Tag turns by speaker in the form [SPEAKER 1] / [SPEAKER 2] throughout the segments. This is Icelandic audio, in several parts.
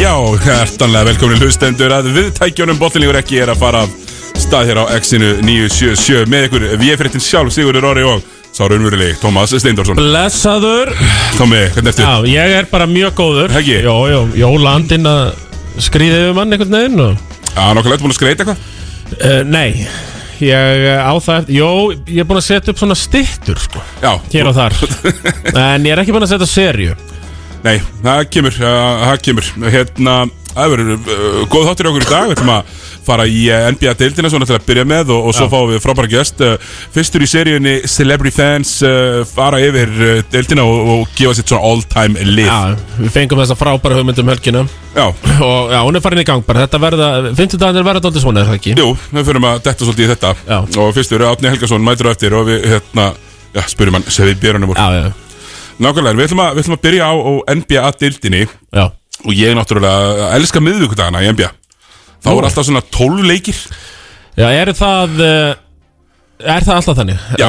[SPEAKER 1] Já, hærtanlega velkomin hlustendur að viðtækjunum Bottinlífur ekki er að fara af stað hér á X-inu 977 með ykkur VF-réttin sjálf Sigurður Orri og sá raunverulegi Tómas Steindorsson
[SPEAKER 2] Blessaður
[SPEAKER 1] Tómi, hvernig ertu?
[SPEAKER 2] Já, ég er bara mjög góður
[SPEAKER 1] Ekki?
[SPEAKER 2] Jó, jó, jó, landinn að skrýði yfir mann einhvern veginn og
[SPEAKER 1] Já, nokkulega, ertu búin að skreita eitthvað?
[SPEAKER 2] uh, Nei, ég eh, á það eftir Jó, ég er búin að setja upp svona stittur sko
[SPEAKER 1] Já,
[SPEAKER 2] Hér og þar En ég er ekki búin að setja serju
[SPEAKER 1] nei, það kemur, það það kemur Hérna, það verður uh, góð þáttir hjá okkur í dag Við ætlum að fara í uh, NBA-deildina svona til að byrja með og, og svo fáum við frábæra gest uh, Fyrstur í seríunni Celebrity Fans uh, fara yfir uh, deildina og, og gefa sitt svona all-time lið
[SPEAKER 2] Já, við fengum þessa frábæra hugmynd um helgina
[SPEAKER 1] Já,
[SPEAKER 2] Og já, hún er farin í gang bara Þetta verða, 50 dagarnir verða dálítið svona, er það ekki?
[SPEAKER 1] Jú, við fyrir að detta svolítið í þetta
[SPEAKER 2] Já.
[SPEAKER 1] Og fyrstur, Átni Helgason mætur á eftir Og við, hérna, já, spyrum hann Sefi Björnum úr
[SPEAKER 2] Já, já,
[SPEAKER 1] Nákvæmlega, við ætlum, að, við ætlum að byrja á, á NBA-dildinni
[SPEAKER 2] já
[SPEAKER 1] Og ég náttúrulega elska miðvikudagana í NBA Þá er alltaf svona 12 leikir
[SPEAKER 2] Já, er það, eh, er það alltaf þannig?
[SPEAKER 1] Já.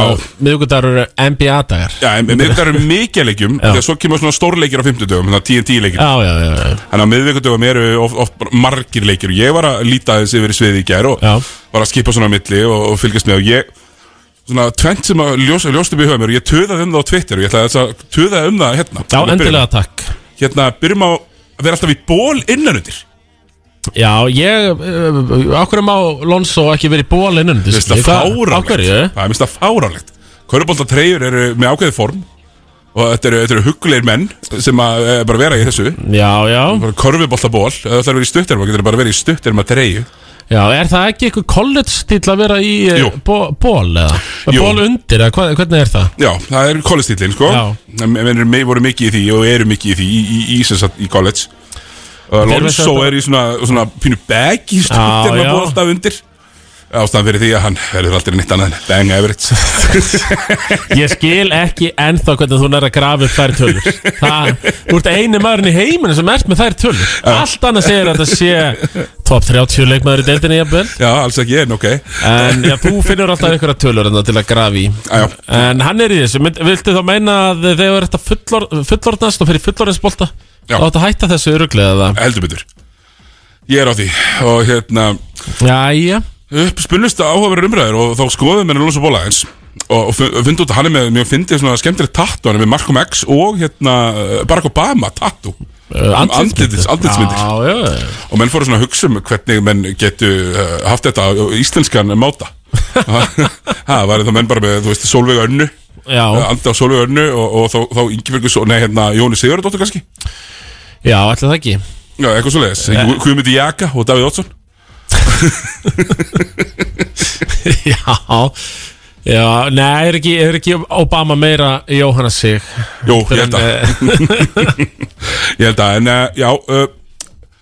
[SPEAKER 2] Miðugudagur eru NBA-dagar
[SPEAKER 1] Já, en miðvikudagar eru mikið leikjum
[SPEAKER 2] Já.
[SPEAKER 1] Þegar svo kemur svona stórleikir á 50 dögum Þannig að 10-10 leikir
[SPEAKER 2] Já, já, já, já.
[SPEAKER 1] Þannig að miðvikudögum eru oft, oft bara margir leikir og ég var að líta þessi yfir í sviði í gær og
[SPEAKER 2] Já.
[SPEAKER 1] var að skipa svona á milli og, og fylgjast með og ég svona tvent sem að ljós, ljóst upp í höfum mér og ég töðaði um það á Twitter og ég ætlaði þess að töðaði um það hérna
[SPEAKER 2] Já,
[SPEAKER 1] Þannig að
[SPEAKER 2] endilega takk
[SPEAKER 1] byrjum, Hérna, byrjum á að vera alltaf í ból innanundir
[SPEAKER 2] Já, ég uh, Akkur má Lonso ekki verið bólinn undir
[SPEAKER 1] Mér finnst það fáránlegt
[SPEAKER 2] Akkurju
[SPEAKER 1] Það finnst það fáránlegt Körubolta treyjur eru með ákveðið form og þetta eru, þetta eru huggulegir menn sem að e, bara vera í þessu
[SPEAKER 2] Já, já
[SPEAKER 1] bara körfubolta ból, það ætlar að vera í stutterma getur bara verið í stutterma treyju
[SPEAKER 2] Já, er það ekki eitthvað college stíl að vera í eh,
[SPEAKER 1] Jú.
[SPEAKER 2] bó- ból eða?
[SPEAKER 1] Jú.
[SPEAKER 2] Ból undir, eða hvað, hvernig er það?
[SPEAKER 1] Já, það er kollestýtlinn sko
[SPEAKER 2] Já.
[SPEAKER 1] Mennir með voru mikið í því og eru mikið í því í, í, í, sem sagt, í college uh,
[SPEAKER 2] Þeir veist
[SPEAKER 1] Lonzo
[SPEAKER 2] þetta-
[SPEAKER 1] er í svona, svona pínu bag í stundin
[SPEAKER 2] já.
[SPEAKER 1] að búa alltaf undir Ástæðan fyrir því að hann verður aldrei nýtt annað en Bang Everett
[SPEAKER 2] Ég skil ekki ennþá hvernig þú nær að grafa upp þær tölur Það, þú ert eini maðurinn í heiminu sem ert með þær tölur Allt annað segir að það sé top 30 leikmaður í deildinni jafnvel
[SPEAKER 1] Já, alls ekki en ok Já,
[SPEAKER 2] En já, þú finnur alltaf einhverja tölur en til að grafa í
[SPEAKER 1] já.
[SPEAKER 2] En hann er í þessu, Mynd, viltu þá meina að þegar þetta fullor, fullorðnast og fyrir fullorðinsbolta
[SPEAKER 1] Já.
[SPEAKER 2] þá áttu að hætta þessu öruglega eða
[SPEAKER 1] heldur betur Ég er á því og hérna
[SPEAKER 2] Jæja,
[SPEAKER 1] upp spunnust áhugaverður umræður og þá skoðum við Lonzo Bóla eins og, og fundi út að hann er með mjög fyndið svona skemmtilegt tattu hann er með Malcolm X og hérna uh, Barack Obama tattu
[SPEAKER 2] uh,
[SPEAKER 1] andlitsmyndir um andlitsmyndir
[SPEAKER 2] Já, já, já.
[SPEAKER 1] Og menn fóru svona að hugsa um hvernig menn getu uh, haft þetta á íslenskan máta Það var það menn bara með, þú veist, Solveig Önnu
[SPEAKER 2] Já.
[SPEAKER 1] uh, Andi á Solveig Önnu og, og þá, þá Ingebergur, nei hérna Jóni Sigurðardóttur kannski
[SPEAKER 2] já ætla það ekki
[SPEAKER 1] Já, eitthvað svo leiðis,
[SPEAKER 2] Eh.
[SPEAKER 1] Guðmundi Jaka og Davíð Ótsson
[SPEAKER 2] Já, já, nei, er ekki, er ekki Obama meira Jóhanna sig eh,
[SPEAKER 1] Jó, ég held að,
[SPEAKER 2] að
[SPEAKER 1] ég held að, en uh, já, uh,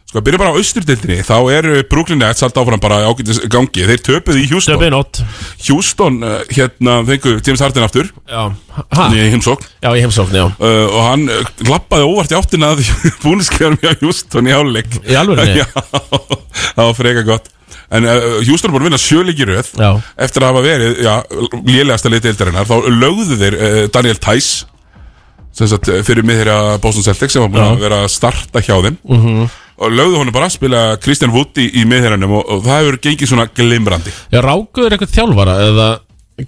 [SPEAKER 1] sko, byrja bara á austurdeildinni Þá eru Brooklyn Nets alltaf áfram bara ágætis gangi Þeir töpuðu í Houston
[SPEAKER 2] Döfið nótt
[SPEAKER 1] Houston, uh, hérna, fengu James Harden aftur
[SPEAKER 2] Já, ha,
[SPEAKER 1] í heimsókn
[SPEAKER 2] já, í heimsókn, já
[SPEAKER 1] uh, og hann uh, lappaði óvart í áttina að búniskefum hjá Houston í áleik
[SPEAKER 2] Í alvörunni?
[SPEAKER 1] Já, það var freka gott En uh, Houston er búin að vinna sjöleiki í röð
[SPEAKER 2] Já.
[SPEAKER 1] Eftir að hafa verið, já, lélegasta litið eldarinnar Þá lögðu þeir uh, Daniel Tice Sem sagt uh, fyrir mið þeirra Boston Celtics Sem var búin að vera að starta hjá þeim -hmm.
[SPEAKER 2] Mhm.
[SPEAKER 1] Og lögðu honum bara að spila Christian Wood í, í miðherranum og, og það hefur gengið svona glimrandi
[SPEAKER 2] Já, rákuður eitthvað þjálfara eða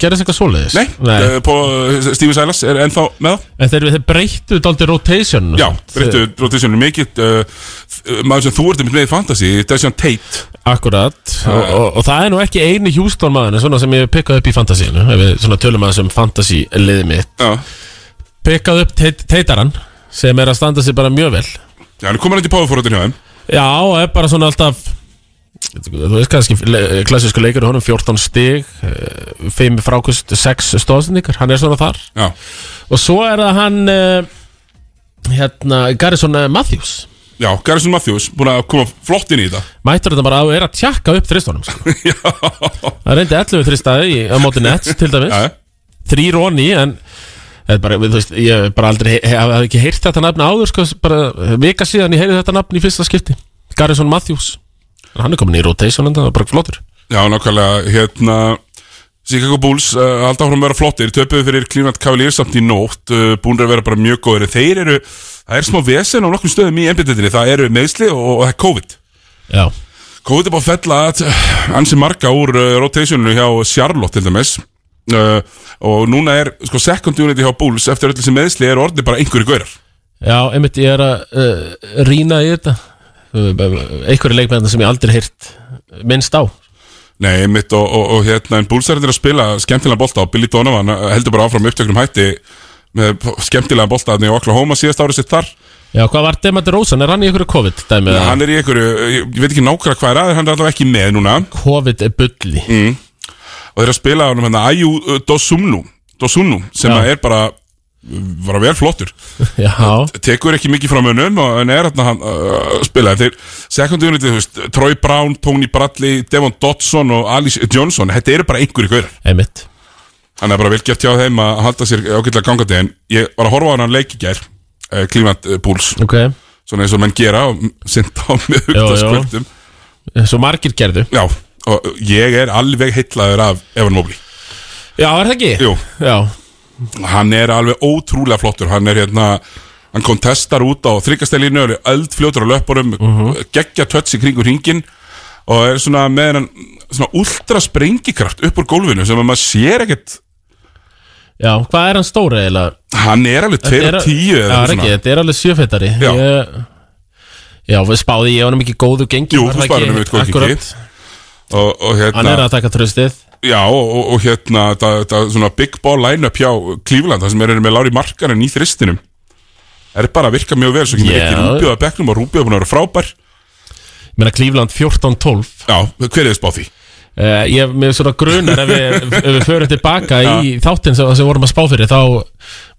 [SPEAKER 2] gerðist eitthvað svoleiðis
[SPEAKER 1] Nei, Uh, på, Stephen Silas er ennþá með það
[SPEAKER 2] En þeir, þeir breyttu dálítið rotation
[SPEAKER 1] Já, breyttu rotationinu mikið uh, uh, maður sem þú ert einmitt með í fantasy Desjón Tate
[SPEAKER 2] Akkurat og, og, og það er nú ekki eini Houston maðurinn svona sem ég hef pikkað upp í fantasíinu ef við svona tölum að sem fantasí liði mitt
[SPEAKER 1] Já,
[SPEAKER 2] pikkað upp teit, teitaran sem er að standa sig bara mjög vel
[SPEAKER 1] já hann er komin hægt í powerforðin hjá þeim
[SPEAKER 2] Já, og er bara svona alltaf þú veist kannski le- klassísku leikur honum 14 stig eh, 5 frákust, 6 stóðsendingar hann er svona þar
[SPEAKER 1] Já,
[SPEAKER 2] og svo er það hann eh, hérna Garrison eh, Matthews
[SPEAKER 1] já Garrison Matthews búin að koma flott inn í þetta
[SPEAKER 2] mættur þetta bara að er að tjakka upp þristunum sko.
[SPEAKER 1] Já,
[SPEAKER 2] það reyndi 11 þristaði í- á móti Nets til dæmis
[SPEAKER 1] já,
[SPEAKER 2] þrýr og ný en þetta er bara, þú veist, ég hef bara aldrei hef, hef ekki heyrt þetta nafn áður sko, bara vika síðan ég heyrði þetta nafn í fyrsta skipti Garrison Matthews En hann er komin í rotation en það var bara flottur
[SPEAKER 1] já, nákvæmlega hérna Chicago Bulls uh, halda áfram að vera flottir töpuðu fyrir Cleveland Cavaliers samt í nótt uh, búin að vera bara mjög góðir en þeir eru, það er smá vesen á nokkum stöðum í embjöndetinni, það eru meðsli og, og það er COVID
[SPEAKER 2] Já,
[SPEAKER 1] COVID er bara að fella að uh, ansi marga úr uh, rotationinu hjá Charlotte til dæmis uh, og núna er sko second unit hjá Bulls eftir öll þessi meðsli er orðið bara einhverju gaurar
[SPEAKER 2] já einmitt ég er að uh, rýna í þetta Uh, einhverju leikmennar sem ég aldrei heyrt minnst á
[SPEAKER 1] Nei, mitt og, og, og hérna, en Bulls er þetta að spila skemmtilega bolta og Billy Donovan eh, heldur bara áfram upptöknum hætti með skemmtilega bolta þannig í Oklahoma síðast árið sitt þar
[SPEAKER 2] Já, hvað var Demar Rosan? Er hann í einhverju COVID dæmi?
[SPEAKER 1] ja.
[SPEAKER 2] eða?
[SPEAKER 1] hann er í einhverju, eh, ég ég veit ekki nákvæmlega hvað er að hann er allavega ekki með núna
[SPEAKER 2] COVID er bulli
[SPEAKER 1] Mm. og þeir eru að spila á honum hérna Ayu uh, Dosumnu, Dosumnu sem
[SPEAKER 2] Já.
[SPEAKER 1] að er bara var að vera flottur
[SPEAKER 2] Já,
[SPEAKER 1] tekur ekki mikið frá munum og- en er hérna hann uh, spila þeir second unit, þú veist, Troy Brown, Tony Bradley Devon Dodson og Alice Johnson þetta eru bara einhverju gaurar
[SPEAKER 2] einmitt
[SPEAKER 1] Þannig að bara velgeft hjá þeim að halda sér ágætlega gangandi en ég var að horfa á hann leik í gær uh, Cleveland uh, Bulls,
[SPEAKER 2] Ok,
[SPEAKER 1] svona eins og menn gera og sint á miðugtaskvöldum
[SPEAKER 2] svo margir gerðu
[SPEAKER 1] Já, og ég er alveg heitlaður af Evan Mobley
[SPEAKER 2] Já, er það ekki?
[SPEAKER 1] Jú,
[SPEAKER 2] Já,
[SPEAKER 1] hann er alveg ótrúlega flottur hann er hérna, hann kontestar út á þryggastælinu, er eldfljótur á löpunum geggja tötts í kringur hringin og er svona með hann svona ultra sprengikraft upp úr gólfinu sem að maður sér ekkert
[SPEAKER 2] já, hvað er hann stóra eiginlega?
[SPEAKER 1] hann er alveg 2
[SPEAKER 2] Þetta er-
[SPEAKER 1] og 10
[SPEAKER 2] Já, er ekki, þetta er alveg sjöfettari
[SPEAKER 1] Já.
[SPEAKER 2] ég, Já, við spáði ég honum ekki góðu gengi
[SPEAKER 1] Jú,
[SPEAKER 2] var
[SPEAKER 1] þú
[SPEAKER 2] það
[SPEAKER 1] spáðir
[SPEAKER 2] ekki-
[SPEAKER 1] honum eitt góðu gengi.
[SPEAKER 2] Akkúrat.
[SPEAKER 1] og, og hérna
[SPEAKER 2] Hann er að taka tröstið
[SPEAKER 1] Já, og, og, og hérna, það, það svona big ball line-up hjá Cleveland, það sem er með Lári Markanen í þristinum er bara að virka mjög vel, svo kemur
[SPEAKER 2] Já.
[SPEAKER 1] ekki Rúbjó að bekknum og Rúbjó er búin að vera frábær
[SPEAKER 2] Ég meina Cleveland 14-12
[SPEAKER 1] Já, hver er þið spá því?
[SPEAKER 2] Uh, ég með svona grunar ef við, ef við förum tilbaka í þáttinn sem, sem vorum að spá fyrir þá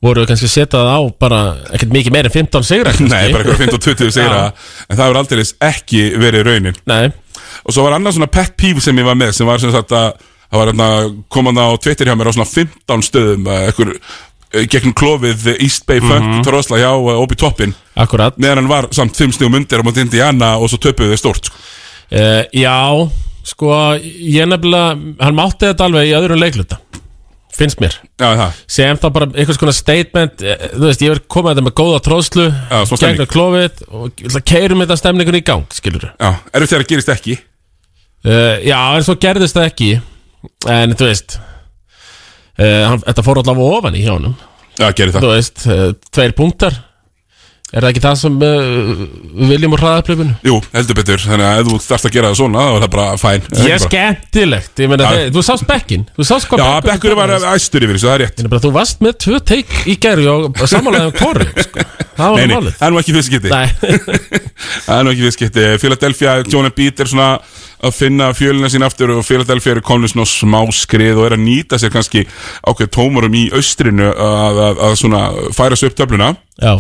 [SPEAKER 2] voru við kannski setjað á bara ekkert mikið meir en 15 sigra kannski.
[SPEAKER 1] Nei, bara eitthvað 15 og 20 segir
[SPEAKER 2] Já.
[SPEAKER 1] það en það hefur aldrei ekki verið raunin
[SPEAKER 2] Nei,
[SPEAKER 1] og svo var annað svona pet peeve sem ég var með sem var sem sagt að það var hérna koman á Twitter hjá mér á svona 15 stöðum eh, ekkur, eh, gegnum klofið eh, East Bay Funk
[SPEAKER 2] Mhm.
[SPEAKER 1] mm hjá eh, Obi Toppin
[SPEAKER 2] akkurat
[SPEAKER 1] meðan hann var samt 5 stíðum undir á mútið Indiana og svo töpuðu þau stórt sko.
[SPEAKER 2] uh, Já, sko ég nefnilega, hann mátti þetta alveg í öðrum leikluta finnst mér,
[SPEAKER 1] Já, það
[SPEAKER 2] sem þá bara einhvers konar statement, eh, þú veist, ég verið komað þetta með góða tróðslu,
[SPEAKER 1] Já, smá stemning.
[SPEAKER 2] gegnum klófið og keirum þetta stemningun í gang, skilur
[SPEAKER 1] Já, erfitt þegar það gerist ekki
[SPEAKER 2] Uh, já, en svo gerðist það ekki En þú veist uh, hann, Þetta fór allavega ofan í hjá honum
[SPEAKER 1] Já, gerir það
[SPEAKER 2] Þú veist, uh, tveir punktar Er það ekki það sem uh, við viljum úr hraðaplöfinu?
[SPEAKER 1] Jú, heldur betur, þannig að ef þú þarfst að gera það svona þá er það bara fæn
[SPEAKER 2] Ég er skemmtilegt Ég meina,
[SPEAKER 1] Já.
[SPEAKER 2] þið, þú sást bekkin Þú sást hvað
[SPEAKER 1] Já, bekkur var æstur yfir þessu, það er rétt
[SPEAKER 2] Ég nefnilega, Þú varst með tvö teik í gæri og samanlega um kori sko.
[SPEAKER 1] Nei,
[SPEAKER 2] Það var
[SPEAKER 1] nei,
[SPEAKER 2] málið
[SPEAKER 1] það er nú ekki fyrst skytti
[SPEAKER 2] Nei,
[SPEAKER 1] Það er nú ekki fyrst skytti Philadelphia, John Beat er svona að finna fjölina sín aftur og Philadelphia er komin svona smá skrið og er að nýta sér kannski ákveð tómurum í austrinu að, að, að svona færa svo upp töfluna
[SPEAKER 2] já,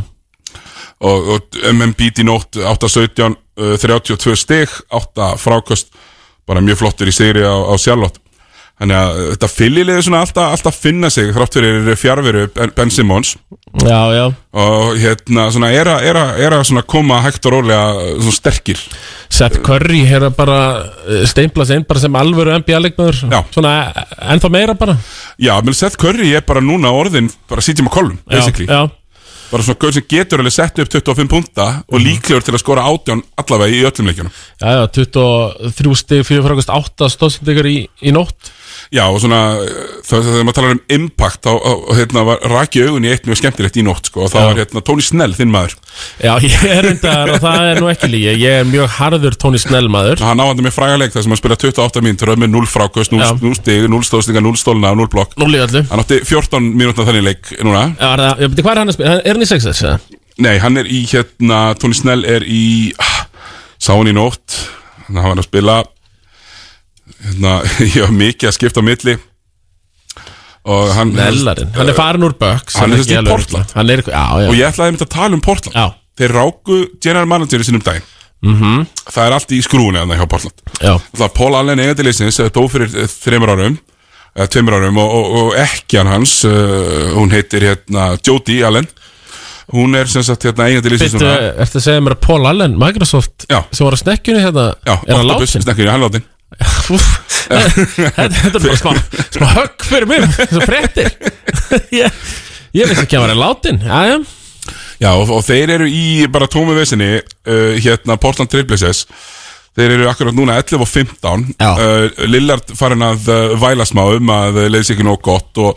[SPEAKER 1] og, og MMBT í nótt 8-17, uh, 32 stig 8 frákost bara mjög flottur í sigri á, á Charlotte þannig að uh, þetta fyllilið er svona alltaf, alltaf finna sig þrátt fyrir fjárveru Ben, ben Simmons
[SPEAKER 2] já, já
[SPEAKER 1] og hérna svona er að- er að- er að svona koma hægt og rólega uh, svona sterkir
[SPEAKER 2] Seth Curry hefur bara uh, steimpla sig inn bara sem alvöru NBA-leikmaður
[SPEAKER 1] Já.
[SPEAKER 2] Svona eh, ennþá meira bara
[SPEAKER 1] já, menn Seth Curry er bara núna orðin bara sitjum á kollum,
[SPEAKER 2] Já,
[SPEAKER 1] basically
[SPEAKER 2] Já,
[SPEAKER 1] bara svona gaur sem getur alveg sett upp 25 punta og
[SPEAKER 2] Mhm.
[SPEAKER 1] líklegur til að skora átján allavega í öllum leikjunum
[SPEAKER 2] Já, já, 23 stig, 4 frákvæmst, 8 stóðsendingar í, í nótt
[SPEAKER 1] Já og svona uh, þa- þegar maður talar um impact þá á- á- hérna, var raki augun í eitt mjög skemmtilegt í nótt sko, og það
[SPEAKER 2] Já.
[SPEAKER 1] var hérna, Tony Snell, þinn maður
[SPEAKER 2] Já, ég er reyndar og það er nú ekki lígi Ég er mjög harður Tony Snell maður
[SPEAKER 1] hann áhandi með frægarleik þar sem hann spila 28 mínútur með 0 frákust, 0,
[SPEAKER 2] Já.
[SPEAKER 1] 0 stig, 0 stóðstinga 0 stólna og 0 blokk
[SPEAKER 2] Núli öllu
[SPEAKER 1] hann átti 14 mínútna þannig leik núna
[SPEAKER 2] Já, er það, ég veit, hvað er hann að spila? Er hann í 6S? eða?
[SPEAKER 1] nei, hann er í hérna, Tony Snell er í ah, sá hann í nótt hann var að spila hérna, ég var mikið að skipta á milli og hann
[SPEAKER 2] Nellarinn, hann er farin úr Bucks
[SPEAKER 1] hann
[SPEAKER 2] sem
[SPEAKER 1] er
[SPEAKER 2] ekki
[SPEAKER 1] sem sagt í
[SPEAKER 2] alveg-
[SPEAKER 1] Portland.
[SPEAKER 2] Hann er, já, já,
[SPEAKER 1] og ég ætlaði einmitt að tala um Portland
[SPEAKER 2] Já.
[SPEAKER 1] þeir ráku general manager í sinum daginn
[SPEAKER 2] Mhm.
[SPEAKER 1] -hmm. það er allt í skrúinu þannig hjá Portland
[SPEAKER 2] já,
[SPEAKER 1] Alltaf, Paul Allen eigandi leysins dó fyrir eh, þremur árum eh, tveimur árum og, og, og ekkjan hans uh, hún heitir hérna Jody Allen hún er sem sagt hérna eigandi leysins
[SPEAKER 2] Bittu,
[SPEAKER 1] núna.
[SPEAKER 2] ertu að segja mér að Paul Allen, Microsoft
[SPEAKER 1] Já.
[SPEAKER 2] sem var á snekkjunni hérna
[SPEAKER 1] já,
[SPEAKER 2] Er hann
[SPEAKER 1] Octopus
[SPEAKER 2] látin?
[SPEAKER 1] snekkurinn, hann látin
[SPEAKER 2] Úff, þetta þetta er bara smá, smá högg fyrir mér Svo fréttir ég, ég veist ekki að vera látin Jæja,
[SPEAKER 1] Já, og, og þeir eru í bara tómi vesinni uh, hérna Portland Triplesses Þeir eru akkurat núna 11 og 15
[SPEAKER 3] Já.
[SPEAKER 1] uh, Lillard farin að uh, væla smá um að uh, leiðis ekki nóg gott og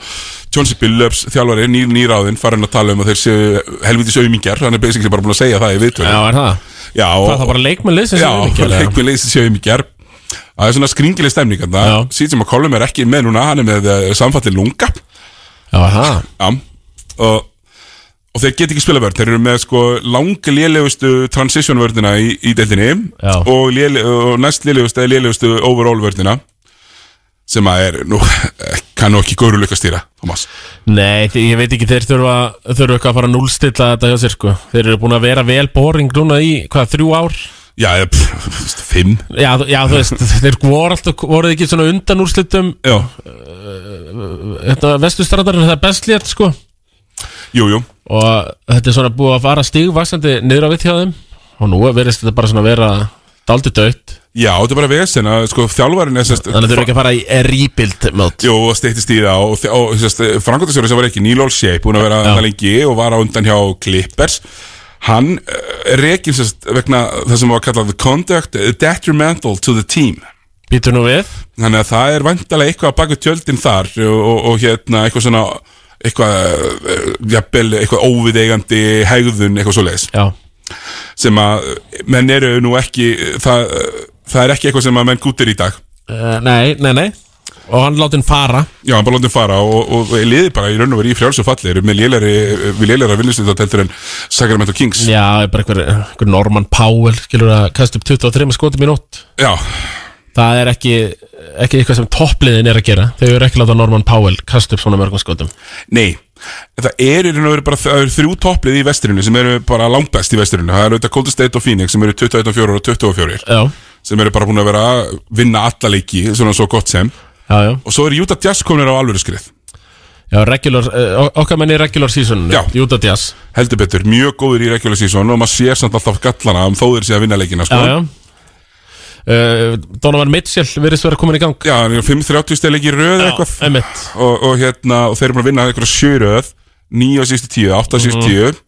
[SPEAKER 1] Johnson Billups, þjálfari, nýr nýráðinn farin að tala um að þeir séu helvitis aumingjar hann er basically bara búin að segja það í viðtölu
[SPEAKER 2] já er það
[SPEAKER 1] Já, og,
[SPEAKER 2] Það er það bara leikmenn liðsins sem er
[SPEAKER 1] Já,
[SPEAKER 2] mikið, eða?
[SPEAKER 1] leikmið leiðis séu aumingjar Það er svona skringileg stemning
[SPEAKER 2] Já.
[SPEAKER 1] Sýtum að Colum er ekki með núna hann er með uh, samfatti lunga
[SPEAKER 2] Já, er það
[SPEAKER 1] Já og, og þeir get ekki spila vörn Þeir eru með sko lang lélegustu transition vörnina í, í deildinni
[SPEAKER 2] Já.
[SPEAKER 1] og, léle, og næst lélegustu eða lélegustu overall vörnina sem að er nú kannu ekki góru lukka stýra Thomas
[SPEAKER 2] Nei, því, ég veit ekki, þeir þurfa, þurfa eitthvað að fara að núlstilla þetta hjá sér sko Þeir eru búin að vera vel boring núna í, hvað, þrjú ár?
[SPEAKER 1] Já, eða, pff, þú veist, fimm
[SPEAKER 2] Já, þú- já þú veist, þeir voru alltaf, voruð ekki svona undan úrslitum
[SPEAKER 1] Já,
[SPEAKER 2] Þetta vestustrandar er hérna, það best létt sko
[SPEAKER 1] jú, jú
[SPEAKER 2] og þetta er svona búið að fara stigvaksandi niður á við hjá þeim og nú verðist þetta bara svona að vera daldi dött
[SPEAKER 1] Já, þetta er bara vesen að sko þjálfarinn er sérst
[SPEAKER 2] þannig að þau eru ekki að fara í rebuild mót
[SPEAKER 1] Jú, og steyttist í það og, þe- og frangöndastjóri sem var ekki Neil Olshay búin að vera það lengi og var á undan hjá Clippers hann uh, rekin sérst vegna það sem var kallað the conduct detrimental to the team
[SPEAKER 2] býtu nú við
[SPEAKER 1] þannig að það er vandalega eitthvað að baka tjöldin þar og, og, og hérna eitthvað svona eitthvað, uh, jafnvel, eitthvað óviðeigandi hegðun, eitthvað svo leiðis
[SPEAKER 2] já,
[SPEAKER 1] sem að uh, menn eru nú ekki það, uh, það er ekki eitthvað sem að menn gútir í dag
[SPEAKER 2] uh, nei, nei, nei og hann láti hann fara
[SPEAKER 1] Já, hann bara látið fara og, og, og liði bara í raun og veri í frjáls og falli eru með lélæri, við lélæra vinnustöldatöldur en Sacramento Kings Já,
[SPEAKER 2] já, bara einhver, einhver Norman Powell skilur að kasta upp 23 skotum í nótt það er ekki, ekki eitthvað sem toppliðin er að gera þau eru ekki að láta Norman Powell kasta upp svona mörgum skotum
[SPEAKER 1] nei En Það eru í raun og veri bara það eru þrjú topplið í vesturinu sem eru bara langbest í vesturinu Það eru auðvitað Golden State og Phoenix sem eru 21 og 24
[SPEAKER 2] já,
[SPEAKER 1] sem eru bara búin að vera að vinna alla leiki svona svo gott sem og
[SPEAKER 2] já, já,
[SPEAKER 1] svo eru Utah Jazz komin á alvöru skrið
[SPEAKER 2] já regular, uh, okkar menni regular season
[SPEAKER 1] Já.
[SPEAKER 2] Utah Jazz
[SPEAKER 1] heldur betur, mjög góður í regular season og maður sér samt alltaf gallana um þó þeir sé að vinna leikina sko.
[SPEAKER 2] já, já. Uh, Donovan Mitchell virðist vera komin í gang
[SPEAKER 1] já, hann er 5-30 stel leiki í röð eða eitthvað
[SPEAKER 2] einmitt
[SPEAKER 1] og, og hérna og þeir eru búin að vinna einhverja sjöröð 9 og sístu 10, 8 og sístu 10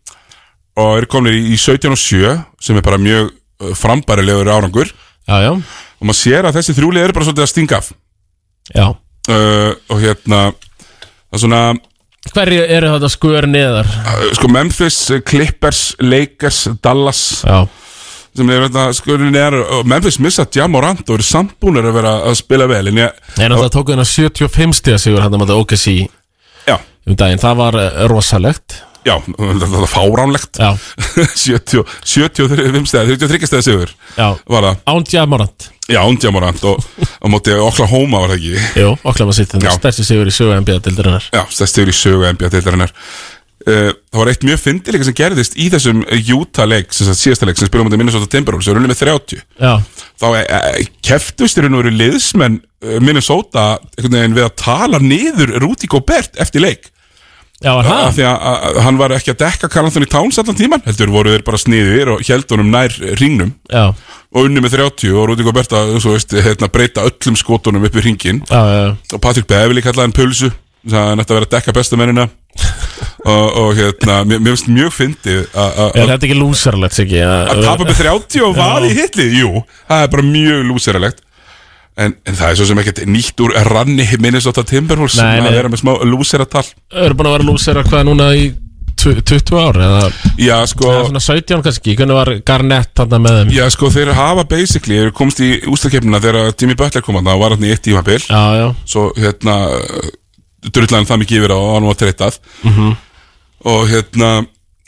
[SPEAKER 1] og eru komin í, í 17 og 7 sem er bara mjög uh, frambærilegur árangur
[SPEAKER 2] Já, já,
[SPEAKER 1] og maður sér að þessi þrjúlið eru bara svolítið að stinga af
[SPEAKER 2] já
[SPEAKER 1] uh, og hérna það er svona,
[SPEAKER 2] Hverju eru þetta skur neðar?
[SPEAKER 1] uh, sko Memphis uh, Clippers, Lakers, Dallas
[SPEAKER 2] Já,
[SPEAKER 1] sem er þetta, sko, er, og Memphis missa Jamorant og eru sambúnir að vera að spila vel en ég,
[SPEAKER 2] en það tók hérna 75 stíða sigur hann að maður OKC
[SPEAKER 1] já,
[SPEAKER 2] um daginn, það var eh, rosalegt
[SPEAKER 1] já þetta er fáránlegt
[SPEAKER 2] Já,
[SPEAKER 1] 70, 75 stæða, 33 stæða sigur
[SPEAKER 2] já,
[SPEAKER 1] var það
[SPEAKER 2] ándja morant
[SPEAKER 1] Já, Undjamorant og á móti Oklahoma var það ekki
[SPEAKER 2] Jú, okkar maður sitt, þetta
[SPEAKER 1] Já.
[SPEAKER 2] er stærsti sigur í sögu NBA-dildarinnar
[SPEAKER 1] Já, stærst yfir í sögu NBA-deildarinnar uh, Það var eitt mjög fyndið líka sem gerðist í þessum Utah-leik, sem sagt síðasta leik sem spilum á móti Minnesota Timberwolves, sem runni með 30
[SPEAKER 2] Já,
[SPEAKER 1] þá eh, eh, keftust í raun og veru liðsmenn eh, Minnesota einhvern veginn við að tala niður Rudy Gobert eftir leik
[SPEAKER 2] já, er
[SPEAKER 1] af
[SPEAKER 2] það?
[SPEAKER 1] því að, að, að hann var ekki að dekka Karl Anthony Towns allan tíman, heldur voru þeir bara sniður og held honum nær ringnum
[SPEAKER 2] Já,
[SPEAKER 1] og unni með 30 og Rudy Gobert að, svo veist, hérna, breyta öllum skotunum upp í ringin
[SPEAKER 2] já, já, já.
[SPEAKER 1] og Patrik Beverly kallaði hann pulsu þannig að hann ætti að vera að dekka bestu mennina og, og hérna, mér mér finnst mjög fyndið að- að
[SPEAKER 2] Er þetta ekki lúsarlegt, Siggi?
[SPEAKER 1] að
[SPEAKER 2] Að
[SPEAKER 1] tapa með 30 og var í hitlið jú, það er bara mjög lúseralegt en, en það er svo sem ekkert nýtt úr ranni Minnesota Timberwolves
[SPEAKER 2] Nei,
[SPEAKER 1] sem
[SPEAKER 2] nei.
[SPEAKER 1] að vera með smá lúseratal
[SPEAKER 2] Eru búin að vera lúsar hvað núna í tv- 20 ár eða
[SPEAKER 1] já sko,
[SPEAKER 2] eða svona 17 kannski, hvernig var Garnett þarna með þeim?
[SPEAKER 1] já sko, þeir hafa basically, þeir komst í ústakefnina þegar Jimmy Butler kom að það var hann í eitt tímabil
[SPEAKER 2] Já, já,
[SPEAKER 1] svo hérna drullan það mikið yfir á og hann var treytað
[SPEAKER 2] Mhm.
[SPEAKER 1] og hérna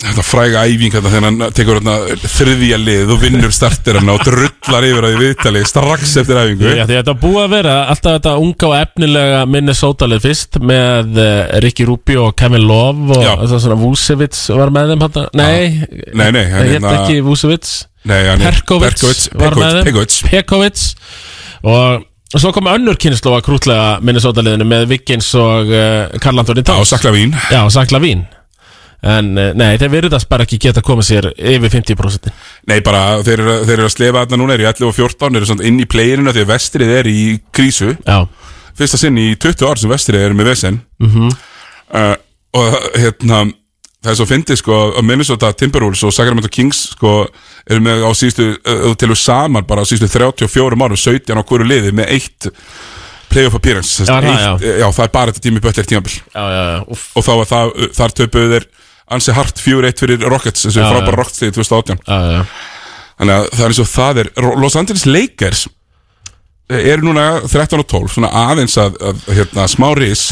[SPEAKER 1] þetta fræga æfing hérna þegar hann tekur hérna, þriðja lið og vinnur starterana og drullar yfir á því viðtali strax eftir æfingu
[SPEAKER 2] Já, því þetta búið að vera alltaf þetta unga og efnilega Minnesota-lið fyrst með uh, Ricky Rubio og Kevin Love og
[SPEAKER 1] Já.
[SPEAKER 2] það svona Vucevic var með þeim hann Nei,
[SPEAKER 1] Nei, nei, hann
[SPEAKER 2] það hétt
[SPEAKER 1] hérna-
[SPEAKER 2] ekki Vucevic
[SPEAKER 1] Nei, hann er
[SPEAKER 2] Perkovic,
[SPEAKER 1] Perkovic,
[SPEAKER 2] var með
[SPEAKER 1] Perkovic,
[SPEAKER 2] þeim
[SPEAKER 1] Perkovic.
[SPEAKER 2] Pekovic og svo kom önnur kynnslóa krútlega Minnesota-liðinu með Vikings og uh, Karl Antoni
[SPEAKER 1] Já,
[SPEAKER 2] Towns
[SPEAKER 1] sakla vín
[SPEAKER 2] Já, og Sakla Vín En eh, nei, þeir virðast bara ekki geta komið sér yfir 50%
[SPEAKER 1] Nei, bara þeir eru, þeir eru að slefa þarna núna, eru í 11 og 14, eru samt inn í playinuna því að vestrið er í krísu.
[SPEAKER 2] Já,
[SPEAKER 1] Fyrsta sinn í 20 ár sem vestrið er með vesen. Mm
[SPEAKER 2] Mhm.
[SPEAKER 1] -hmm. og hérna, það er svo fyndið sko að Minnesota Timberwolves og Sacramento Kings sko eru með á síðustu, uh, til og saman bara á síðustu 34 árum, 17 á hverju liði með eitt playoff appearance. sem sagt,
[SPEAKER 2] Já, það,
[SPEAKER 1] eitt, eh, já. það er bara þetta tími böllir tímabil.
[SPEAKER 2] já, já, já. Úff,
[SPEAKER 1] Og þá var það, uh, þar töpuðu þeir ansi hart 4-1 fyrir Rockets, þessu frábæra Rockets í 2018.
[SPEAKER 2] já, já, já.
[SPEAKER 1] Þannig að það er eins og það er Los Angeles Lakers eh, eru núna 13 og 12 svona aðeins að, að hérna, smá ris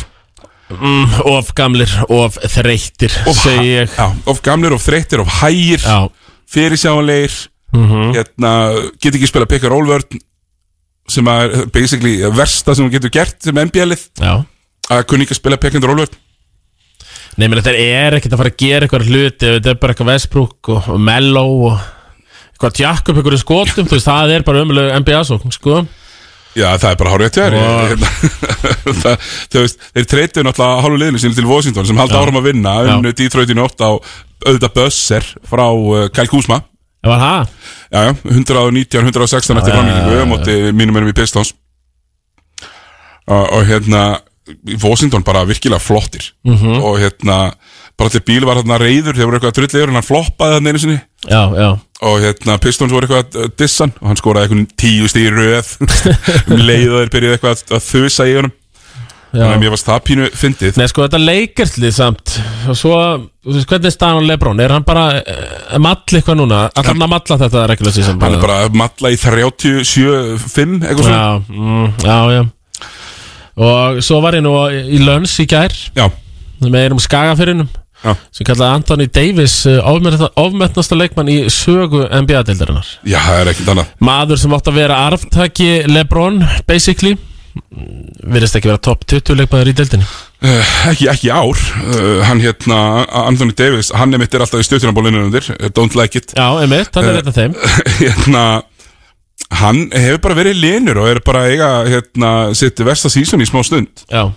[SPEAKER 2] Of gamlir, of þreytir segi ég
[SPEAKER 1] já, of gamlir, of þreyttir, of hægir
[SPEAKER 2] Já,
[SPEAKER 1] fyrirsjáanleir hérna, get ekki spila pick and roll vörn sem að er basically versta sem hún getur gert sem NBA-lið
[SPEAKER 2] já
[SPEAKER 1] að kunni ekki að spila pick and roll vörn
[SPEAKER 2] Nei, menn þetta er ekkert að fara að gera eitthvað hluti ef þetta er bara eitthvað Westbrook og og Mello og eitthvað Jakob, eitthvað skotum þú veist, það er bara umlega NBA sókn, sko
[SPEAKER 1] Já, það er bara hárið eftir
[SPEAKER 2] Og-
[SPEAKER 1] hérna, það- Þú veist, þeir treytu náttúrulega hálfu liðinu sinni til Washington sem halda áram að vinna unnu Detroit í nótt á auðvitað Bösser frá uh, Kyle Kuzma
[SPEAKER 2] Það var það
[SPEAKER 1] Já, já, 119, 116 eftir framlýningu á móti mínum erum í Pistons og, og hérna í Washington bara virkilega flottir
[SPEAKER 2] Mhm.
[SPEAKER 1] -hmm. og hérna bara til bíl var hérna reyður, þeir voru eitthvað drullegur en hann floppaði þarna einu sinni
[SPEAKER 2] Já, já,
[SPEAKER 1] og hérna Pistons voru eitthvað að dissan og hann skoraði eitthvað tíu stíð röð um leið og þeir byrjuði eitthvað að, að þusa í honum þannig að
[SPEAKER 2] já.
[SPEAKER 1] mér varst það pínu fyndið
[SPEAKER 2] Nei, sko, þetta leikerslið samt og svo, þú veist, hvernig er staðan á Lebron er hann bara eh, að malla eitthvað núna allar hann að malla þetta reglulega síðan
[SPEAKER 1] hann er bara að matla í 37-5 eitthvað svona
[SPEAKER 2] Já, mm, já, já Og svo var ég nú í Löns í gær
[SPEAKER 1] já,
[SPEAKER 2] með einum skagafyrinum
[SPEAKER 1] já,
[SPEAKER 2] sem kallaði Anthony Davis eh, ofmetna- ofmetnasta leikmann í sögu NBA-deildarinnar
[SPEAKER 1] já, það er ekkert annað
[SPEAKER 2] Maður sem átti að vera arftaki Lebron, basically Mm, virðist ekki vera topp 20 leikmannur í deildinni
[SPEAKER 1] Uh, ekki, ekki í ár uh, hann hérna, Anthony Davis hann er mitt er alltaf í stjóttunarbólinu undir uh, don't like it
[SPEAKER 2] Já, einmitt, þannig er þetta þeim
[SPEAKER 1] hérna, hann hefur bara verið linur og er bara að eiga hérna, sitt versta sísun í smá stund
[SPEAKER 2] Já,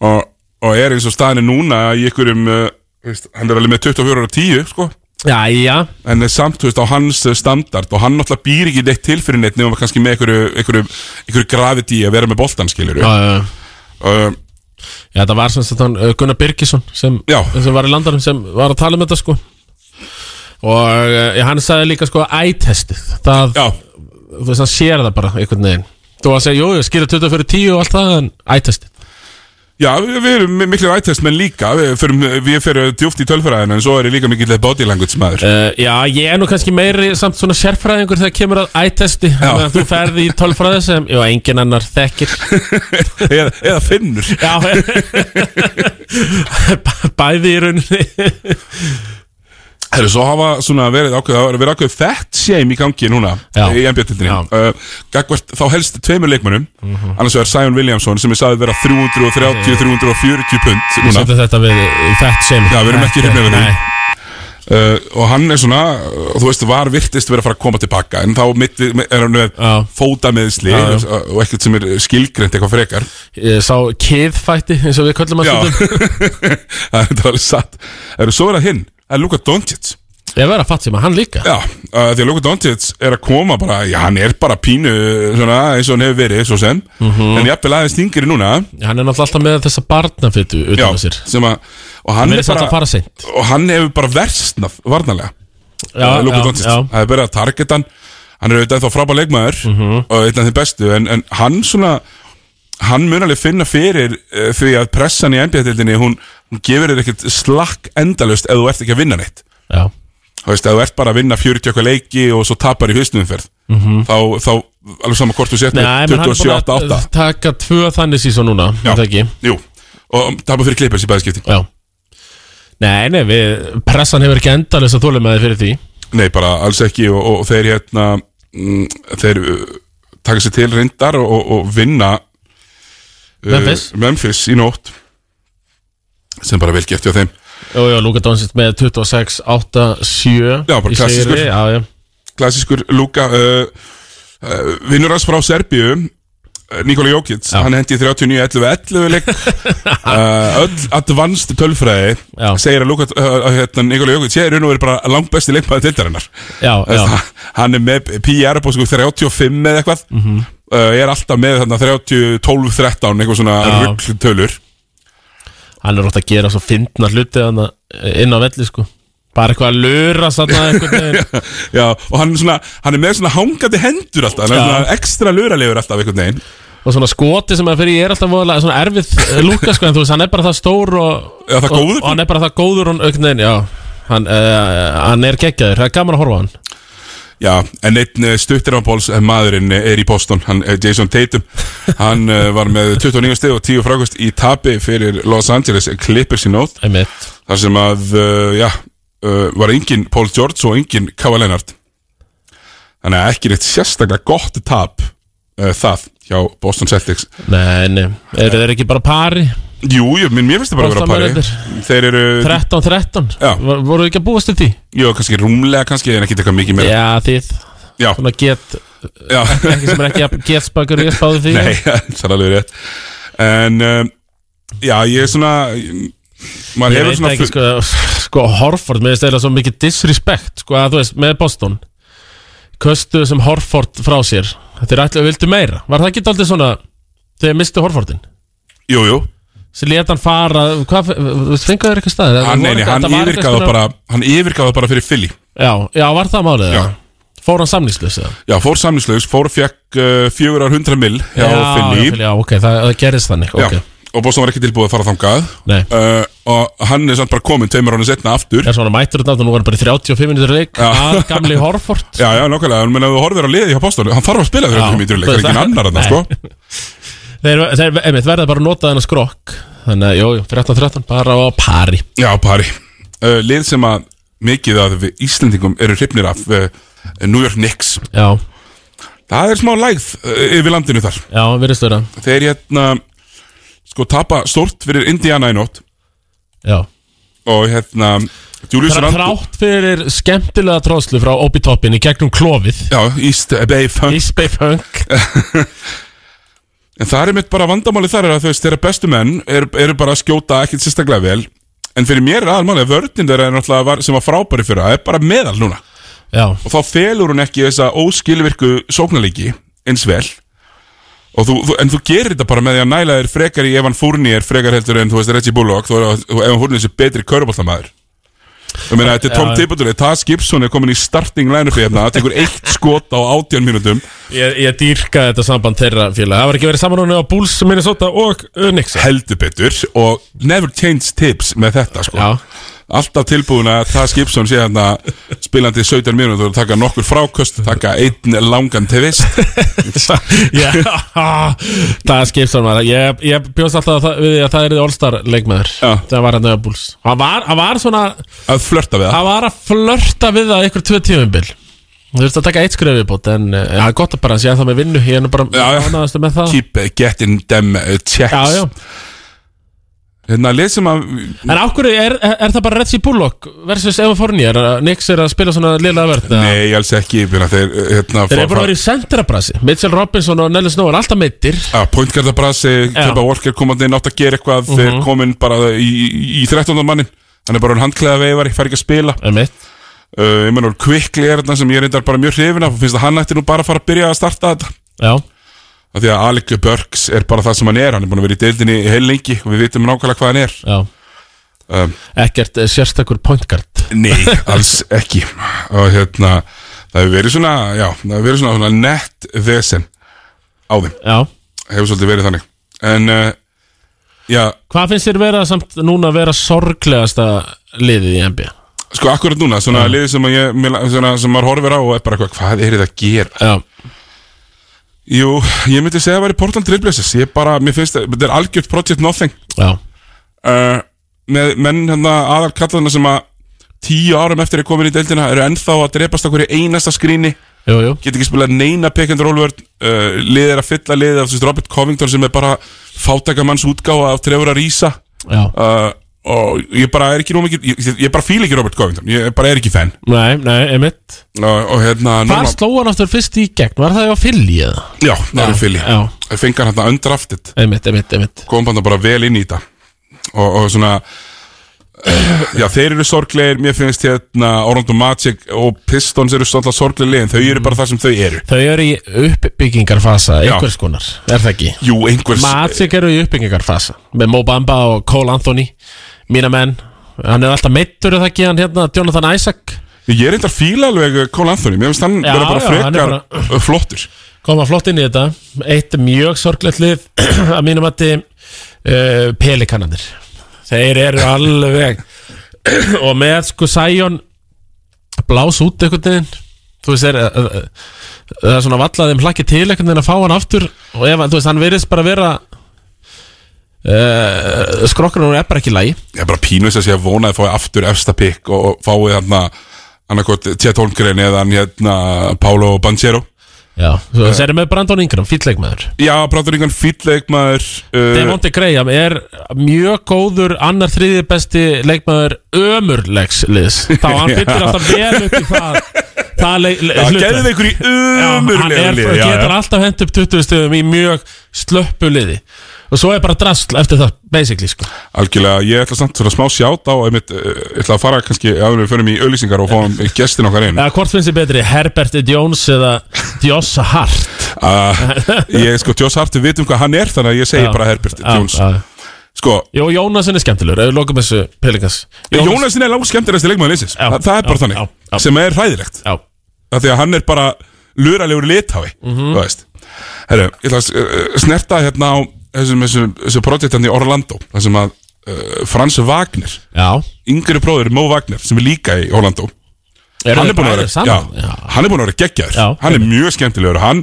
[SPEAKER 1] og, og er eins og staðinu núna í ykkurum uh, veist, hann er alveg með 24 og 10 sko.
[SPEAKER 2] já, já,
[SPEAKER 1] en er samt þú veist, á hans uh, standard og hann náttúrulega býr ekki neitt til fyrir neitt nefnum kannski með ykkur, ykkur, ykkur gravity að vera með boltan skilur
[SPEAKER 2] já,
[SPEAKER 1] ja.
[SPEAKER 2] já.
[SPEAKER 1] uh,
[SPEAKER 2] Já, það var sem sagt hann uh, Gunnar Birgisson sem,
[SPEAKER 1] Já.
[SPEAKER 2] sem var í landarum sem var að tala um þetta sko og uh, hann sagði líka sko ætestið það,
[SPEAKER 1] já,
[SPEAKER 2] þú veist, hann sér það bara einhvern veginn þú var að segja, jú, ég skilja 20 fyrir 10 og allt það en ætestið
[SPEAKER 1] Já, við við erum mi- miklir ættest menn líka Við förum, við förum djúft í tölfræðina En svo er ég líka mikill body language maður
[SPEAKER 2] uh, Já, ég er nú kannski meiri samt svona sérfræðingur þegar kemur að ætesti meðan þú ferði í tölfræði sem, já, engin annar þekkir
[SPEAKER 1] eða, eða finnur
[SPEAKER 2] Já b- Bæði í rauninni
[SPEAKER 1] Herru, svo hafa svona verið ákveð Það hafa verið ákveð fett shame í gangi núna
[SPEAKER 2] Já.
[SPEAKER 1] Í NBA-tildinni
[SPEAKER 2] Já. Mhm.
[SPEAKER 1] uh, Gagvart þá helst tveimur leikmönnum Annars vegar Sion Williamson sem er sagði vera 330-340 pund núna
[SPEAKER 2] Settu þetta við fett sem
[SPEAKER 1] Já, við erum ekki hrifnir við því.
[SPEAKER 2] Nei.
[SPEAKER 1] uh, Og hann er svona, uh, þú veist, var virtist verið að fara að koma tilbaka En þá mitt, er hann með
[SPEAKER 2] Já.
[SPEAKER 1] fótameðsli
[SPEAKER 2] Já, já.
[SPEAKER 1] og- Og ekkert sem er skilgrend eitthvað frekar
[SPEAKER 2] Ég sá kiðfætti eins og við köllum að
[SPEAKER 1] Já,
[SPEAKER 2] stundum
[SPEAKER 1] það er alveg satt Það eru svo verið að hinn, það er Luka Doncic
[SPEAKER 2] Ég verð að fatta sem að hann líka
[SPEAKER 1] Já, uh, því að Luka Doncic er að koma bara, já, hann er bara pínu svona, eins og hann hefur verið, svo sem En jafnvel aðeins þingir núna
[SPEAKER 2] Hann er náttúrulega alltaf með þessa barnafittu
[SPEAKER 1] Já,
[SPEAKER 2] utan á sér
[SPEAKER 1] sem að Og hann,
[SPEAKER 2] Hann
[SPEAKER 1] er
[SPEAKER 2] er samt að
[SPEAKER 1] bara,
[SPEAKER 2] fara seint
[SPEAKER 1] og hann hefur bara versnað, varnarlega
[SPEAKER 2] Já,
[SPEAKER 1] Eh, Luka
[SPEAKER 2] já,
[SPEAKER 1] Doncic,
[SPEAKER 2] já,
[SPEAKER 1] það er verið að targeta hann Hann er auðvitað þá frábæð leikmaður
[SPEAKER 2] Mhm.
[SPEAKER 1] Og einn af þeim bestu, en, en hann svona Hann mun alveg finna fyrir uh, Því að pressan í NBA-tildinni Hún, hún gefur þér ekkert slakk endalaust Ef þú ert ekki að vinna neitt
[SPEAKER 2] já
[SPEAKER 1] þú veist, ef þú ert bara að vinna 40 okkar leiki og svo tapar í fyrstu umferð þá, þá, alveg saman hvort þú sett
[SPEAKER 2] Mhm. Nei,
[SPEAKER 1] með
[SPEAKER 2] menn hann er búin að
[SPEAKER 1] 27-8-8
[SPEAKER 2] taka tvö þannig síðan núna Já ekki.
[SPEAKER 1] jú, og um, tapar fyrir klippers í bæðskipti
[SPEAKER 2] Já Nei, nei, við, pressan hefur ekki endalist að þóla með þið fyrir því
[SPEAKER 1] nei, bara alls ekki og, og þeir hérna mm, þeir uh, taka sér til reyndar og, og, og vinna uh,
[SPEAKER 2] Memphis.
[SPEAKER 1] Memphis í nótt sem bara vel gefti á þeim
[SPEAKER 2] Jú, jú, Luka Doncic með 26, 8, 7
[SPEAKER 1] Já, bara klassískur.
[SPEAKER 2] Já, já,
[SPEAKER 1] klassískur Luka uh, uh, vinnur hans frá Serbíu Nikola Jókits, hann hendi 39-11-11 leik uh, öll advanced tölfræði
[SPEAKER 2] Já.
[SPEAKER 1] segir að Luka, uh, hérna, Nikola Jókits ég er raun og verið bara langt besti leikmaði tildarinnar
[SPEAKER 2] Já, já.
[SPEAKER 1] hann er með PR upp á sko 35 eða eitthvað mm
[SPEAKER 2] Mhm.
[SPEAKER 1] er alltaf með þarna 30, 12, 13 eitthvað svona
[SPEAKER 2] Já.
[SPEAKER 1] ruggtölur
[SPEAKER 2] hann er ótt að gera svo fyndna hluti þarna, eh, inn á velli sko bara eitthvað að lura sann að eitthvað
[SPEAKER 1] Já, og hann, er svona, hann er með svona hangandi hendur alltaf, hann er
[SPEAKER 2] Já.
[SPEAKER 1] svona ekstra luralegur alltaf einhvern veginn
[SPEAKER 2] og svona skoti sem að fyrir ég er alltaf voðalega svona erfið eh, lúka sko en þú veist hann er bara það stór og,
[SPEAKER 1] Já, það
[SPEAKER 2] og,
[SPEAKER 1] góður.
[SPEAKER 2] og hann er bara það góður og aukn veginn, já hann, uh, hann er geggjaður, það er gaman að horfa á hann
[SPEAKER 1] Já, en einn eh, stuttir á Póls maðurinn eh, er í Boston, hann eh, Jason Tatum hann eh, var með 29 stið og 10 frákvist í tapi fyrir Los Angeles Clippers í nótt,
[SPEAKER 2] einmitt,
[SPEAKER 1] þar sem að eh, já, eh, var engin Paul George og engin Kava Lennart þannig að ekki neitt sérstaklega gott tap eh, það hjá Boston Celtics
[SPEAKER 2] nei, nei eru þeir ekki bara pari,
[SPEAKER 1] Jú, jú, minn, mér finnst það bara að vera
[SPEAKER 2] Boston
[SPEAKER 1] pari Þeir eru,
[SPEAKER 2] 13-13
[SPEAKER 1] Já.
[SPEAKER 2] voru ekki að búast til því
[SPEAKER 1] jú, kannski rúmlega kannski en ekki teka mikið meira
[SPEAKER 2] já þið,
[SPEAKER 1] Já,
[SPEAKER 2] svona get
[SPEAKER 1] já,
[SPEAKER 2] ekki sem er ekki að get spakur ég spáði því
[SPEAKER 1] nei, það er alveg rétt En, um, já, ég er svona Maður
[SPEAKER 2] Ég
[SPEAKER 1] hefur
[SPEAKER 2] veit
[SPEAKER 1] svona
[SPEAKER 2] ekki, sko, sko Horford, mér finnst eða svo mikið disrespect, sko, að þú veist, með Boston Köstuðu sem Horford frá sér Þetta er ætlaðu vildu meira Var það ekki aldrei svona, þegar mistu Horfordin
[SPEAKER 1] Jú, jú,
[SPEAKER 2] Sér lét hann fara, hvað, þú veist, fenguðu þér eitthvað staðir?
[SPEAKER 1] hann, Ah, nei, nei, hann
[SPEAKER 2] Þetta var eitthvað
[SPEAKER 1] yfirgaði
[SPEAKER 2] svona-
[SPEAKER 1] bara Hann yfirgaði bara fyrir Philly
[SPEAKER 2] Já, já, var það málið,
[SPEAKER 1] Já.
[SPEAKER 2] já Fór hann samlýslis, já
[SPEAKER 1] Já, fór samlingslaus, fór fekk uh, 400 mil hjá Philly
[SPEAKER 2] já, já, ok, það, það gerist þannig,
[SPEAKER 1] Já,
[SPEAKER 2] ok
[SPEAKER 1] og Boston var ekki tilbúið að fara þangað
[SPEAKER 2] Nei,
[SPEAKER 1] uh, Og hann er samt bara kominn tveimur ánum setna aftur
[SPEAKER 2] er svona mættur þetta, nú var hann bara í 35 minútur leik Að gamli Horford
[SPEAKER 1] Já, já, nákvæmlega, en menn að þú horfir á liði hjá Boston Hann þarf að spila
[SPEAKER 2] Já,
[SPEAKER 1] fyrir um í dyrleik, það er engin
[SPEAKER 2] það-
[SPEAKER 1] annar annar,
[SPEAKER 2] Nei.
[SPEAKER 1] sko
[SPEAKER 2] Þeir, þeir einmitt, verða bara að nota þennan skrokk Þannig að, jú, jú, 13-13, bara á pari
[SPEAKER 1] Já, pari uh, Lið sem að mikið að við Íslendingum eru hrifnir af uh, New York Knicks
[SPEAKER 2] Já,
[SPEAKER 1] Það er smá lægð uh, yfir landinu þar
[SPEAKER 2] já, virðist vera
[SPEAKER 1] Þeir hérna sko tapa stórt fyrir Indiana í nótt
[SPEAKER 2] Já
[SPEAKER 1] og hérna Julius
[SPEAKER 2] Þrá-
[SPEAKER 1] Randle
[SPEAKER 2] Þrátt fyrir skemmtilega tróðslu frá Obi Toppin í gegnum klófið
[SPEAKER 1] Já, East Bay Funk
[SPEAKER 2] East Bay Funk
[SPEAKER 1] En það er mitt bara vandamáli þar er að þú veist þeirra bestu menn eru er bara að skjóta ekkit sérstaklega vel En fyrir mér er aðalmáli að vörðin þeirra er náttúrulega var, sem var frábæri fyrir það er bara meðal núna
[SPEAKER 2] Já,
[SPEAKER 1] og þá felur hún ekki þessa óskilvirku sóknarleiki eins vel og þú, þú, en þú gerir þetta bara með því að næla þér frekar í ef hann fúrni er frekar heldur en þú veist Reggie Bullock þú, þú, ef hann fúrni þessi betri köruboltamæður Ég meina, þetta er Tom
[SPEAKER 2] Já.
[SPEAKER 1] Tippotulli, Taz Gibson er komin í starting line-up hérna, það tekur eitt skot á átján mínútum,
[SPEAKER 2] ég, ég dýrka þetta samband þeirra félag Það var ekki verið samanrónu á Bulls, Minnesota og uh, Nix Já,
[SPEAKER 1] heldur betur og never change tips með þetta sko.
[SPEAKER 2] já,
[SPEAKER 1] alltaf tilbúin að Taz Gibson sé hérna spilandi 17 mínútur og taka nokkur fráköst, taka einn langan til vist
[SPEAKER 2] það skipt svona Ég, ég bjóst alltaf að það, við því að það er All-Star leikmaður
[SPEAKER 1] Já.
[SPEAKER 2] Það var hann á Bulls Hann var, hann var svona,
[SPEAKER 1] að flörta við það
[SPEAKER 2] hann var að flörta við það ykkur tvö tífumbil Þú veist að taka eitt skref viðbót En eh, það er gott að bara sé að það með vinnu Ég er nú bara
[SPEAKER 1] Já, já.
[SPEAKER 2] ánægðastu með það
[SPEAKER 1] keep getting them uh, checks
[SPEAKER 2] Já, já
[SPEAKER 1] Hérna, lið sem að
[SPEAKER 2] En af hverju er, er, er það bara Reggie Bullock versus Evan Fournier að Nix er að spila svona liðlega verð Þeir
[SPEAKER 1] Nei, alls ekki Hérna, þeir, uh, hérna,
[SPEAKER 2] eru bara að vera í sentrabrasi Mitchell Robinson og Nellis Snow er alltaf meittir
[SPEAKER 1] að pointgardabrasi Kemba Walker komandi inn átt að gera eitthvað
[SPEAKER 2] Mhm.
[SPEAKER 1] Þeir komin bara í, í, í 13. mannin Hann er bara hann handklæða veifari, fær ekki að spila
[SPEAKER 2] Einmitt
[SPEAKER 1] uh, Ég menn, Quickly er þarna sem ég reyndar bara mjög hrifin af og Finnst að hann ætti nú bara að fara að byrja að starta þetta
[SPEAKER 2] Já,
[SPEAKER 1] Af Því að Alec Burks er bara það sem hann er Hann er búin að vera í deildinni heil lengi og Við vitum nákvæmlega hvað hann er
[SPEAKER 2] já
[SPEAKER 1] um,
[SPEAKER 2] Ekkert eh, sérstakur point guard
[SPEAKER 1] Nei, alls ekki Og hérna, það hefur verið svona Já, það hefur verið svona, svona nett vesen Á þeim,
[SPEAKER 2] Já
[SPEAKER 1] hefur svolítið verið þannig En, uh, já
[SPEAKER 2] Hvað finnst þér vera samt núna að vera sorglegasta liðið í NBA?
[SPEAKER 1] Sko, akkurat núna, svona liðið sem að ég mér la- svona, sem maður horfir á og er bara eitthvað, hvað er þetta að gera?
[SPEAKER 2] Já,
[SPEAKER 1] Jú, ég myndi segja að það væri Portland Trailblazers Ég bara, mér finnst, það- þetta er algjört Project Nothing
[SPEAKER 2] já,
[SPEAKER 1] uh, Með menn hérna aðal kallana sem að Tíu árum eftir er komin í deildina eru ennþá að drepast okkur í einasta skrýni
[SPEAKER 2] jú, jú
[SPEAKER 1] get ekki spilað neina pick and roll vörn uh, liðið er að fylla liðið af þessi Robert Covington sem er bara fátækamanns útgáfa af trefur að rýsa
[SPEAKER 2] Já,
[SPEAKER 1] uh, og ég bara er ekki nú mikið ég, ég bara fíl ekki Robert Covington, ég bara er ekki fan
[SPEAKER 2] Nei, nei, emitt
[SPEAKER 1] og, og hérna
[SPEAKER 2] Hvar
[SPEAKER 1] núna,
[SPEAKER 2] sló hann aftur fyrst í gegn? Var það á Philly eða?
[SPEAKER 1] já, það
[SPEAKER 2] Já,
[SPEAKER 1] er fylli
[SPEAKER 2] já.
[SPEAKER 1] fengar hann hérna undrafted,
[SPEAKER 2] Emitt, emitt, emitt
[SPEAKER 1] kom hann bara vel inn í þetta og, og svona já, þeir eru sorglegir, mér finnst hérna Orlando Magic og Pistons eru svolítið sorglegir, en þau eru bara það sem þau eru
[SPEAKER 2] Þau eru í uppbyggingarfasa,
[SPEAKER 1] Já.
[SPEAKER 2] einhvers konar, er það ekki?
[SPEAKER 1] jú, einhvers
[SPEAKER 2] Magic eru í uppbyggingarfasa með Mo Bamba og Cole Anthony mína menn, hann er alltaf meittur er það ekki hann hérna, Jonathan Isaac
[SPEAKER 1] ég er eitthvað fíla alveg uh, Cole Anthony mér finnst hann
[SPEAKER 2] Já,
[SPEAKER 1] vera bara
[SPEAKER 2] já, hann er
[SPEAKER 1] frekar bara... flottur
[SPEAKER 2] koma flott inn í þetta eitt mjög sorglegt lið að mínum að þið uh, pelikananir þeir eru alveg og með sko Sæjón blás út einhvern veginn þú veist, er, eh, eh, það er svona vallaðið um hlakki til einhvern veginn að fá hann aftur og ef, hann- þú veist, hann virðist bara vera uh, skrokkurinn er bara ekki í lagi
[SPEAKER 1] ég er bara pínu þess að ég vonaði að fái aftur efsta pick og og fái þarna annarkot Tjett Holmgren eða hann hérna Pálo Banchero
[SPEAKER 2] Já, þú veist, erum með Brandon Ingram, fýtleikmaður
[SPEAKER 1] já, pratur einhvern fýll leikmaður uh,
[SPEAKER 2] Demonte Graham er mjög góður annar þriði besti leikmaður ömurlegs liðs þá hann byttir alltaf vel upp í það það leik,
[SPEAKER 1] já,
[SPEAKER 2] hlutverk.
[SPEAKER 1] gerði einhver í
[SPEAKER 2] hann
[SPEAKER 1] umurlega
[SPEAKER 2] er,
[SPEAKER 1] liði já,
[SPEAKER 2] getur
[SPEAKER 1] já.
[SPEAKER 2] alltaf hent upp 20 stöðum í mjög slöppu liði og svo er bara drasl eftir það basically sko
[SPEAKER 1] algjörlega, ég ætla samt svona smá sjátt á einmitt, uh, ég ætla að fara kannski áður en við förum í auðlýsingar og fáum gestin okkar inn
[SPEAKER 2] eða hvort finnst þið betri Herbert Jones eða Joss Hart
[SPEAKER 1] uh, ég sko, Joss Hart, við vitum hvað hann er þannig að ég segi
[SPEAKER 2] Já.
[SPEAKER 1] bara Herbert Jones
[SPEAKER 2] Já, já.
[SPEAKER 1] sko,
[SPEAKER 2] Jó, Jónasin er skemmtilegur, ef við lokum þessu pelikans
[SPEAKER 1] Jónasin er langt skemmtilegasti leikmaður leysins
[SPEAKER 2] Já,
[SPEAKER 1] Þa, Það er bara
[SPEAKER 2] já,
[SPEAKER 1] þannig,
[SPEAKER 2] já, já.
[SPEAKER 1] sem er hræðilegt
[SPEAKER 2] Já,
[SPEAKER 1] af Því að hann er bara luralegur lithái Þú
[SPEAKER 2] Mhm.
[SPEAKER 1] veist Herru, ég ætla að uh, snerta hérna á þessum, þessum, þessum projektan í Orlando þar sem að uh, Frans Wagner
[SPEAKER 2] já
[SPEAKER 1] yngri bróður Mo Wagner sem er líka í Orlando
[SPEAKER 2] Eru
[SPEAKER 1] hann
[SPEAKER 2] þeir
[SPEAKER 1] er, búinn að
[SPEAKER 2] bræður
[SPEAKER 1] vera, já,
[SPEAKER 2] saman? Já.
[SPEAKER 1] hann er búin að vera geggjaður
[SPEAKER 2] Já,
[SPEAKER 1] Hann er mjög skemmtilegur og Hann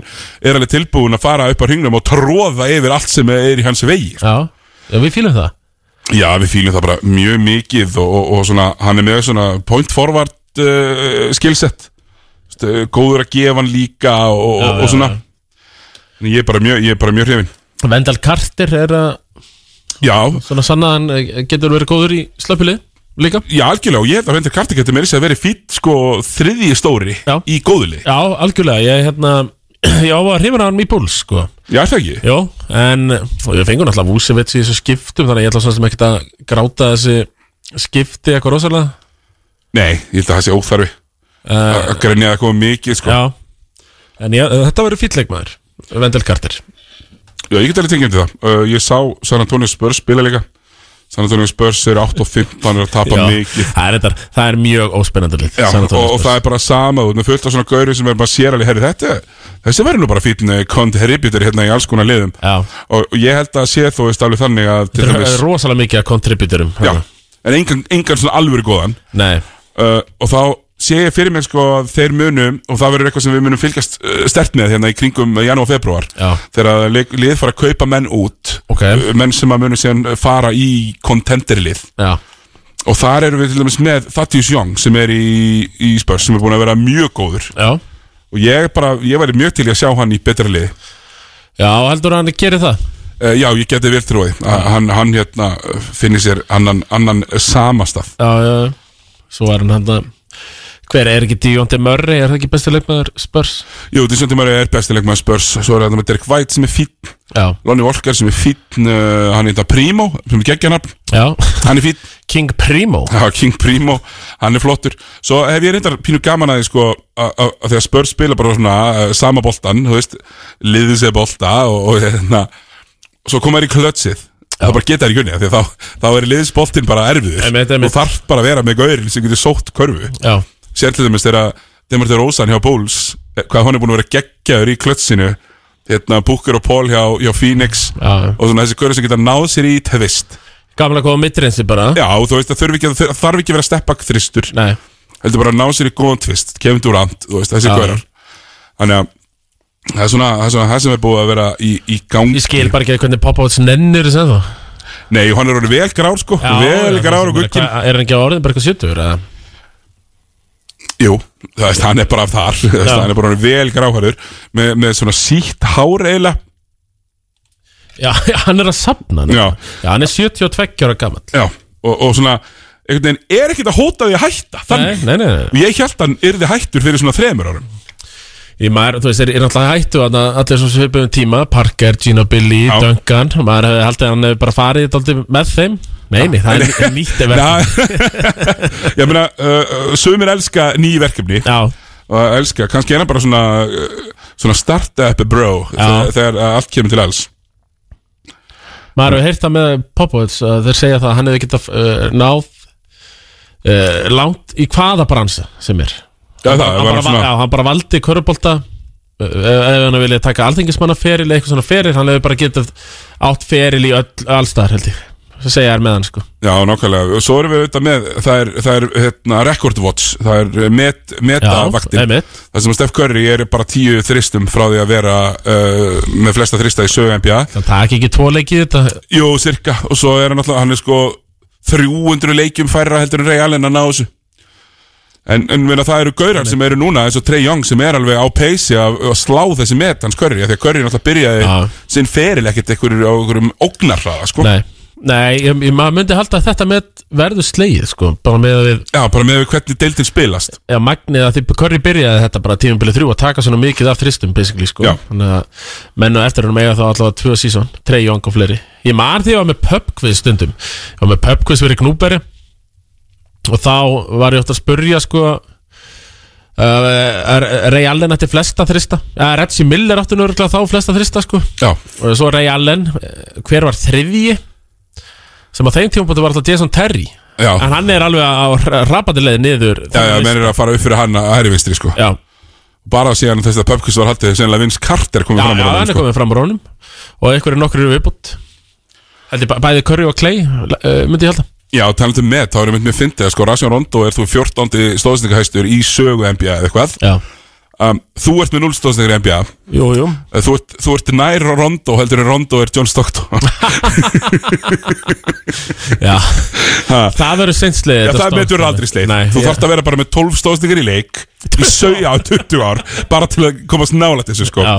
[SPEAKER 1] er alveg tilbúin að fara upp á hringnum og tróða yfir allt sem er í hans vegi
[SPEAKER 2] Já, já við fýlum það
[SPEAKER 1] Já, við fýlum það bara mjög mikið og, og, og svona, hann er með svona point forward uh, skillset Vist, uh, góður að gefa hann líka og,
[SPEAKER 2] Já,
[SPEAKER 1] og,
[SPEAKER 2] já,
[SPEAKER 1] og svona En ég er bara mjög, ég er bara mjög hrifin
[SPEAKER 2] Vendal Carter er að
[SPEAKER 1] Já,
[SPEAKER 2] svona sanna að hann eh, getur verið góður í slöpulið líka
[SPEAKER 1] já, algjörlega og ég held að Vendel Kartik getur meira sér að vera fýtt sko þriðji stóri
[SPEAKER 2] Já.
[SPEAKER 1] í góðuli
[SPEAKER 2] Já, algjörlega, ég hérna ég á að hrifna hann í búls sko
[SPEAKER 1] Já, er það ekki?
[SPEAKER 2] Jó, en og ég fengur náttúrulega Vúsevits í þessu skiptum þannig að ég ætla svona sem ekkert að gráta þessi skipti eitthvað rosalega
[SPEAKER 1] Nei, ég held að það sé óþarfi
[SPEAKER 2] uh,
[SPEAKER 1] að grenja að koma mikið sko Já,
[SPEAKER 2] Já, en ég, þetta verður fýtleikmaður Vendal Carter
[SPEAKER 1] ég get alveg tengjum til það uh, Ég sá San Antonio Spurs spila líka San Antonio Spurs er 8 og 15 er að tapa
[SPEAKER 2] Já,
[SPEAKER 1] mikið
[SPEAKER 2] það, er þetta, það er mjög óspennandi lið
[SPEAKER 1] Já,
[SPEAKER 2] San
[SPEAKER 1] og,
[SPEAKER 2] Antonio
[SPEAKER 1] og
[SPEAKER 2] Spurs.
[SPEAKER 1] það er bara sama út með fullt af svona gauri sem er bara sér alveg herri þetta, þessi verður nú bara eh, fín kontributor hérna í alls konar liðum
[SPEAKER 2] Já.
[SPEAKER 1] og, og ég held að sé þú veist alveg þannig að til
[SPEAKER 2] Þetta
[SPEAKER 1] dæmis,
[SPEAKER 2] er rosalega mikið að kontributurum
[SPEAKER 1] já, en engan, engan svona alvöru góðan
[SPEAKER 2] Nei,
[SPEAKER 1] uh, og þá sé ég fyrir mér sko að þeir munum og það verður eitthvað sem við munum fylgjast uh, stert með hérna í kringum janúar og februar
[SPEAKER 2] Já.
[SPEAKER 1] þegar leik- lið fara að kaupa menn út
[SPEAKER 2] Ok.
[SPEAKER 1] uh, menn sem að munum síðan fara í kontenderlið
[SPEAKER 2] já
[SPEAKER 1] og þar erum við til dæmis með Thaddeus Young sem er í, í spörs sem er búin að vera mjög góður
[SPEAKER 2] Já,
[SPEAKER 1] og ég bara, ég væri mjög til í að sjá hann í betra liði
[SPEAKER 2] já heldur að hann gerir það
[SPEAKER 1] uh, já, ég geti vel trúið að hann, hann hérna eh, finni sér annan, annan samastað
[SPEAKER 2] Já, já, já. svo er hann hann að Hver er ekki Díóndi Mörri, er það ekki besti leikmaður Spurs?
[SPEAKER 1] jú, þessum tíma er bestileg með spörs svo er þetta með Dirk White sem er fín
[SPEAKER 2] Já,
[SPEAKER 1] Lonnie Walker sem er fín uh, hann heita Primo, sem er geggjarnafn
[SPEAKER 2] já
[SPEAKER 1] hann er fín,
[SPEAKER 2] King Primo
[SPEAKER 1] Já, King Primo, hann er flottur svo hef ég reyndar pínu gaman að því sko að að- að þegar Spurs spila bara svona eh, sama boltan, þú veist, liðið sér bolta og, og hérna svo koma þær í klötsið það bara geta þær í gunni, því að þá, þá er liðsboltin bara erfiður
[SPEAKER 2] Einmitt, einmitt.
[SPEAKER 1] og þarf bara að vera með gaurin sem getur sótt körfu
[SPEAKER 2] Já,
[SPEAKER 1] sér til dæmis þegar Demartur Rósan hjá Bowles eh, hvað hann er búin að vera geggjaður í klötsinu hérna Booker og Paul hjá, hjá Phoenix
[SPEAKER 2] Já.
[SPEAKER 1] og svona þessi gaurin sem geta náð sér í tevist
[SPEAKER 2] gamla góða mittrensi bara
[SPEAKER 1] Já, og þú veist, það þarf ekki, það þarf ekki að vera steppaktristur
[SPEAKER 2] Nei,
[SPEAKER 1] heldur bara að ná sér í góðan tvist Kevin Durant, þú veist, þessi
[SPEAKER 2] Já.
[SPEAKER 1] gaurar þannig að það er svona það, er svona, það sem er búið að vera í, í gangi
[SPEAKER 2] ég skil bara ekki hvernig Popovits nennir þess að það
[SPEAKER 1] nei, og hann er orðið vel grár sko vel grár og guggin
[SPEAKER 2] Er hann ekki á orðin bara eitthvað 70 eða?
[SPEAKER 1] jú, það veist, hann er bara af þar þú veist,
[SPEAKER 2] Já.
[SPEAKER 1] hann er bara orðinn vel gráhæður með, með svona sítt hár eiginlega
[SPEAKER 2] Já, já, hann er að sapna hann
[SPEAKER 1] Já.
[SPEAKER 2] já, hann er 72 ára gamall
[SPEAKER 1] já, og, og svona einhvern veginn er ekkert að hóta því að hætta
[SPEAKER 2] Nei,
[SPEAKER 1] þannig,
[SPEAKER 2] nei, nei, nei.
[SPEAKER 1] og ég held hann yrði hættur fyrir svona þremur árum
[SPEAKER 2] Ég maður, þú veist, er, er náttúrulega hættu að allir sem svipum tíma, Parker, Gino Billy,
[SPEAKER 1] Já.
[SPEAKER 2] Duncan, maður hefði haldið að hann hefði bara farið dálítið með þeim. Nei, nei, það er, er nýtt ef
[SPEAKER 1] Já,
[SPEAKER 2] verður.
[SPEAKER 1] ég meina, uh, sumir elska ný verkefni
[SPEAKER 2] Já,
[SPEAKER 1] og elska, kannski er hann bara svona uh, svona start-up bro þegar, þegar uh, allt kemur til alls
[SPEAKER 2] maður hefði heyrt það með Popovits að þeir segja það að hann hefði getað uh, náð uh, langt í hvaða bransa sem er.
[SPEAKER 1] Já, það,
[SPEAKER 2] hann,
[SPEAKER 1] var
[SPEAKER 2] bara, svona...
[SPEAKER 1] svona,
[SPEAKER 2] já, hann bara valdi körubólta ef ef hann vilja taka alþingismannaferil eitthvað svona feril, hann hefur bara getað átt feril í öll, allstaðar held ég það segja er með hann sko
[SPEAKER 1] já, nákvæmlega og svo erum við auðvitað með, það er, það er hérna, record watch, það er uh, met, metavaktin,
[SPEAKER 2] einmitt.
[SPEAKER 1] það sem að Steph Curry er bara tíu þristum frá því að vera uh, með flesta þrista í sögu NBA
[SPEAKER 2] það taki ekki tvo leikið þetta
[SPEAKER 1] Jú, cirka, og svo er hann alltaf, hann er sko 300 leikjum færra heldur en Ray Allen að ná þessu En, en meina, það eru gaurar sem eru núna eins og Trey Young sem er alveg á peysi að, að slá þessi met hans Curry af því að Curry náttúrulega byrjaði
[SPEAKER 2] Já.
[SPEAKER 1] sinn feril ekkert einhverjum á einhverjum ógnarraða sko.
[SPEAKER 2] nei, nei ég, ég, maður myndi halda að þetta með verður slegið sko bara með að við,
[SPEAKER 1] Já, bara með við hvernig deildin spilast
[SPEAKER 2] já magnið að því Curry byrjaði þetta bara tímubilið þrjú að taka svona mikið af þristum basically sko
[SPEAKER 1] Já.
[SPEAKER 2] þannig að menn og eftir hann eiga þá allavega tvö sísón, trei jóng og fleiri ég man því að ég var með pubquiz stundum ég var með pubquiz fyrir Knúberi og þá var ég oft að spurja sko Uh, Ray Allen ætti flesta þrista uh, Reggie Miller átti nörgulega þá flesta þrista sko.
[SPEAKER 1] Já,
[SPEAKER 2] og svo Ray Allen eh, hver var þriðji sem á þeim tímapunktu var alltaf Jason Terry
[SPEAKER 1] já,
[SPEAKER 2] en hann er alveg á rapandi leið niður
[SPEAKER 1] já, já menn eru að fara upp fyrir hann að hæri vinstri sko.
[SPEAKER 2] já,
[SPEAKER 1] Bara síðan þess að Pöpkus var haldið sennilega Vince Carter komið
[SPEAKER 2] já,
[SPEAKER 1] fram
[SPEAKER 2] já,
[SPEAKER 1] úr honum, sko.
[SPEAKER 2] hann er komið fram úr honum og einhverju nokkur eru viðbútt heldur bæði Curry og Clay uh, myndi ég halda
[SPEAKER 1] Já, talandi um met, þá erum við með fyndið að sko Rasjón Rondo er þú 14. stóðsendingahæstur í sögu NBA eða eitthvað
[SPEAKER 2] já,
[SPEAKER 1] um, Þú ert með 0 stóðsendingar í NBA
[SPEAKER 2] jú, jú
[SPEAKER 1] Eh, Þú ert, þú ert nær Rondo heldur en Rondo er John Stockton
[SPEAKER 2] já.
[SPEAKER 1] Ha.
[SPEAKER 2] það verður sinnslega
[SPEAKER 1] Já, það metur aldrei sleið Þú þarft að vera bara með 12 stóðsendingar í leik í sögu á 20 ár bara til að komast nálægt þessu sko
[SPEAKER 2] Já.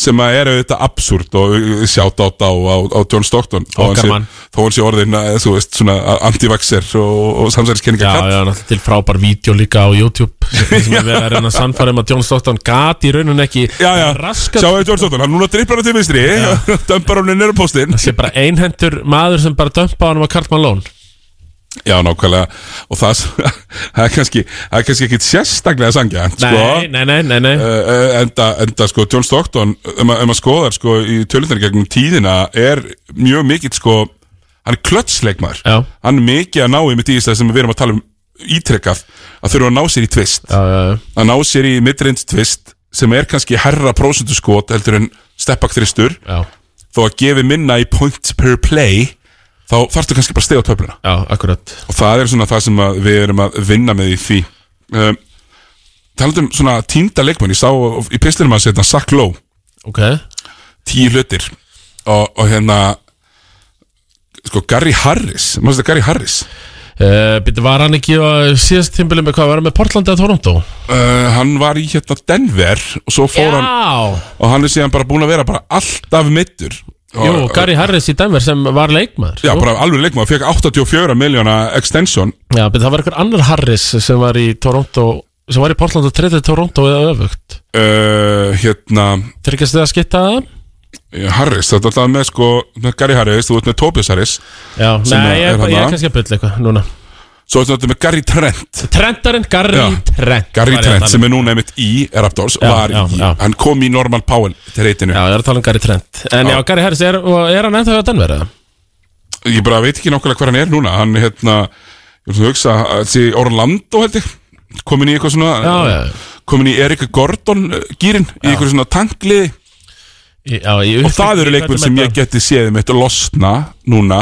[SPEAKER 1] sem að eru þetta absúrt og sjátt á, á, á, á John Stockton þó hann
[SPEAKER 2] Okkar
[SPEAKER 1] sé-
[SPEAKER 2] mann.
[SPEAKER 1] þó hann sé orðin eh, þú veist, svona antivaxer og, og samsæriskenninga
[SPEAKER 2] Já, já, náttúrulega til frábær vídeo líka á YouTube sem er verið að reyna að sannfæra um að John Stockton gati í rauninni ekki
[SPEAKER 1] Já, já,
[SPEAKER 2] raskat
[SPEAKER 1] sjáu John Stockton, hann núna drippar hann til vinstri Dömpar hann niður á póstinn
[SPEAKER 2] sé bara einhendur maður sem bara dömpa á hann á Karl Malone
[SPEAKER 1] Já, nákvæmlega Og það, það er kannski, það er kannski ekkit sérstaklega sangja
[SPEAKER 2] Nei,
[SPEAKER 1] sko.
[SPEAKER 2] nei, nei, nei, nei.
[SPEAKER 1] Uh, uh, enda, enda sko, John Stockton um, að- um að skoðar sko í tölundar gegnum tíðina er mjög mikill sko hann er klötsleikmaður
[SPEAKER 2] Já.
[SPEAKER 1] hann er mikið að ná í mitt í þess sem við erum að tala um ítrekkað að þurfa að ná sér í tvist
[SPEAKER 2] Já, já, já.
[SPEAKER 1] að ná sér í midreins tvist sem er kannski herra prósentu skot heldur en steppak þristur
[SPEAKER 2] já,
[SPEAKER 1] þó að gefi minna í points per play þá þarftu kannski bara að stega á töfluna
[SPEAKER 2] já, akkurat
[SPEAKER 1] og það er svona það sem að við erum að vinna með í því um, talandum svona týnda leikmenn ég sá í pistinum að setja Sack Lowe
[SPEAKER 2] Ok,
[SPEAKER 1] tíu hlutir og, og hérna sko Gary Harris maður þetta Gary Harris
[SPEAKER 2] uh, byrju, var hann ekki á síðast tímbili með hvað, var hann með Portland eða Toronto?
[SPEAKER 1] uh, hann var í hérna Denver og svo fór hann
[SPEAKER 2] Já,
[SPEAKER 1] og hann er síðan bara búin að vera bara alltaf mittur
[SPEAKER 2] jú, Gary Harris í Denver sem var leikmaður sko.
[SPEAKER 1] Já,
[SPEAKER 2] jú.
[SPEAKER 1] bara alveg leikmaður, fekk 84 miljóna extension
[SPEAKER 2] já byrju, það var einhver annar Harris sem var í Toronto sem var í Portland og treytið Toronto eða öfugt
[SPEAKER 1] uh, hérna,
[SPEAKER 2] Tryggast þið að skitta það?
[SPEAKER 1] Harris, þetta er alltaf með sko með Gary Harris, þú ert með Tobias Harris
[SPEAKER 2] Já,
[SPEAKER 1] Sem
[SPEAKER 2] nei,
[SPEAKER 1] er
[SPEAKER 2] ég,
[SPEAKER 1] hann
[SPEAKER 2] ég er
[SPEAKER 1] að?
[SPEAKER 2] kannski að bylla eitthvað núna
[SPEAKER 1] Svo ertu þetta með Gary Trent
[SPEAKER 2] Trentarinn, Gary
[SPEAKER 1] Já.
[SPEAKER 2] Trent
[SPEAKER 1] Gary
[SPEAKER 2] var ég að
[SPEAKER 1] Trent
[SPEAKER 2] tala um.
[SPEAKER 1] sem er núna einmitt í Raptors
[SPEAKER 2] Já,
[SPEAKER 1] var
[SPEAKER 2] já,
[SPEAKER 1] í,
[SPEAKER 2] já.
[SPEAKER 1] hann kom í Norman Powell til reytinu,
[SPEAKER 2] Já, ég er að tala um Gary Trent En já, Gary Harris, er, og er hann ennþá á Denver eða?
[SPEAKER 1] ég bara veit ekki nákvæmlega hver hann er núna, hann hérna ég vil hugsa, þessi Orlando held ég komin í eitthvað svona
[SPEAKER 2] Já, já.
[SPEAKER 1] komin í Erika Gordon uh, gírinn í eitthvað svona tangliði
[SPEAKER 2] Í- Já, ég
[SPEAKER 1] og það eru leikmenn sem ég geti séð mitt losna núna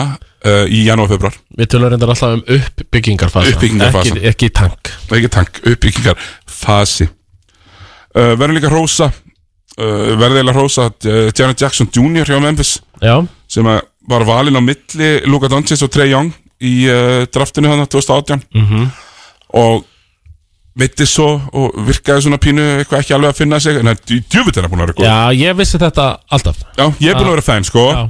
[SPEAKER 1] uh, í janúar februar,
[SPEAKER 2] Við tölum reyndar alltaf um uppbyggingarfasa
[SPEAKER 1] Uppbyggingarfasa.
[SPEAKER 2] Ekki, ekki tank
[SPEAKER 1] það er ekki tank uppbyggingar fasi uh, verður líka Rósa uh, verður eiginlega Rósa uh, Janet Jackson Jr. hjá Memphis
[SPEAKER 2] Já,
[SPEAKER 1] sem að var valinn á milli Luka Doncic og Trey Young í uh, draftinu þannig 2018
[SPEAKER 2] Mhm.
[SPEAKER 1] og mitti svo og virkaði svona pínu eitthvað ekki alveg að finna sig en það er djúvitt er að búin að vera góð
[SPEAKER 2] já ég vissi þetta alltaf
[SPEAKER 1] Já, ég er búin að vera fæn sko
[SPEAKER 2] Já.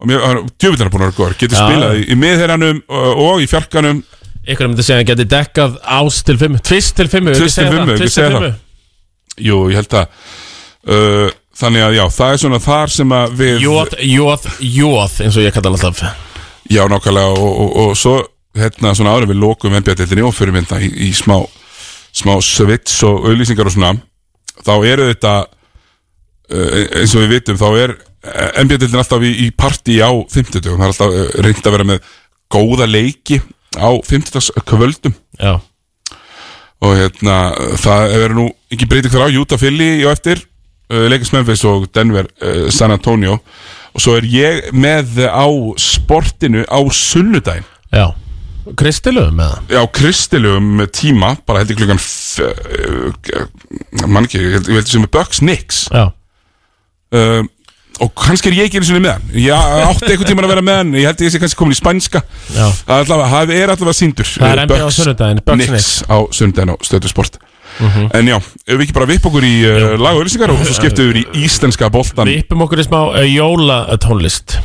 [SPEAKER 1] og mér hann djöfull er hann búin að vera góður getur
[SPEAKER 2] Já.
[SPEAKER 1] spilað í, í miðherranum og, og í fjarkanum
[SPEAKER 2] Ykkur myndi segja að hann geti dekkað ás til fimmu Tvist til fimmu,
[SPEAKER 1] Tvist til fimmu, ekki segja það. jú, ég held að uh, þannig að já, það er svona þar sem að við
[SPEAKER 2] Jóð, jóð, jóð eins og ég kalla hann alltaf
[SPEAKER 1] já, nákvæmlega og, og, og svo hérna svona áður en við lokum NBA-deltinni og fyrir mynda í, í smá smá svits og auðlýsingar og svona þá eru þetta uh, eins og við vitum, þá er NBA-deltin alltaf í, í partí á 50 það er alltaf uh, reynd að vera með góða leiki á 50 kvöldum
[SPEAKER 2] Já,
[SPEAKER 1] og hérna, það verður nú ekki breyting þar á, Utah Philly og eftir uh, leikast Memphis og Denver uh, San Antonio og svo er ég með á sportinu á sunnudaginn
[SPEAKER 2] já Kristilöfum með það
[SPEAKER 1] á kristilugum tíma bara heldur klukkan f- uh, mann ekki, ég held- ég heldur sem er Bucks Knicks
[SPEAKER 2] Já,
[SPEAKER 1] uh, og kannski er ég ekki einu sinni með hann ég átti einhvern tímann að vera með hann ég held ég sé kannski komin í spænska
[SPEAKER 2] já
[SPEAKER 1] það er allavega, það er allavega síndur
[SPEAKER 2] Það er NBA á sunnudaginn, Bucks Mhm.
[SPEAKER 1] Nix á sunnudaginn á stöðu sport En já, ef við ekki bara vipp okkur í uh, lag og öllisingar og svo skiptum við yfir í íslenska boltan
[SPEAKER 2] Við yppum okkur í smá uh, jólatónlist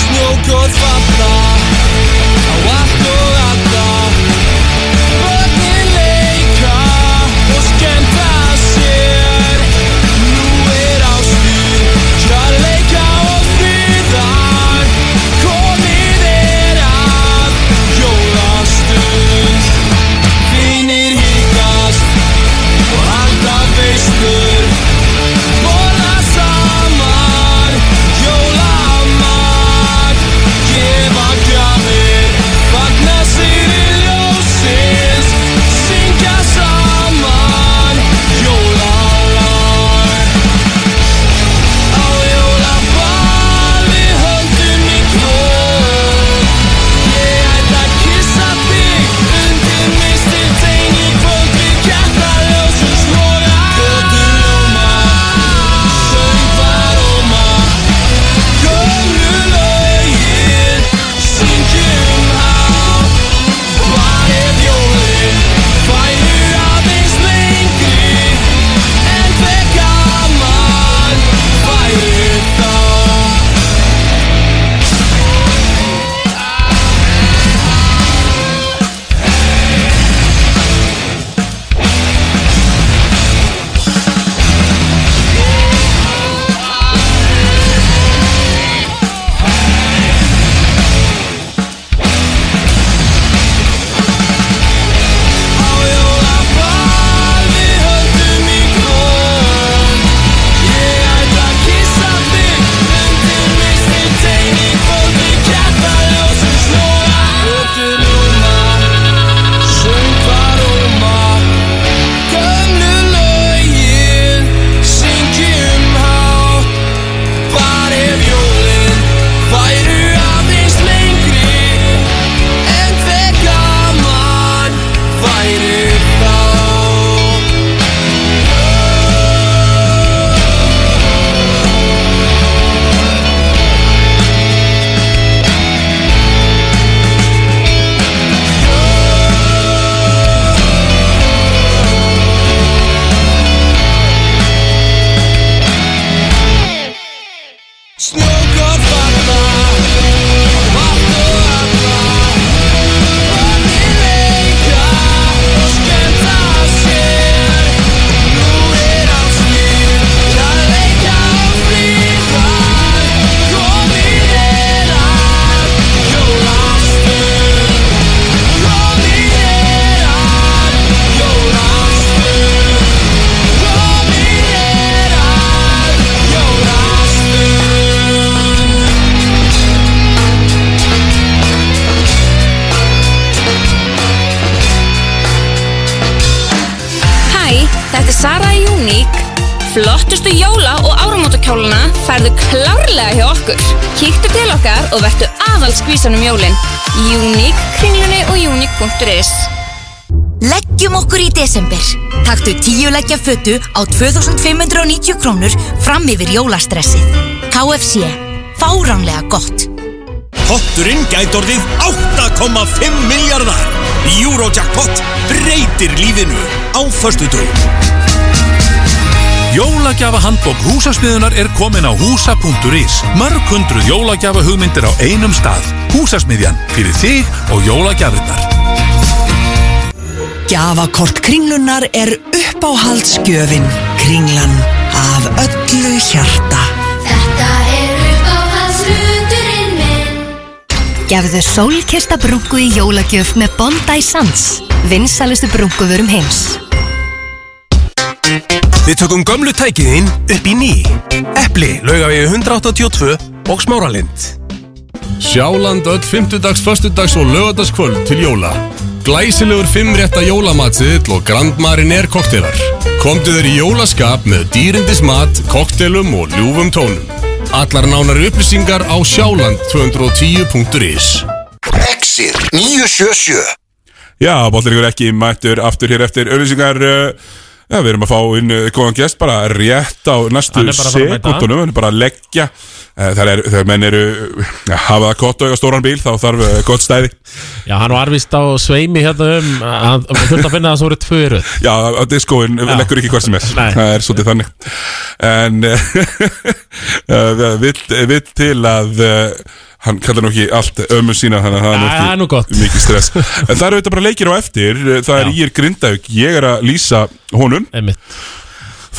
[SPEAKER 3] Snjókjóð falla á allt og alla Börnin leika og skemmta sér Nú er ástíð, kjærleika og fríðar Komið er að jólastund Vinir híkast og halda veistur Borða saman, jólamat Gefa gjafir, fagna sér í ljósins Syngja saman, jólalag Á jólaball við höndum í knól Ég ætla að kyssa þig undir mistil tegn í kvöld Við kertaljósum slóra Götur ljóma, söngvar óma Gömlu lögin, syngjum hátt Hvar er jólin? Fæðu aðeins lengri En hver gaman væri þá? Á jólaball við höndum í klón Ég ætla að kissa þig undir mistil tegn í kvöld Við kertaljósum snóra Götur ljóma, söngvar óma Gömlu lögin, um syngjum hátt Hvar ef jólin væru aðeins lengri En hver gaman væri þá Snjókóð falla Vatn og alla Börnin leika og skemmta sér Nú er alls líf Kærleika og fríðar Komið er að jólastund Komið er að jólastund Komið er að jólastund
[SPEAKER 4] Hæ, þetta er Sara í Unique. Flottustu jóla- og áramótakjólana færðu klárlega hjá okkur. Kíktu til okkar og vertu aðal skvísan um jólin. Unique, kringlunni og unique.is
[SPEAKER 5] Leggjum okkur í desember. Taktu tíu leggja fötu á 2590 krónur fram yfir jólastressið. KFC. Fáránlega gott.
[SPEAKER 6] Potturinn gæti orðið 8,5 miljardar. Eurojackpot breytir lífinu á föstudögum. Jólagjafa handbók húsasmiðunar er komin á húsa.is. Mörg hundruð jólagjafa hugmyndir á einum stað. Húsasmiðjan fyrir þig og jólagjafinnar.
[SPEAKER 7] Gjafakort kringlunar er uppáhaldsgjöfin. Kringlan af öllu hjarta.
[SPEAKER 8] Þetta er uppáhaldsluturinn minn
[SPEAKER 5] Gefðu sólkista brúku í jólagjöf með Bondi Sands. Vinsalistu brúkuvörum heims.
[SPEAKER 9] Við tökum gömlu tækiðinn upp í ný. Epli, laugavegi 182 og smáralind.
[SPEAKER 10] Sjáland öll 50dags, föstudags og lögadagskvöld til jóla. Glæsilegur fimmrétta jólamatsiðill og grandmarinn er koktelar. Komdu þér í jólaskap með dýrindis mat, koktelum og ljúfum tónum. Allar nánari upplýsingar á sjáland210.is
[SPEAKER 11] Exit 977
[SPEAKER 1] Já, Bólleringur ekki mættur aftur hér eftir auðlýsingar uh, Já, við erum að fá inn uh, góðan gest bara rétt á næstu
[SPEAKER 2] Hann er bara að fara að mæta.
[SPEAKER 1] sekundunum Hann er bara að leggja uh, Þegar, er, þegar menn eru uh, að hafa það gott og eiga stóran bíl þá þarf uh, gott stæði
[SPEAKER 2] Já, hann var vist á sveimi hérna um að að þurfti að finna það sem voru tvö í röð
[SPEAKER 1] Já, á diskóin
[SPEAKER 2] Já.
[SPEAKER 1] leggur ekki hvort sem er
[SPEAKER 2] Nei.
[SPEAKER 1] Það er svolítið þannig En eh, uh, við, við til að uh, Hann kallar nú ekki allt ömmu sína Þannig að það er nú
[SPEAKER 2] Nei, það er nú
[SPEAKER 1] ekki
[SPEAKER 2] gott.
[SPEAKER 1] mikið stress En það eru þetta bara leikir á eftir Eh, Það er
[SPEAKER 2] Já.
[SPEAKER 1] Ír Grindavík Ég er að lýsa honum
[SPEAKER 2] Einmitt.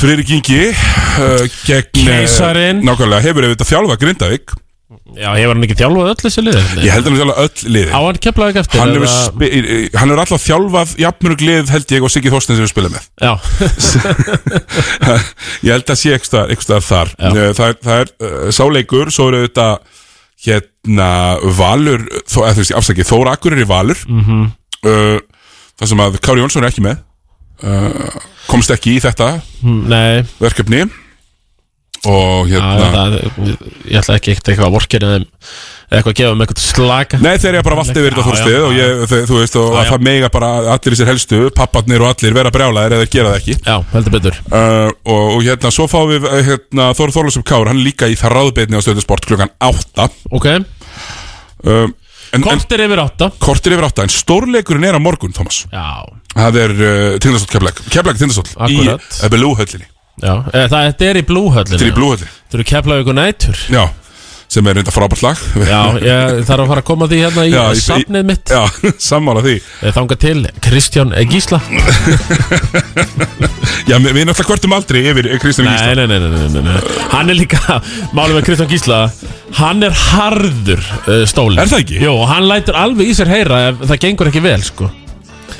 [SPEAKER 1] Friðrik Ingi uh, Gegn eh,
[SPEAKER 2] Keisarinn.
[SPEAKER 1] Nákvæmlega hefur auðvitað þjálfa Grindavík
[SPEAKER 2] Já, hefur hann ekki þjálfað öll þessi liður
[SPEAKER 1] Ég held hann að þjálfa öll liði
[SPEAKER 2] Á hann keflaði ekki eftir
[SPEAKER 1] Hann hefur,
[SPEAKER 2] eða-
[SPEAKER 1] spi- eh, hann hefur alltaf þjálfað jafnmörg lið held ég og Siggi Þorstein sem við spilum með
[SPEAKER 2] Já,
[SPEAKER 1] ég held að sé eitthvað, eitthvað þar
[SPEAKER 2] Já.
[SPEAKER 1] Eh, það, er- það er uh, sáleikur svo eru þetta hérna Valur, þó, eða, þú veist, afsakið Þóra Akkur er í Valur mm
[SPEAKER 2] Mhm.
[SPEAKER 1] það sem að Kári Jónsson er ekki með uh, komst ekki í þetta
[SPEAKER 2] nei
[SPEAKER 1] verkefni og
[SPEAKER 2] Já,
[SPEAKER 1] hérna
[SPEAKER 2] það, ég ætla ekki ekkert eitthvað að vorkina þeim eða eitthvað að gefa þeim eitthvað slaka
[SPEAKER 1] Nei, þegar ég bara vald yfir þetta
[SPEAKER 2] Já,
[SPEAKER 1] þorstið
[SPEAKER 2] já,
[SPEAKER 1] og
[SPEAKER 2] já.
[SPEAKER 1] ég, þe- þú veist, og
[SPEAKER 2] Já,
[SPEAKER 1] að
[SPEAKER 2] já.
[SPEAKER 1] það mega bara allir í sér helstu, papparnir og allir vera brjálaðir eða þeir gera það ekki
[SPEAKER 2] Já, heldur betur
[SPEAKER 1] uh, og, og hérna, svo fáum við eh, hérna, Þór Þorlúsum Kár, hann er líka í það ráðbeitni á stöðusport klukkan 8
[SPEAKER 2] Ok,
[SPEAKER 1] um, en, en
[SPEAKER 2] kortir yfir átta
[SPEAKER 1] kortir yfir átta en stórleikurinn er á morgun, Thomas
[SPEAKER 2] Já,
[SPEAKER 1] það er uh, tindastótt keflæk keflæk tindastótt í
[SPEAKER 2] Akkurat.
[SPEAKER 1] Ebelú höllinni
[SPEAKER 2] já eða, það, Þetta er í blúhöllinu
[SPEAKER 1] til í Blue höllinni,
[SPEAKER 2] Þetta eru keflaði ykkur nætur
[SPEAKER 1] já sem er reynda frábært lag
[SPEAKER 2] Já, ég þarf að fara að koma því hérna í
[SPEAKER 1] Já, í-
[SPEAKER 2] safnið mitt
[SPEAKER 1] já sammála því
[SPEAKER 2] Ég þanga til Kristján Gísla Nei,
[SPEAKER 1] já, við, við náttúrulega kvörtum aldrei yfir Kristján Gísla
[SPEAKER 2] nei, nei, nei, nei, nei, nei. Hann er líka, málum með Kristján Gísla Hann er harður uh, stólin
[SPEAKER 1] Er það ekki?
[SPEAKER 2] Jó, hann lætur alveg í sér heyra ef það gengur ekki vel, sko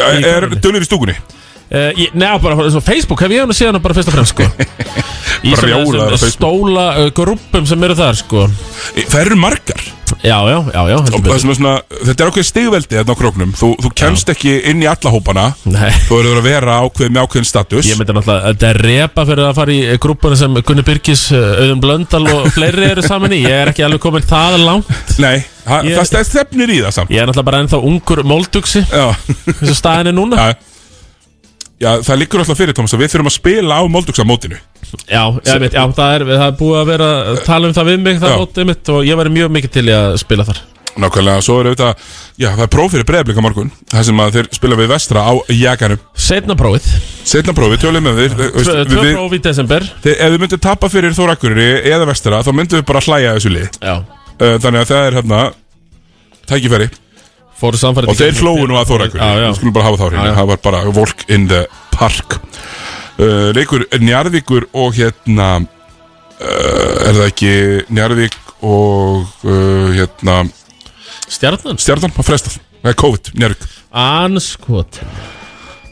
[SPEAKER 1] er, er dölur í stúkunni
[SPEAKER 2] Uh, ég, neða bara, svo Facebook hef ég hann að sé hann bara fyrst og fremst sko
[SPEAKER 1] Bara
[SPEAKER 2] Í svona
[SPEAKER 1] rjólaður á
[SPEAKER 2] þessum
[SPEAKER 1] Facebook.
[SPEAKER 2] stóla uh, grúppum sem eru þar sko
[SPEAKER 1] E, það eru margar
[SPEAKER 2] Já, já, já, já heldur
[SPEAKER 1] og það
[SPEAKER 2] betur.
[SPEAKER 1] sem er svona, þetta er ákveð stigveldi þarna á króknum, þú, þú kemst ekki inn í alla hópana
[SPEAKER 2] Nei,
[SPEAKER 1] þú verður að vera ákveð með ákveðin status
[SPEAKER 2] ég myndi náttúrulega að þetta er repa fyrir að fara í eh, grúppuna sem Gunni Byrkis, uh, Auðun Blöndal og fleiri eru saman í Ég er ekki alveg komin það langt
[SPEAKER 1] nei, ha,
[SPEAKER 2] Ég-
[SPEAKER 1] það stæð stefnir í það samt
[SPEAKER 2] Ég er náttúrulega bara ennþá ungur móldugsi
[SPEAKER 1] já
[SPEAKER 2] eins og staðin er núna
[SPEAKER 1] Já, já það liggur alltaf fyrir Thomas að við þurfum að spila á Moldugsamótinu
[SPEAKER 2] Já, já, mitt, já það, er, það er búið að vera að tala um það við mig
[SPEAKER 1] Já.
[SPEAKER 2] það mótið mitt og ég væri mjög mikið til í að spila þar
[SPEAKER 1] Nákvæmlega, svo er auðvitað Já, það er próf fyrir breyðblika morgun Það sem að þeir spila við vestra á jakanum
[SPEAKER 2] Seinna prófið,
[SPEAKER 1] Setna prófi, tölum með þeir eh, veist,
[SPEAKER 2] tvö,
[SPEAKER 1] við,
[SPEAKER 2] tvö
[SPEAKER 1] við,
[SPEAKER 2] prófið í desember
[SPEAKER 1] þeir, Ef við myndum tappa fyrir Þórakurri eða vestra Þá myndum við bara hlæja að þessu lið
[SPEAKER 2] Já,
[SPEAKER 1] Eh, Þannig að það er hérna Tækifæri
[SPEAKER 2] fóru samfærið
[SPEAKER 1] Og þeir flóu nú að Þórakurri
[SPEAKER 2] Já, já.
[SPEAKER 1] Við skulum bara hafa þá
[SPEAKER 2] Já,
[SPEAKER 1] hérna
[SPEAKER 2] já.
[SPEAKER 1] Það var bara volk in the park uh, Leikur Njarðvíkur og hérna uh, Er það ekki Njarðvík og uh, hérna
[SPEAKER 2] Stjarnan?
[SPEAKER 1] Stjarnan var frestað Það er COVID, njörg
[SPEAKER 2] Anskot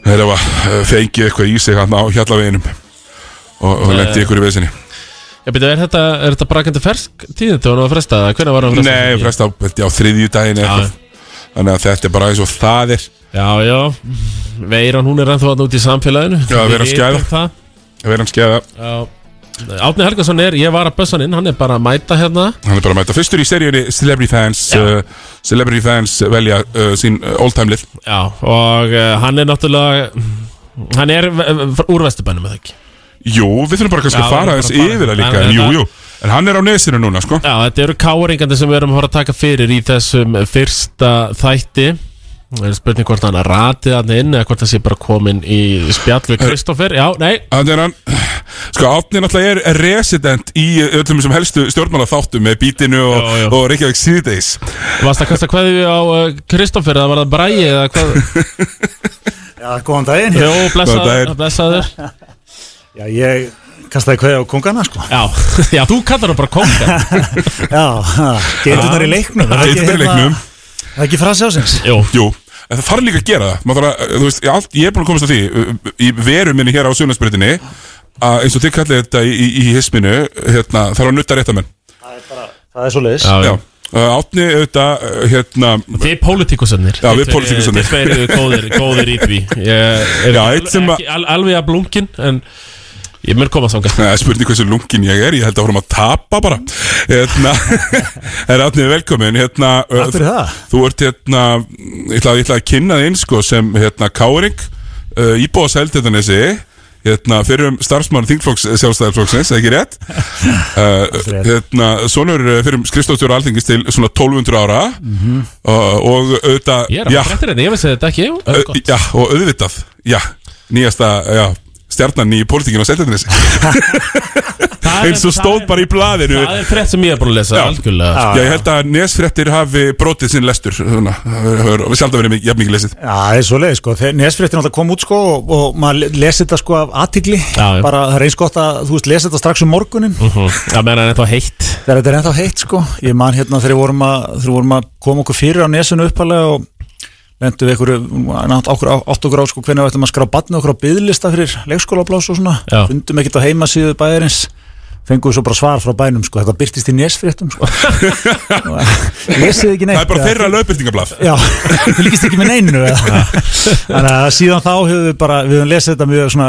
[SPEAKER 1] Þeir hafa eh, fengið eitthvað í sig hann á hjallaveginum og, og
[SPEAKER 2] Eh,
[SPEAKER 1] lendi ykkur í veðsynni
[SPEAKER 2] Ég byrja, er þetta, er þetta brakandi fersk tíðin til hún var að fresta það? Hvernig var hún að fresta?
[SPEAKER 1] Nei, frestað held ég, á þriðju daginn
[SPEAKER 2] Já.
[SPEAKER 1] Þannig að þetta er bara eins og það er
[SPEAKER 2] Já, já Veiran, hún er ennþá út í samfélaginu
[SPEAKER 1] Já,
[SPEAKER 2] Við
[SPEAKER 1] vera að skæða.
[SPEAKER 2] vitum það.
[SPEAKER 1] að vera hann skeiða
[SPEAKER 2] Já Átni Helgason er, ég var að bössa hann inn, hann er bara að mæta hérna
[SPEAKER 1] Hann er bara að mæta fyrstur í seríunni Celebrity Fans uh, Celebrity Fans velja uh, sín uh, all-time lið
[SPEAKER 2] Já, og uh, hann er náttúrulega Hann er eh, eh, úr vesturbænum eða ekki
[SPEAKER 1] Jú, við þurfum bara kannski
[SPEAKER 2] Já,
[SPEAKER 1] að
[SPEAKER 2] við
[SPEAKER 1] fara
[SPEAKER 2] erum
[SPEAKER 1] aðeins
[SPEAKER 2] bara að fara.
[SPEAKER 1] yfir það
[SPEAKER 2] En
[SPEAKER 1] líka en, Jú,
[SPEAKER 2] þetta-
[SPEAKER 1] jú, En hann er á nesinu núna, sko
[SPEAKER 2] Já, þetta eru káringandi sem við erum að fara að taka fyrir í þessum fyrsta þætti Það er spurning hvort hann ratið hann inn eða hvort það sé bara komin í spjall við Kristoffer Já, nei
[SPEAKER 1] Þannig er hann Sko, Átni náttúrulega er resident í uh, öllum sem helstu stjórnmála þáttum með bítinu og, og Reykjavík síðdeis
[SPEAKER 2] Varst að kasta kveðju á uh, Kristoffer eða var það Bræi eða hvað
[SPEAKER 12] Já, góðan daginn
[SPEAKER 2] Jó, blessaður blessaður.
[SPEAKER 12] Já, ég kastaði kveði á kongana, sko
[SPEAKER 2] Já, já þú kallar það bara kongan
[SPEAKER 12] Já, geitunar í leiknum er það
[SPEAKER 1] Geiturnar
[SPEAKER 12] ekki
[SPEAKER 1] í
[SPEAKER 12] hérna-
[SPEAKER 1] leiknum.
[SPEAKER 12] Það er ekki frasi ásins
[SPEAKER 2] Jú,
[SPEAKER 1] Jú. En það þarf líka að gera það Maður þarf að, uh, þú veist, ég, allt, ég er búin að komast að því uh, í veru minni hér á Sjónlandsbreytinni að eins og þið kallið þetta í, í, í hisminu hérna, þarf að nutta réttamenn
[SPEAKER 12] Það er svo leiðis
[SPEAKER 1] Já, Uh, Átni, auðvitað, uh, hérna
[SPEAKER 2] Þið er pólitíkusennir
[SPEAKER 1] Já, við pólitíkusarnir.
[SPEAKER 2] Þið tveir eru góðir, góðir í því Ég er
[SPEAKER 1] Já,
[SPEAKER 2] ekki
[SPEAKER 1] eitt sem
[SPEAKER 2] al- ekki al, alveg að blunkin en ég mun koma þangað
[SPEAKER 1] Það er spurning hversu lungin ég er, ég held að vorum að tapa bara Hérna, er Átni velkomin hérna,
[SPEAKER 12] Takk fyrir það.
[SPEAKER 1] Þú ert hérna, ég ætla, ég ætla að kynna þig eins sko, sem hérna Káring uh, Íbúa sældetanesi Hérna, fyrir um starfsmann þingflokks sjálfstæðarflokksins, ekki rétt uh, Hérna, sonur uh, fyrir um skrifstofstjóra alþingis til svona 1200 ára
[SPEAKER 2] Mhm.
[SPEAKER 1] uh, Og auðvitað
[SPEAKER 2] Ég er
[SPEAKER 1] já,
[SPEAKER 2] að fréttir henni, ég veist þetta ekki Jú,
[SPEAKER 1] Ö, Já, og auðvitað Já, nýjasta, já Stjarnan í pólitíkinu á Seltjarnesi Eins og stóð bara í blaðinu
[SPEAKER 2] Það er frétt sem ég er búin að lesa algjörlega
[SPEAKER 1] Já, ég held að nesfréttir hafi brotið sinn lestur Svona, það hefur sjálf að verið jafn mikið lesið
[SPEAKER 12] Já, það er svo leið, sko. Nesfréttin alltaf kom út, sko, og, og maður lesi þetta, sko, af aðtigli.
[SPEAKER 2] Já, já.
[SPEAKER 12] Bara, það er eins gott að, þú veist, lesi þetta strax um morgunin.
[SPEAKER 2] Það meðan hann er þá heitt.
[SPEAKER 12] Þegar þetta er ennþá heitt, sko. Ég man hérna þegar við vorum að, þegar við vorum að koma okkur fyrir á nesinu uppalega og lendum við einhverju, nátt okkur, átt okkur á, sko, hvernig við ætlum að skrá batni okkur á byðlista fyrir leikskólablás og svona.
[SPEAKER 2] Já.
[SPEAKER 12] Fundum ekkert á heimasíðu bæjarins. Fengum svo bara svar frá bænum, sko. Þetta byrtist í nesfréttum, sko. Lesið ekki neitt.
[SPEAKER 1] Það er bara
[SPEAKER 12] eða?
[SPEAKER 1] þeirra lögbyrtingablað
[SPEAKER 12] Já, þú líkist ekki með neinu eða? Þannig að síðan þá höfum við bara við höfum lesið þetta mjög svona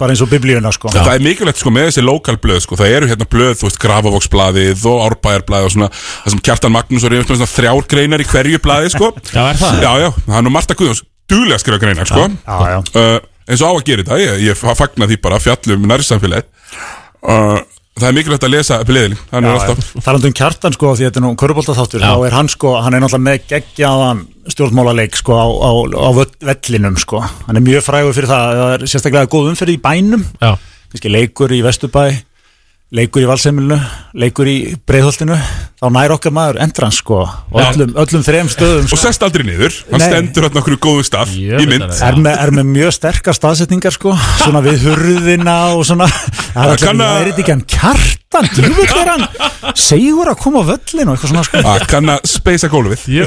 [SPEAKER 12] bara eins og biblíuna sko
[SPEAKER 1] Það er mikilvægt sko með þessi lokalblöð sko Það eru hérna blöð, þú veist, Grafavogsblaðið og Árbæjarblaðið og svona Það sem Kjartan Magnús og Rífum svona þrjár greinar í hverju blaði sko
[SPEAKER 2] Já, er það?
[SPEAKER 1] Já, já, hann og Marta Guðjóns Duglega að skrifa greinar sko
[SPEAKER 12] Já, já,
[SPEAKER 1] uh, eins og á að gera þetta ég, ég fagna því bara fjallum um nærsamfélagið uh, það er mikilvægt að lesa bliðilinn, hann er alltaf
[SPEAKER 12] Talandi um kjartan sko því þetta er nú körubóltaþáttur
[SPEAKER 1] Já.
[SPEAKER 12] þá er hann sko, hann er náttúrulega með geggjaðan stjórnmálaleik sko á, á, á völl- vellinum sko, hann er mjög frægur fyrir það það er sérstaklega góð umferð í bænum
[SPEAKER 2] Já.
[SPEAKER 12] kannski leikur í Vesturbæ leikur í Valseimilinu, leikur í Breiðholtinu, þá nær okkar maður endrans sko, og
[SPEAKER 1] Já.
[SPEAKER 12] öllum, öllum þrem stöðum sko.
[SPEAKER 1] og sest aldrei niður, hann
[SPEAKER 12] Nei.
[SPEAKER 1] stendur hann okkur góðu stað í mynd
[SPEAKER 12] er með, er með mjög sterkar staðsetningar sko, svona við hurðina og svona, það er alltaf,
[SPEAKER 1] Kann að-
[SPEAKER 12] það er þetta ekki hann kjartan, djúvill er hann segur að koma á völlin og eitthvað svona sko
[SPEAKER 1] að kann að speisa gólfið
[SPEAKER 2] Já,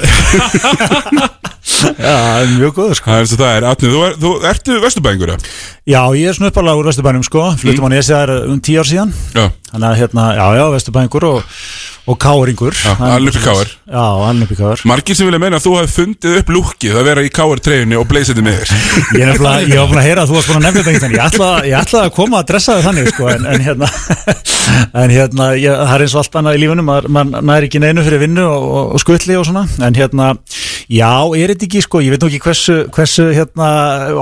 [SPEAKER 12] það er mjög góður
[SPEAKER 1] sko Það er eins og það er, Atni, þú, er, þú ertu vesturbæðingur eða?
[SPEAKER 12] Já, ég er svona uppalega úr Vesturbænum sko, flutum mm. á Nesjar um tíu ár síðan
[SPEAKER 1] Já,
[SPEAKER 12] þannig að hérna, já, já, Vesturbængur og, og Káringur Já,
[SPEAKER 1] alinn upp í káar
[SPEAKER 12] Já, alinn upp í káar
[SPEAKER 1] Margir sem vilja meina að þú hafi fundið upp lúkið að vera í káar treyjunni og bleysið niður
[SPEAKER 12] Ég er nefnilega, ég var búin að heyra að þú varst búin að nefna þetta einhvern veginn. ég ætlaði ég ætla að koma að dressa þig þannig sko, en, en hérna, en hérna ég, það er eins og allt annað í lífinu maður, maður næri ekki neinu fyrir vinnu og, og, og skutli og svona, en hérna já, er þetta ekki sko, ég veit nú ekki hversu, hversu hérna,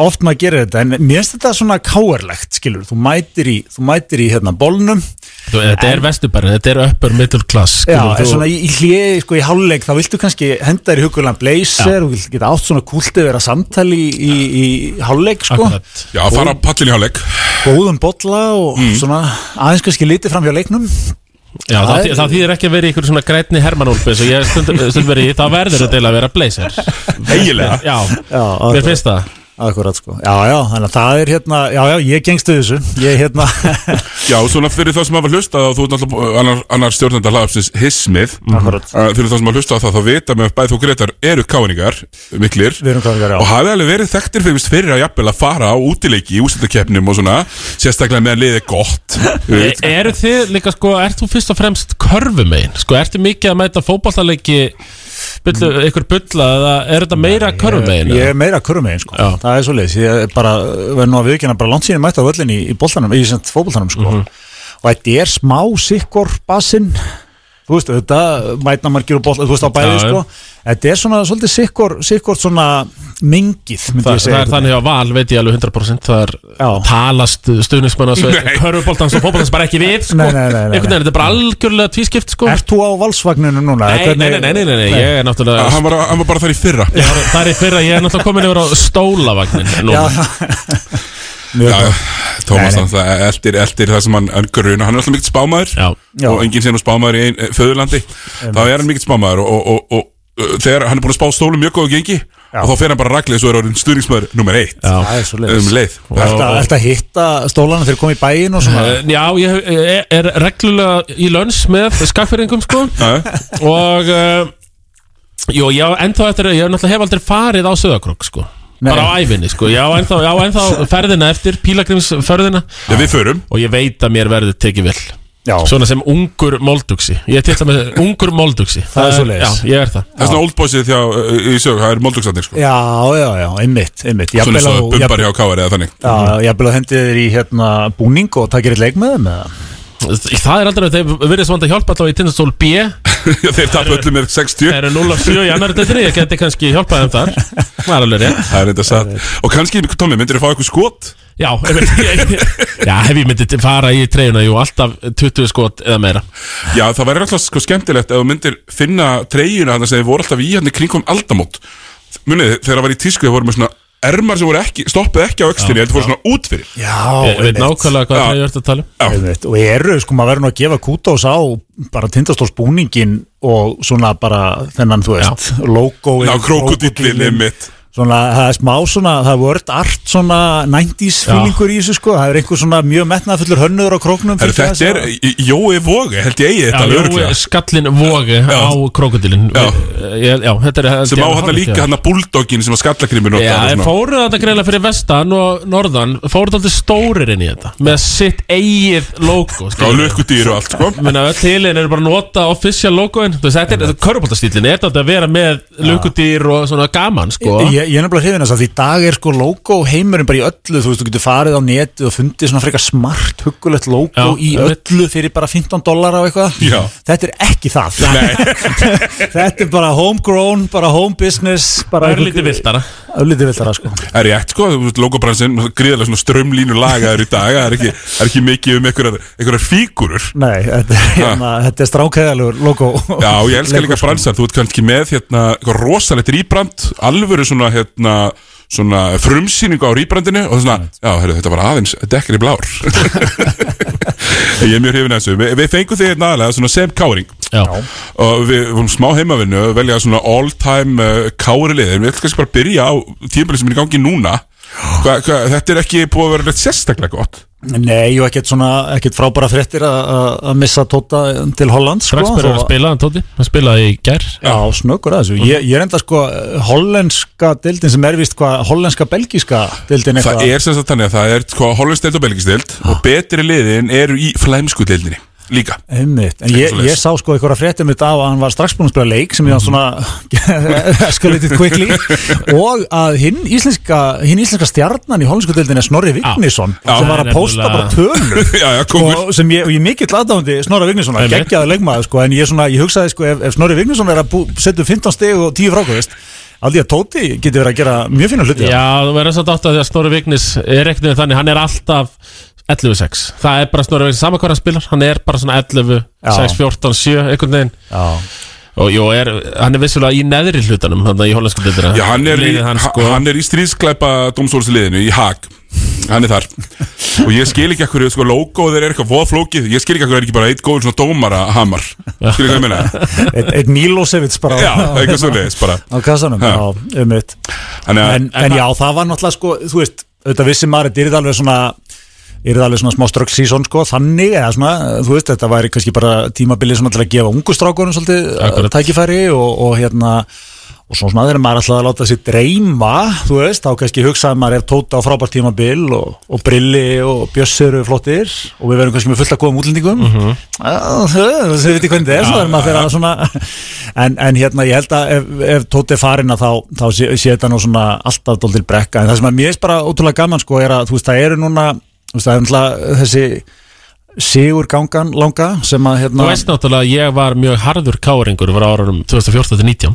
[SPEAKER 12] oft maður gerir þetta en mér finnst þetta svona káerlegt skilur, þú mætir í, þú mætir í hérna bólnum,
[SPEAKER 2] Þú, þetta er vesturbærin, þetta er upper middle class
[SPEAKER 12] já,
[SPEAKER 2] skilur,
[SPEAKER 12] en svona í, í hliði sko í hálfleik, þá viltu kannski henda þér í hugulegan blazer, þú vilt geta átt svona kúltið vera samtali í, í, í hálfleik sko,
[SPEAKER 1] Já, fara á pallin í hálfleik
[SPEAKER 12] góðum bolla og
[SPEAKER 2] Mm.
[SPEAKER 12] svona aðeins kannski litið fram hjá leiknum
[SPEAKER 2] Já, það,
[SPEAKER 12] Það er-
[SPEAKER 2] það þýðir ekki að vera í ykkur svona grætni hermanúlpi eins og ég stundum stund verið í, það verður þetta eiginlega að vera blazer
[SPEAKER 1] Eiginlega?
[SPEAKER 2] Já,
[SPEAKER 12] já
[SPEAKER 2] mér finnst það
[SPEAKER 12] Akkurat sko, já já, þannig að það er hérna, já já, ég gengstu þessu, ég hérna,
[SPEAKER 1] Já, svona fyrir þá sem hafa hlustað og þú ert náttúrulega annar, annar stjórnenda hlaðafsins hismið
[SPEAKER 12] Akkurat.
[SPEAKER 1] Uh, Fyrir þá sem hafa hlustað á það þá vita með bæð þú Gretar eru káningar miklir
[SPEAKER 12] Við erum káningar, já.
[SPEAKER 1] Og hafi alveg verið þekktir fyrir, fyrir að jafnvel að fara á útileiki í úsildakefnum og svona Sérstaklega meðan liðið er gott Þú
[SPEAKER 2] E-
[SPEAKER 1] veit.
[SPEAKER 2] Eru þið líka sko, ert þú fyrst og fremst körfumein? Sko, ertu mikið að mæta fótballtaleiki byllu, ykkur bulla eða er þetta meira körfumein?
[SPEAKER 12] Mm. ég er meira kurumegin sko, það er svo leiðis, ég er bara, verður nú að viðkynna bara langt síðan mætt á völlin í, í boltanum, í sent fótboltanum sko,
[SPEAKER 2] Mhm.
[SPEAKER 12] og þetta er smá sikkur basinn, þú veist, þetta mætna margir og boltan, þú veist á bæði
[SPEAKER 2] Já, já.
[SPEAKER 12] sko, þetta er svona svolítið sikkur, sikkur svona, mingið myndi
[SPEAKER 2] Það,
[SPEAKER 12] ég segja
[SPEAKER 2] það er þannig á val, veit ég alveg 100% Það er talast stuðnismann
[SPEAKER 12] Nei.
[SPEAKER 2] Körfuboltans og fótboltans bara ekki við sko.
[SPEAKER 12] Nei, nei, nei, nei, nei.
[SPEAKER 2] Einhvern veginn, þetta er bara algjörlega tvískipt sko.
[SPEAKER 12] Ert þú á valsvagninu núna?
[SPEAKER 2] Nei, nei, nei, nei, nei, nei, ég er náttúrulega
[SPEAKER 1] Hann var, hann var bara þar í fyrra
[SPEAKER 2] Ég var- Það er í fyrra, ég er náttúrulega komin yfir á stólavagnin núna
[SPEAKER 1] Já, Tómas hann það eldir, eldir það sem hann, hann gruna Hann er alltaf mikill spámaður
[SPEAKER 12] Já.
[SPEAKER 1] Og enginn sé nú spámaður í ein, eh, föðurlandi Þá er hann mikill spámaður Og, og, og, og uh, þegar hann er búin að spá stólum mjög góðu gengi Og þá fer hann bara raglið Svo er orðin stuðningsmaður nummer eitt
[SPEAKER 2] Já.
[SPEAKER 12] Það er svoleiðis.
[SPEAKER 1] Um leið
[SPEAKER 12] Og ert að- ert að hitta stólana þegar komið í bæinn og svona
[SPEAKER 2] Eh, Já, ég hef- eh, er reglulega í löns með skaffyringum sko Og uh, Jó, já, ennþá eftir Ég hef náttúrulega hef aldrei farið á söðakrók sko
[SPEAKER 1] Nei.
[SPEAKER 2] Bara á æfinni sko Já, ennþá, já, ennþá ferðina eftir Pílagrimsferðina
[SPEAKER 1] Já, við förum
[SPEAKER 2] Og ég veit að mér verður tekið vel
[SPEAKER 12] Já.
[SPEAKER 2] Svona sem ungur molduxi Ég titla með ungur molduxi
[SPEAKER 12] Það er svoleiðis.
[SPEAKER 2] Já, ég er það
[SPEAKER 1] Það er svona oldboysið þjá uh, í sög Það er moldugsandir sko
[SPEAKER 12] Já, já, já, einmitt, einmitt
[SPEAKER 1] Svona
[SPEAKER 12] Jafnvel
[SPEAKER 1] eins
[SPEAKER 12] að
[SPEAKER 1] og
[SPEAKER 12] þú-
[SPEAKER 1] bumbar hjá
[SPEAKER 12] jafnvel-
[SPEAKER 1] Káar eða þannig
[SPEAKER 12] Já, ég vil að hendi þér í hérna búning og takir eitt leik með þeim eða?
[SPEAKER 2] Það er aldrei, þeir verðist vanda að hjálpa alltaf í tindastól B
[SPEAKER 1] Þeir tapu öllu með 60
[SPEAKER 2] Þeir eru 0 af 7 í annar dættinni, ég geti kannski hjálpað þeim þar Það er alveg rétt
[SPEAKER 1] Það er þetta satt Og kannski, Tómi, myndir þú fá eitthvað skot?
[SPEAKER 2] Já, einmitt, ég, já, hef ég myndið fara í treyjuna, jú, alltaf 20 skot eða meira
[SPEAKER 1] Já, það væri alltaf sko skemmtilegt ef þú myndir finna treyjuna þannig að þið voru alltaf í hann kringum aldamót Munið, þið, þegar það var í tísku þið voru með svona ermar sem voru ekki, stoppuð ekki á öxtinni heldur voru svona út fyrir
[SPEAKER 12] Já,
[SPEAKER 2] Ég veit
[SPEAKER 12] einmitt.
[SPEAKER 2] nákvæmlega hvað það er að tala um
[SPEAKER 12] Einmitt. og eru, sko, maður verður nú að gefa kútós á bara tindastólsbúningin og svona bara þennan, þú veist logo
[SPEAKER 1] Ná, krókudillin mitt
[SPEAKER 12] svona, það er smá svona, það er word art svona 90s
[SPEAKER 1] Já.
[SPEAKER 12] feelingur í þessu sko, það er einhver svona mjög metnaðfullur hönnur á króknum
[SPEAKER 1] Herru,
[SPEAKER 12] fyrir
[SPEAKER 1] þetta er,
[SPEAKER 12] þessa-
[SPEAKER 1] Í- Jói Vogi, held ég eigi þetta alveg
[SPEAKER 2] Já,
[SPEAKER 1] örugglega.
[SPEAKER 2] jú, skallin vogi á krokodilin
[SPEAKER 1] Já.
[SPEAKER 2] Ég- já, þetta er
[SPEAKER 1] sem á hann líka hérna hann að bulldoggin sem að skallakrimur
[SPEAKER 2] Já, en fóruð þetta greiðlega fyrir vestan og norðan Fóruð þetta stórir inn í þetta Með sitt eigið logo
[SPEAKER 1] Já, lukkudýr og allt, sko
[SPEAKER 2] Menna, öll tilinn eru bara að nota official logoin Þú veist, þetta er köruboltastýlinn Er þetta að vera með lukkudýr og svona gaman, sko
[SPEAKER 12] Ég, ég er nefnilega hrifin þess að því í dag er sko logo heimurinn bara í öllu, þú veist, þú getur farið á netið og fundið svona frekar smart, huggulegt logo
[SPEAKER 2] Já,
[SPEAKER 12] í
[SPEAKER 2] einmitt.
[SPEAKER 12] öllu fyrir bara 15 dólar á eitthvað
[SPEAKER 2] Já.
[SPEAKER 12] þetta er ekki það þetta er bara homegrown, bara home business bara
[SPEAKER 2] Örlítið viltara.
[SPEAKER 12] örlítið viltara sko
[SPEAKER 1] Það er rétt sko, logobransin, gríðarlega svona strömlínu lagaður í dag, það er ekki, það er ekki mikið um einhverjar, einhverjar fígurur
[SPEAKER 12] Nei, þetta er, hérna, þetta er strákæðalur logo
[SPEAKER 1] Já, ég elska líka bransar, þú ert kannski með hérna, eitthvað rosalegt rýbrand, alvöru svona, hérna, svona frumsýningu á rýbrandinu og svona, já, heyrðu, þetta var aðeins dekkri blár Ég er mjög hrifin að þessu, Vi, við fengum þig hérna aðalega svona sem káring
[SPEAKER 2] Já.
[SPEAKER 1] og við vorum smá heimavinnu að velja svona all time uh, kári liðin, við ætlum kannski bara að byrja á tímabilið sem er í gangi núna hva, hva, Þetta er ekki búið að vera neitt sérstaklega gott
[SPEAKER 12] Nei, jú, ekkert svona, ekkert frábæra fréttir að- að að missa Tóta til Holland sko,
[SPEAKER 2] Strax byrjar
[SPEAKER 12] þó
[SPEAKER 2] að spila, hann Tóti Hann spilaði í gær
[SPEAKER 12] Já, snöggur að þessu Ég, ég er enda sko eh, hollenska deildin sem er vist hvað hollenska-belgíska deildin
[SPEAKER 1] Það
[SPEAKER 12] eitthvað
[SPEAKER 1] er sem sagt þannig að það er sko, hollandsteild og belgistild og betri liðin eru í flæmsku deildinni líka
[SPEAKER 12] Einmitt, en ég,
[SPEAKER 1] Svoleiðis.
[SPEAKER 12] ég sá sko einhverja fréttum í dag að hann var strax búinn að spila leik sem ég var svona escalated quickly og að hinn íslenska, hinn íslenska stjarnan í hollensku deildin er Snorri Vignisson
[SPEAKER 1] Já.
[SPEAKER 12] sem var
[SPEAKER 1] Það
[SPEAKER 12] að
[SPEAKER 1] er
[SPEAKER 12] posta bara
[SPEAKER 1] nefnilega-
[SPEAKER 12] tölur
[SPEAKER 1] Já, já,
[SPEAKER 12] sko, sem ég, og ég er mikill aðdáðandi Snorri Vignisson að
[SPEAKER 1] Einmitt.
[SPEAKER 12] geggjaði leikmaður sko, en ég, svona, ég hugsaði sko ef, ef Snorri Vignisson er að bú, setja upp 15 steg og 10 frákvæðist að því að Tóti getur verið að gera mjög fina hluti
[SPEAKER 2] Já, þú verður samt átt að því að Snorri Vignis er ekkert við þannig, hann er alltaf 11-6, það er bara Snorri Vignis saman hvað hann spilar, hann er bara svona 11-6, 14-7, einhvern veginn
[SPEAKER 12] Já.
[SPEAKER 2] og jú, er, hann er vissulega í neðri hlutanum, þannig að í hollensku deildina
[SPEAKER 1] Já, hann er, í,
[SPEAKER 2] Liðið
[SPEAKER 1] hann,
[SPEAKER 2] hans, sko,
[SPEAKER 1] hann er í stríðsklæpa domstólsliðinu í Haag Hann er þar Og ég skil ekki akkur, sko, logo þeir er eitthvað voðflókið Ég skil ekki akkur er ekki bara eitt góður svona dómara hamar Skil ekki hvað ég meina
[SPEAKER 12] Eitt- eitt Milosevic bara
[SPEAKER 1] Já, eitthvað svoleiðis bara
[SPEAKER 12] á kassanum,
[SPEAKER 1] Já.
[SPEAKER 12] já, um mitt
[SPEAKER 1] En,
[SPEAKER 12] en, en já, það var náttúrulega sko, þú veist, auðvitað vissi maður þetta yrði alveg svona yrði alveg svona smá strögg sísón sko, þannig eða svona, þú veist, þetta væri kannski bara tímabilið svona til að gefa ungu strákunum svolítið Akkurat. tækifæri og, og hérna og svona svona þegar maður ætlaði að láta sér dreyma þú veist, þá kannski hugsaði maður ef Tóta á frábært tímabil og, og Brilli og Bjössi eru flottir og við verðum kannski með fullt að góðum útlendingum mm -hmm. þau veit ekki hvernig það er svo er maður fyrir að svona en, en hérna ég held að ef, ef Tóti er farin að þá, þá sé, sé þetta nú svona alltaf dól til brekka en það sem að mér er bara ótrúlega gaman sko er að þú veist það eru núna þú veist það er náttúrulega þessi Sigur Gangan langa sem að
[SPEAKER 2] Þú
[SPEAKER 12] hérna
[SPEAKER 2] veist náttúrulega að ég var mjög harður káringur var árunum 2014-19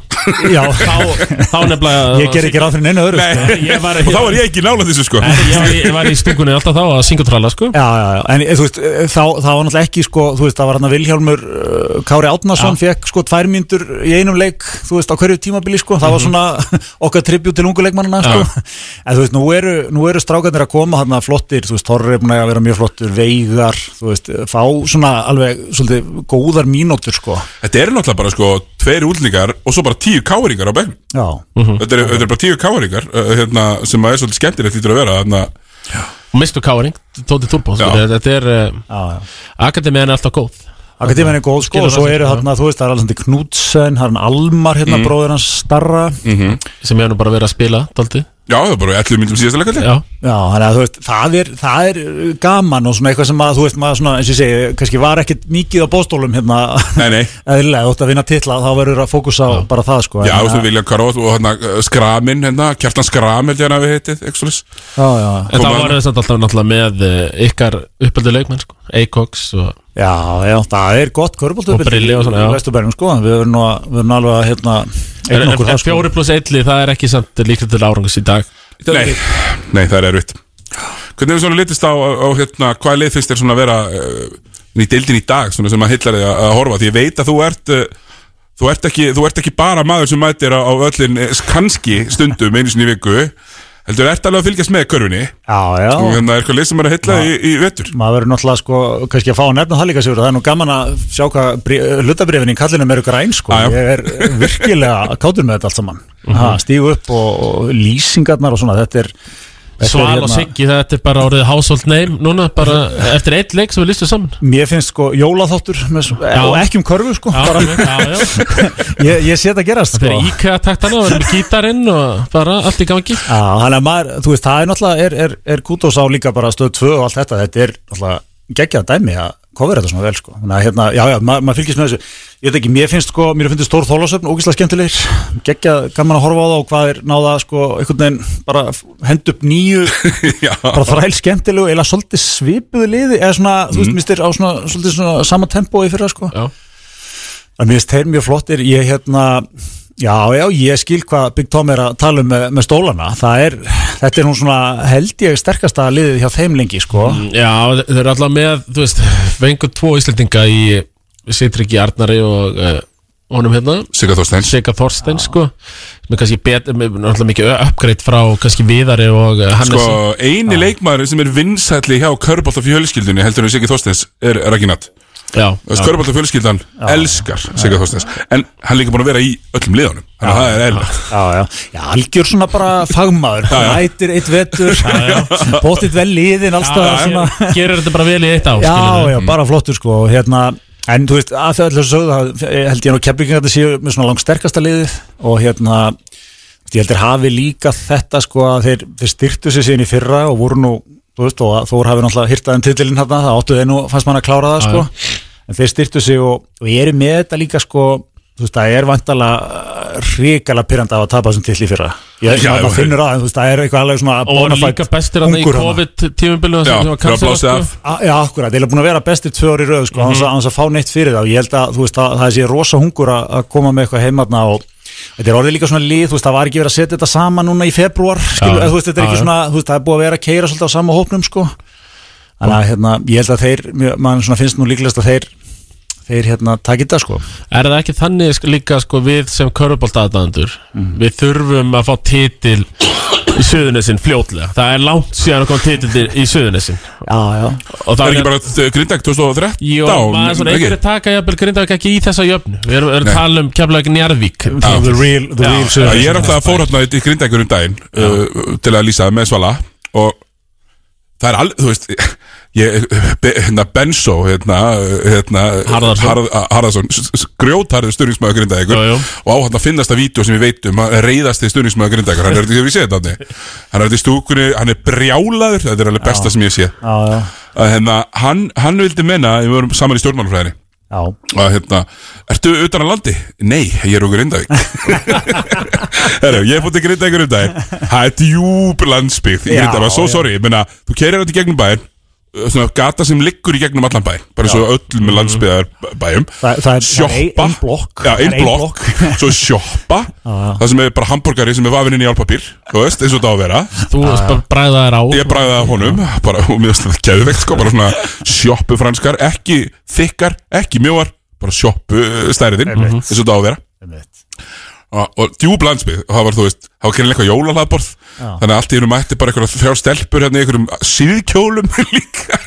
[SPEAKER 12] Já,
[SPEAKER 2] Þá nefnilega
[SPEAKER 12] Ég gerði ekki ráð fyrir neina öðru,
[SPEAKER 2] Nei,
[SPEAKER 12] sko.
[SPEAKER 2] ég var,
[SPEAKER 12] Og þá var
[SPEAKER 1] ég ekki nála þessu sko
[SPEAKER 2] Nei, ég, var, ég var í stungunni alltaf þá að syngja tralla sko
[SPEAKER 12] Já, já, já, en eh, þú veist, þá, þá var náttúrulega ekki sko, þú veist, það var hann að Vilhjálmur uh, Kári Átnason fekk sko tvær myndur í einum leik, þú veist, á hverju tímabili sko, það var
[SPEAKER 9] Mhm.
[SPEAKER 12] svona okkar tribut til ungu leikmannina sko, en þú veist, nú eru, nú eru strákarnir að koma hann flottir, þú veist, Torri er búin að vera mjög flottur, Veigar, þú veist, eh, fá svona alveg svolítið góðar mínútur sko,
[SPEAKER 1] Þetta eru náttúrulega bara sko tveir útlendingar og svo bara tíu káringar á bekknum
[SPEAKER 12] já,
[SPEAKER 2] Mhm.
[SPEAKER 1] Þetta eru þetta eru bara tíu káringar uh, hérna, sem að er svolítið skemmtilegt lítur að vera hérna.
[SPEAKER 2] Og mistu káring, Tóti Turbo sko.
[SPEAKER 1] Já.
[SPEAKER 2] Þetta er, uh, akademiðan er alltaf góð
[SPEAKER 12] Akademian er góð sko,
[SPEAKER 2] Skilur
[SPEAKER 12] og svo
[SPEAKER 2] það
[SPEAKER 12] eru
[SPEAKER 2] sem-
[SPEAKER 12] hann þú veist, það er alveg Knútsen, það er hann Almar hérna,
[SPEAKER 2] Mhm.
[SPEAKER 12] bróður hans starra
[SPEAKER 1] -hmm.
[SPEAKER 2] Sem ég er nú bara verið að spila, daldi
[SPEAKER 1] Já, það er bara 11 myndum síðasta leikaldi
[SPEAKER 2] Já,
[SPEAKER 12] Já, þannig að þú veist, það er, það er uh, gaman og svona eitthvað sem að, þú veist, maður svona, eins og ég segi, kannski var ekkit mikið á bóstólum hérna,
[SPEAKER 1] Nei, nei
[SPEAKER 12] eðlilega, þú ætti að vinna titla, þá verður að fókusa á bara það, sko.
[SPEAKER 1] Já,
[SPEAKER 12] En,
[SPEAKER 1] þú veist,
[SPEAKER 12] að-
[SPEAKER 1] Vilja Karót og hérna, uh, Skramin, hérna, Kjartan Skram held ég hann að við heitið, ekki svolítið
[SPEAKER 12] Já, já.
[SPEAKER 2] En það var þetta alltaf náttúrulega með eh, ykkar uppeldu leikmenn sko Acox og
[SPEAKER 12] Já, já, það er gott körbóltu
[SPEAKER 2] Og Brilli og svona, já.
[SPEAKER 12] Vesturbærum, sko, en við verðum nú að, við verðum alveg að, hérna,
[SPEAKER 2] En,
[SPEAKER 12] eigna
[SPEAKER 2] en,
[SPEAKER 12] okkur
[SPEAKER 2] en
[SPEAKER 12] það, sko.
[SPEAKER 2] fjóri pluss eitli, það er ekki samt líka til árangus í dag
[SPEAKER 1] Nei, nei, það er erfitt Hvernig hefur svona litist á, á hérna, hvað lið finnst þér svona að vera uh, í deildin í dag, svona sem að hillar þig að, að horfa því ég veit að þú ert uh, þú ert, ekki, þú ert ekki bara maður sem mætir á, á öllin eh, kannski stundum einu sinni í viku heldur ert alveg að fylgjast með körfunni
[SPEAKER 12] Já, já.
[SPEAKER 1] og hérna er eitthvað lið sem er að hilla í, í vetur
[SPEAKER 12] maður verður náttúrulega sko kannski að fá að nefna það líka sigur það er nú gaman að sjá hvað hlutabrifinni kallinum eru græn sko ég er virkilega kátur með þetta allt saman mm
[SPEAKER 2] Mhm.
[SPEAKER 12] stígu upp og, og lýsingarnar og svona þetta er þetta er
[SPEAKER 2] Sval
[SPEAKER 12] hérna-
[SPEAKER 2] og Siggi, þetta er bara orðið household name Núna, bara eftir eitt leik sem við listum saman
[SPEAKER 12] Mér finnst sko jólaþáttur með, svo-
[SPEAKER 2] Já.
[SPEAKER 12] og ekki um körfu sko
[SPEAKER 2] Já,
[SPEAKER 12] bara,
[SPEAKER 2] já, já.
[SPEAKER 12] ég, ég sé þetta gerast
[SPEAKER 2] Þetta
[SPEAKER 12] sko.
[SPEAKER 2] er IKEA-taktana og erum gítarinn og bara allt í gangi
[SPEAKER 12] Já, þannig að maður, þú veist, það er náttúrulega er, er, er kútos á líka bara stöð 2 og allt þetta þetta er náttúrulega geggjað dæmi að kofir þetta svona vel, sko þannig að hérna, já, já, maður, maður fylgist með þessu ég veit ekki, mér finnst sko, mér finnst stór þólasöfn ógislega skemmtilegir, geggjað, gaman að horfa á það og hvað er náða, sko, einhvern veginn bara f- hend upp nýju bara þræl skemmtilegu, eiginlega svolítið svipuðu liði, eða svona, þú veist, mistir á svona svolítið svona sama tempói fyrir það, sko
[SPEAKER 2] já.
[SPEAKER 12] En mér finnst þeir mjög flottir, ég hérna Já, já, ég skil hvað Big Tom er að tala um með, með stólana Það er, þetta er nú svona held ég sterkasta liðið hjá þeim lengi, sko
[SPEAKER 1] Mm.
[SPEAKER 2] Já, þeir eru alltaf með, þú veist, fengur tvo Íslendinga í Sitriki Arnari og uh, honum hérna
[SPEAKER 1] Sigga Þorstein
[SPEAKER 2] Sigga Þorstein, sko sem er kannski betur, með náttúrulega mikið uppgreitt frá kannski Viðari og eh, Hannes
[SPEAKER 1] Sko, eini leikmaður sem er vinsætli hjá körbált af fjölskyldunni heldur en Siggi Þorsteins er Ragnat
[SPEAKER 2] Já
[SPEAKER 1] Körbált af fjölskyldan elskar Sigga Þorsteins en hann er líka búin að vera í öllum liðunum þannig að það er eðlilegt
[SPEAKER 12] Já, já, já, algjör svona bara fagmaður
[SPEAKER 1] Já, já.
[SPEAKER 12] Mætir eitt vetur, bóttið vel liðin allstað svona
[SPEAKER 2] Gerur þetta bara vel í eitt á
[SPEAKER 12] Já,
[SPEAKER 2] Mm.
[SPEAKER 12] já, bara flottur, sko og hérna, En þú veist, að þau allir sögðu það held ég nú keppingar þetta séu með svona langt sterkasta liðið og hérna ég held þeir hafi líka þetta sko að þeir, þeir styrtu sig síðan í fyrra og voru nú, þú veist, og Þór hafi náttúrulega hýrtaðum titilinn hérna, það áttu þeir nú fannst mann að klára það
[SPEAKER 2] Já,
[SPEAKER 12] sko, en þeir styrtu sig og, og ég er með þetta líka sko þú veist, það er vantalega ríkala pyrranda af að tapa þessum titli í fyrra ég,
[SPEAKER 2] Já,
[SPEAKER 12] já,
[SPEAKER 2] já.
[SPEAKER 12] maður finnur að, þú veist, það er eitthvað alveg svona
[SPEAKER 2] Og voru líka bestir hann í
[SPEAKER 12] ungur þarna.
[SPEAKER 2] COVID-tímumbilu sko.
[SPEAKER 12] A- Já, akkurat, þeir eru búin að vera bestir tvö ári röð sko, mm
[SPEAKER 2] Mhm.
[SPEAKER 12] -hmm. hans að fá neitt fyrir það og ég held að þú veist að það sé rosa hungur að, að koma með eitthvað heimarna og þetta er orðið líka svona lið, þú veist, það var ekki verið að setja þetta saman núna í februar, skilu,
[SPEAKER 2] Já,
[SPEAKER 12] þú veist, þetta er
[SPEAKER 2] já,
[SPEAKER 12] ekki
[SPEAKER 2] já.
[SPEAKER 12] svona, þú veist, það er búið að vera að keira svolítið á sama hópnum, sko þannig að, hérna, ég held að þeir, mjög- mann svona finnst nú líklegast að þeir, þeir, hérna, takit það, sko
[SPEAKER 2] Er það ekki þannig sk- líka sko við sem körubolt aðdæðandur Við þurfum að fá titil í Suðunessin fljótlega Það er langt síðan að koma titil til- í Suðunessin
[SPEAKER 12] Já, já
[SPEAKER 2] Og það
[SPEAKER 1] er ekki bara eh, Grindag 2013
[SPEAKER 2] Jó, maður er svona einhverju taka jafnvel grindavík ekki í þessa jöfnu Við erum, erum
[SPEAKER 1] Nei.
[SPEAKER 2] að tala um keflavík njárvík
[SPEAKER 1] Já. Já. Já, Ég er alltaf að fór hérna í grindagur um daginn uh, til að lýsa það með Svala og það er alveg, þú veist ég, be, hérna Benso hérna, hérna
[SPEAKER 2] Harðarson.
[SPEAKER 1] Harð, Harðarsson grjótarður styrningsmæður grindagur
[SPEAKER 2] Jú, jú.
[SPEAKER 1] og á hann að finnast að vídeo sem við veitum að reyðast þið styrningsmæður grindagur hann er þetta við séð þetta hann hann er þetta í stúkunni, hann er brjálaður þetta er alveg besta sem ég sé
[SPEAKER 12] Já, já,
[SPEAKER 1] að hérna, hann, hann vildi menna við vorum saman í stjórnmálafræðinni
[SPEAKER 12] Já.
[SPEAKER 1] að hérna, ertu utan að landi? Nei, ég er okkur Grindavík Herru, ég er fótt í Grindavík um daginn Það er djúb landsbyggð í
[SPEAKER 12] Já,
[SPEAKER 1] Grindavík, so
[SPEAKER 12] já.
[SPEAKER 1] sorry, ég meina þú keirir þetta í gegnum bæinn uh, svona gata sem liggur í gegnum allan bæ bara eins og öllum landsbyðar bæjum
[SPEAKER 12] Þa, Mm. það er- það er ein-
[SPEAKER 1] sjoppa
[SPEAKER 12] ein blokk.
[SPEAKER 1] já,
[SPEAKER 12] Það
[SPEAKER 1] ein
[SPEAKER 12] er ein
[SPEAKER 1] blokk, svo er sjoppa það sem er bara hambúrgari sem er vafinn inn í álpapír þú veist, eins og það á að vera
[SPEAKER 2] Þú
[SPEAKER 1] Já,
[SPEAKER 2] veist
[SPEAKER 1] já.
[SPEAKER 2] bara bræða þær á
[SPEAKER 1] Ég bræði það honum, bara, og mér finnst það geðveikt sko, bara svona sjoppu franskar, ekki þykkar, ekki mjóar, bara sjoppu stæriðin,
[SPEAKER 12] Einmitt.
[SPEAKER 1] eins og það á að vera. Og, og djúb landsbyð, og það var, þú veist, það var kynlega eitthvað jólalaðborð,
[SPEAKER 12] Já.
[SPEAKER 1] þannig að allt í hennum mætti bara eitthvað þrjá stelpur hérna í einhverjum síðkjólum líka.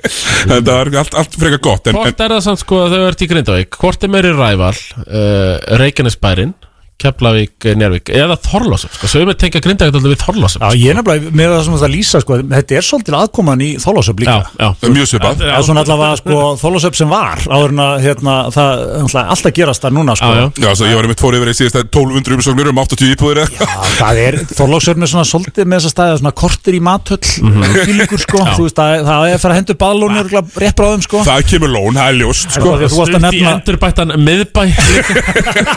[SPEAKER 1] Þetta var allt, allt frekar gott, en,
[SPEAKER 2] Hvort er það samt sko að þau ert í Grindavík Hvort er meiri ræval uh, Reykjanesbærin Keflavík, eh, Njarvík Eða Þorlásum sko Sögum við tengja Grindavík alltaf við Þorlásum
[SPEAKER 12] Já, ég er nefnilega með það sem það lýsa sko, þetta er svolítið aðkoman í Þólásöp líka
[SPEAKER 2] Já, já.
[SPEAKER 1] Mjög svipað.
[SPEAKER 12] Það er svona allavega sko, Þólásöp sem var áður en að hérna, það er náttúrulega alltaf gerast það núna sko.
[SPEAKER 1] Já, svo ég var einmitt fór yfir í síðasta 1200 umsóknir um 80 íbúðir eða
[SPEAKER 12] Það er, Þorlóksjörn er svona svolítið með þessa staði svona kortir í matöll mm
[SPEAKER 1] Mhm.
[SPEAKER 12] sko,
[SPEAKER 1] Já.
[SPEAKER 12] þú veist, það, það er að fara að hendur baðlónu örugglega rétt bráðum sko
[SPEAKER 1] Það kemur lón, það er ljóst
[SPEAKER 12] Það er
[SPEAKER 1] sko.
[SPEAKER 12] bara því að þú varst að Stutt í nefna-
[SPEAKER 2] endurbættan miðbæ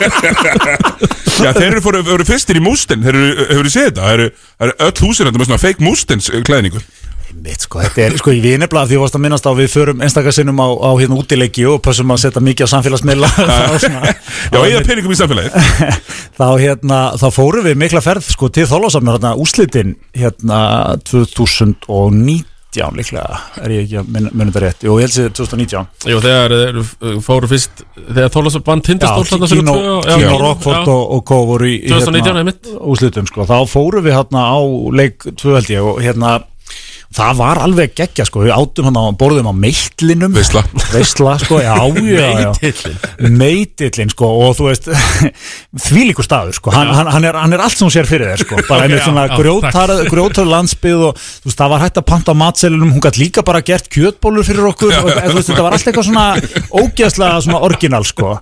[SPEAKER 1] Já, þeir eru, fóru, eru fyrstir í mústin Þeir eru, hefur þið séð þetta Það eru, það eru öll húsir þetta með svona fake mústins eh, klæðningu
[SPEAKER 12] Mitt sko, þetta er, sko, ég við nefnilega því að þú varst að minnast á við förum einstakarsinnum á, á hérna útileiki og passum að setja mikið á samfélagsmiðla þá svona
[SPEAKER 1] Já, eða peningum í samfélagið
[SPEAKER 12] þá, hérna, þá fórum við mikla ferð sko, til þólasafnar hérna, úslitin hérna 2019 líklega er ég ekki að mun- muna þetta rétt Jú, ég held sér 2019
[SPEAKER 2] Jú, þegar þeir eh, fóru fyrst Þegar Þorlásum vann tindastól
[SPEAKER 12] Já,
[SPEAKER 2] þarna fyrir
[SPEAKER 12] Kino,
[SPEAKER 2] tvö- já,
[SPEAKER 12] Kino Rockford
[SPEAKER 2] já.
[SPEAKER 12] og, og Kó voru í, í
[SPEAKER 2] 2019 einmitt.
[SPEAKER 12] úslitum sko. þá fórum við hérna á leik 2 held ég og hérna það var alveg geggja sko, við átum hann á borðum á meitlinum
[SPEAKER 1] Veisla
[SPEAKER 12] Veisla sko, já, já, já
[SPEAKER 2] Meitillinn.
[SPEAKER 12] Meitillinn sko og þú veist þvílíkur staður sko, hann,
[SPEAKER 2] Já.
[SPEAKER 12] hann, hann, er, hann er allt sem hún sér fyrir þér sko,
[SPEAKER 2] Ok,
[SPEAKER 12] bara einmitt
[SPEAKER 2] já,
[SPEAKER 12] svona
[SPEAKER 2] já,
[SPEAKER 12] grjótar,
[SPEAKER 2] takk.
[SPEAKER 12] grjótar landsbyð og þú veist, það var hægt að panta á matselunum, hún gætt líka bara gert kjötbólur fyrir okkur og þú veist, þetta var allt eitthvað svona ógeðslega svona orginal sko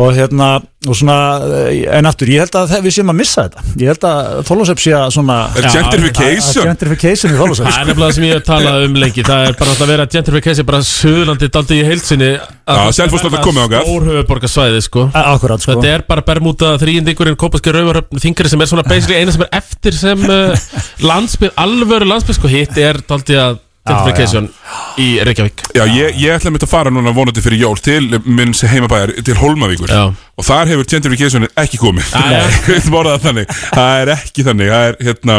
[SPEAKER 12] og hérna, og svona eh, en aftur, ég held að það- við séum að missa þetta ég held að Þólasöp sé að svona
[SPEAKER 2] Er gentrification?
[SPEAKER 12] Að- að gentrification í sko. Þólasöp
[SPEAKER 2] Það er nefnilega það sem ég hef talað um lengi Það er bara alltaf að vera gentrification bara Suðurlandi daldi í heilsinni
[SPEAKER 1] Já, Selfoss náttúrulega komið þangað.
[SPEAKER 2] Stór höfuborgarsvæði sko
[SPEAKER 12] Akkurat
[SPEAKER 2] sko Þetta er bara bermúta þrýjendingurinn Kópaskir rauvaröfn þingri sem er svona basically eina sem er eftir sem uh, landsbyr Alvöru landsbyr sko Hitt er daldi að gentrification í Reykjavík
[SPEAKER 1] Já, ég, ég ætla mitt að fara núna vonandi fyrir jól til minn sem heimabæjar til Holmavíkur
[SPEAKER 2] Já.
[SPEAKER 1] og þar hefur gentrificationin ekki komið Við getum orðað það þannig Það er ekki þannig, það er hérna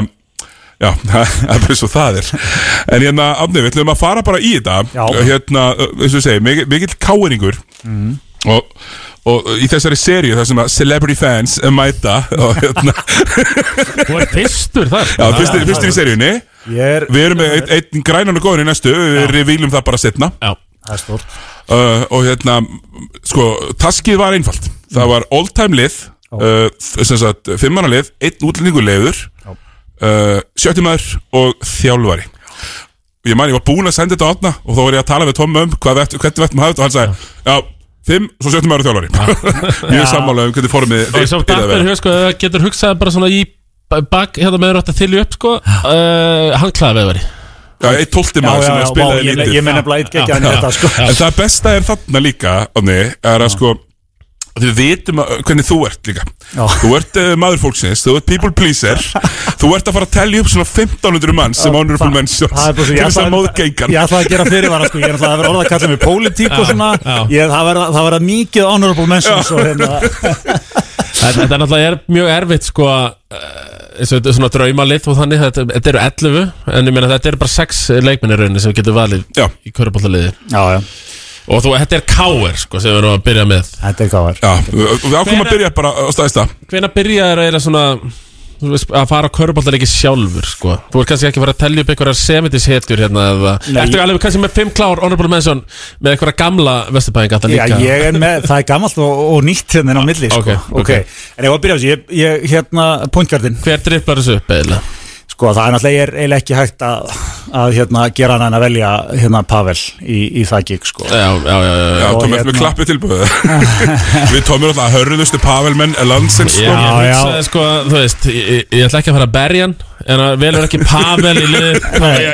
[SPEAKER 1] Já, það það er bara svo það er En hérna, afnið, við ætlum að fara bara í þetta Já. Hérna, eins og við segjum, mikill, mikill káeringur og, og í þessari seríu þar sem að celebrity fans mæta og hérna
[SPEAKER 2] Þú er fyrstur þar
[SPEAKER 1] Já, fyrstur, sko. fyrstur í seríunni
[SPEAKER 12] er,
[SPEAKER 1] Við erum með einn ein, grænan og góðin í næstu Við revílum það bara setna
[SPEAKER 2] Já,
[SPEAKER 12] það er stórt
[SPEAKER 1] uh, Og hérna, sko, taskið var einfalt Það var all time lið uh, sem sagt, Fimmana lið, einn útlendingur leiður uh, Sjötti maður og þjálfari Ég man, ég var búinn að senda þetta á átna Og þá var ég að tala við Tom um hvað vett, hvernig vettum hafði Og hann sagði, já, fimm, svo sjötti maður og þjálfari Ég
[SPEAKER 2] Já.
[SPEAKER 1] er sammála um hvernig formið
[SPEAKER 2] Og svo
[SPEAKER 1] yrði að vera.
[SPEAKER 2] Dabber hefur sko eða getur hugsað bara svona í ba- bak hérna meður átt að þylju upp sko uh, Handklaða veðveri
[SPEAKER 1] Já, einn tólti maður sem er að spila lítið Já.
[SPEAKER 12] sko.
[SPEAKER 1] En það besta er þarna líka Onni, er að sko Við vitum að, hvernig þú ert líka Þú ert uh, maður fólksins, þú ert people pleaser Þú ert að fara að telja upp svona 1500 mann sem honorable
[SPEAKER 12] Það-
[SPEAKER 1] mentions
[SPEAKER 12] það er bara svo-
[SPEAKER 1] Til þess
[SPEAKER 12] ég
[SPEAKER 1] að
[SPEAKER 12] ætlaði-
[SPEAKER 1] móðgengan
[SPEAKER 12] Ég ætlaði að gera fyrirvara sko, ég ætlaði að vera orða að kalla mig pólitík og
[SPEAKER 1] Já,
[SPEAKER 12] svona
[SPEAKER 1] já.
[SPEAKER 12] ég, það, verða, það verða mikið honorable mentions og hérna
[SPEAKER 2] Þetta þetta er náttúrulega er mjög erfitt sko að, eh, eins og þetta er svona draumalið og þannig þetta, þetta eru 11 en ég meina þetta eru bara 6 leikmennir rauninni sem getur valið
[SPEAKER 1] já.
[SPEAKER 2] í körubóllaliði
[SPEAKER 12] Já, já
[SPEAKER 2] Og þú, þetta er káir sko sem við erum að byrja með
[SPEAKER 12] Þetta er káir
[SPEAKER 1] Já, við við ákveðum að byrja bara á staðista
[SPEAKER 2] Hvenær byrjaður að, svona, þú veist, að fara á körubóllaleiki sjálfur sko Þú ert kannski ekki að fara að telja upp einhverjar 70s hetjur hérna eða
[SPEAKER 12] Nei,
[SPEAKER 2] Ertu alveg kannski með 5 klár honorable mention með einhverja gamla vesturbæðinga þetta
[SPEAKER 12] Já,
[SPEAKER 2] líka
[SPEAKER 12] ég er með, það er gamalt og, og nýtt hérna inn á milli sko.
[SPEAKER 2] ok, ok.
[SPEAKER 12] En ég var að byrja á þessu, ég, ég hérna pointgardin
[SPEAKER 2] Hver dripplar þessu upp eiginlega?
[SPEAKER 12] Sko það er náttúrulega ég er eiginlega ekki hægt að, að hérna, gera hann en að velja hérna Pavel í, í það gig sko.
[SPEAKER 2] Já, já, já, já,
[SPEAKER 1] Já, Tómi, ertu með
[SPEAKER 12] hérna.
[SPEAKER 1] klappi tilbúið Við Tómi erum alltaf hörðustu pavelmenn landsins sko.
[SPEAKER 2] Já, ég hugsaði sko, þú veist, ég, ég- ég ætla ekki að fara að berja hann En að velur ekki Pavel í lið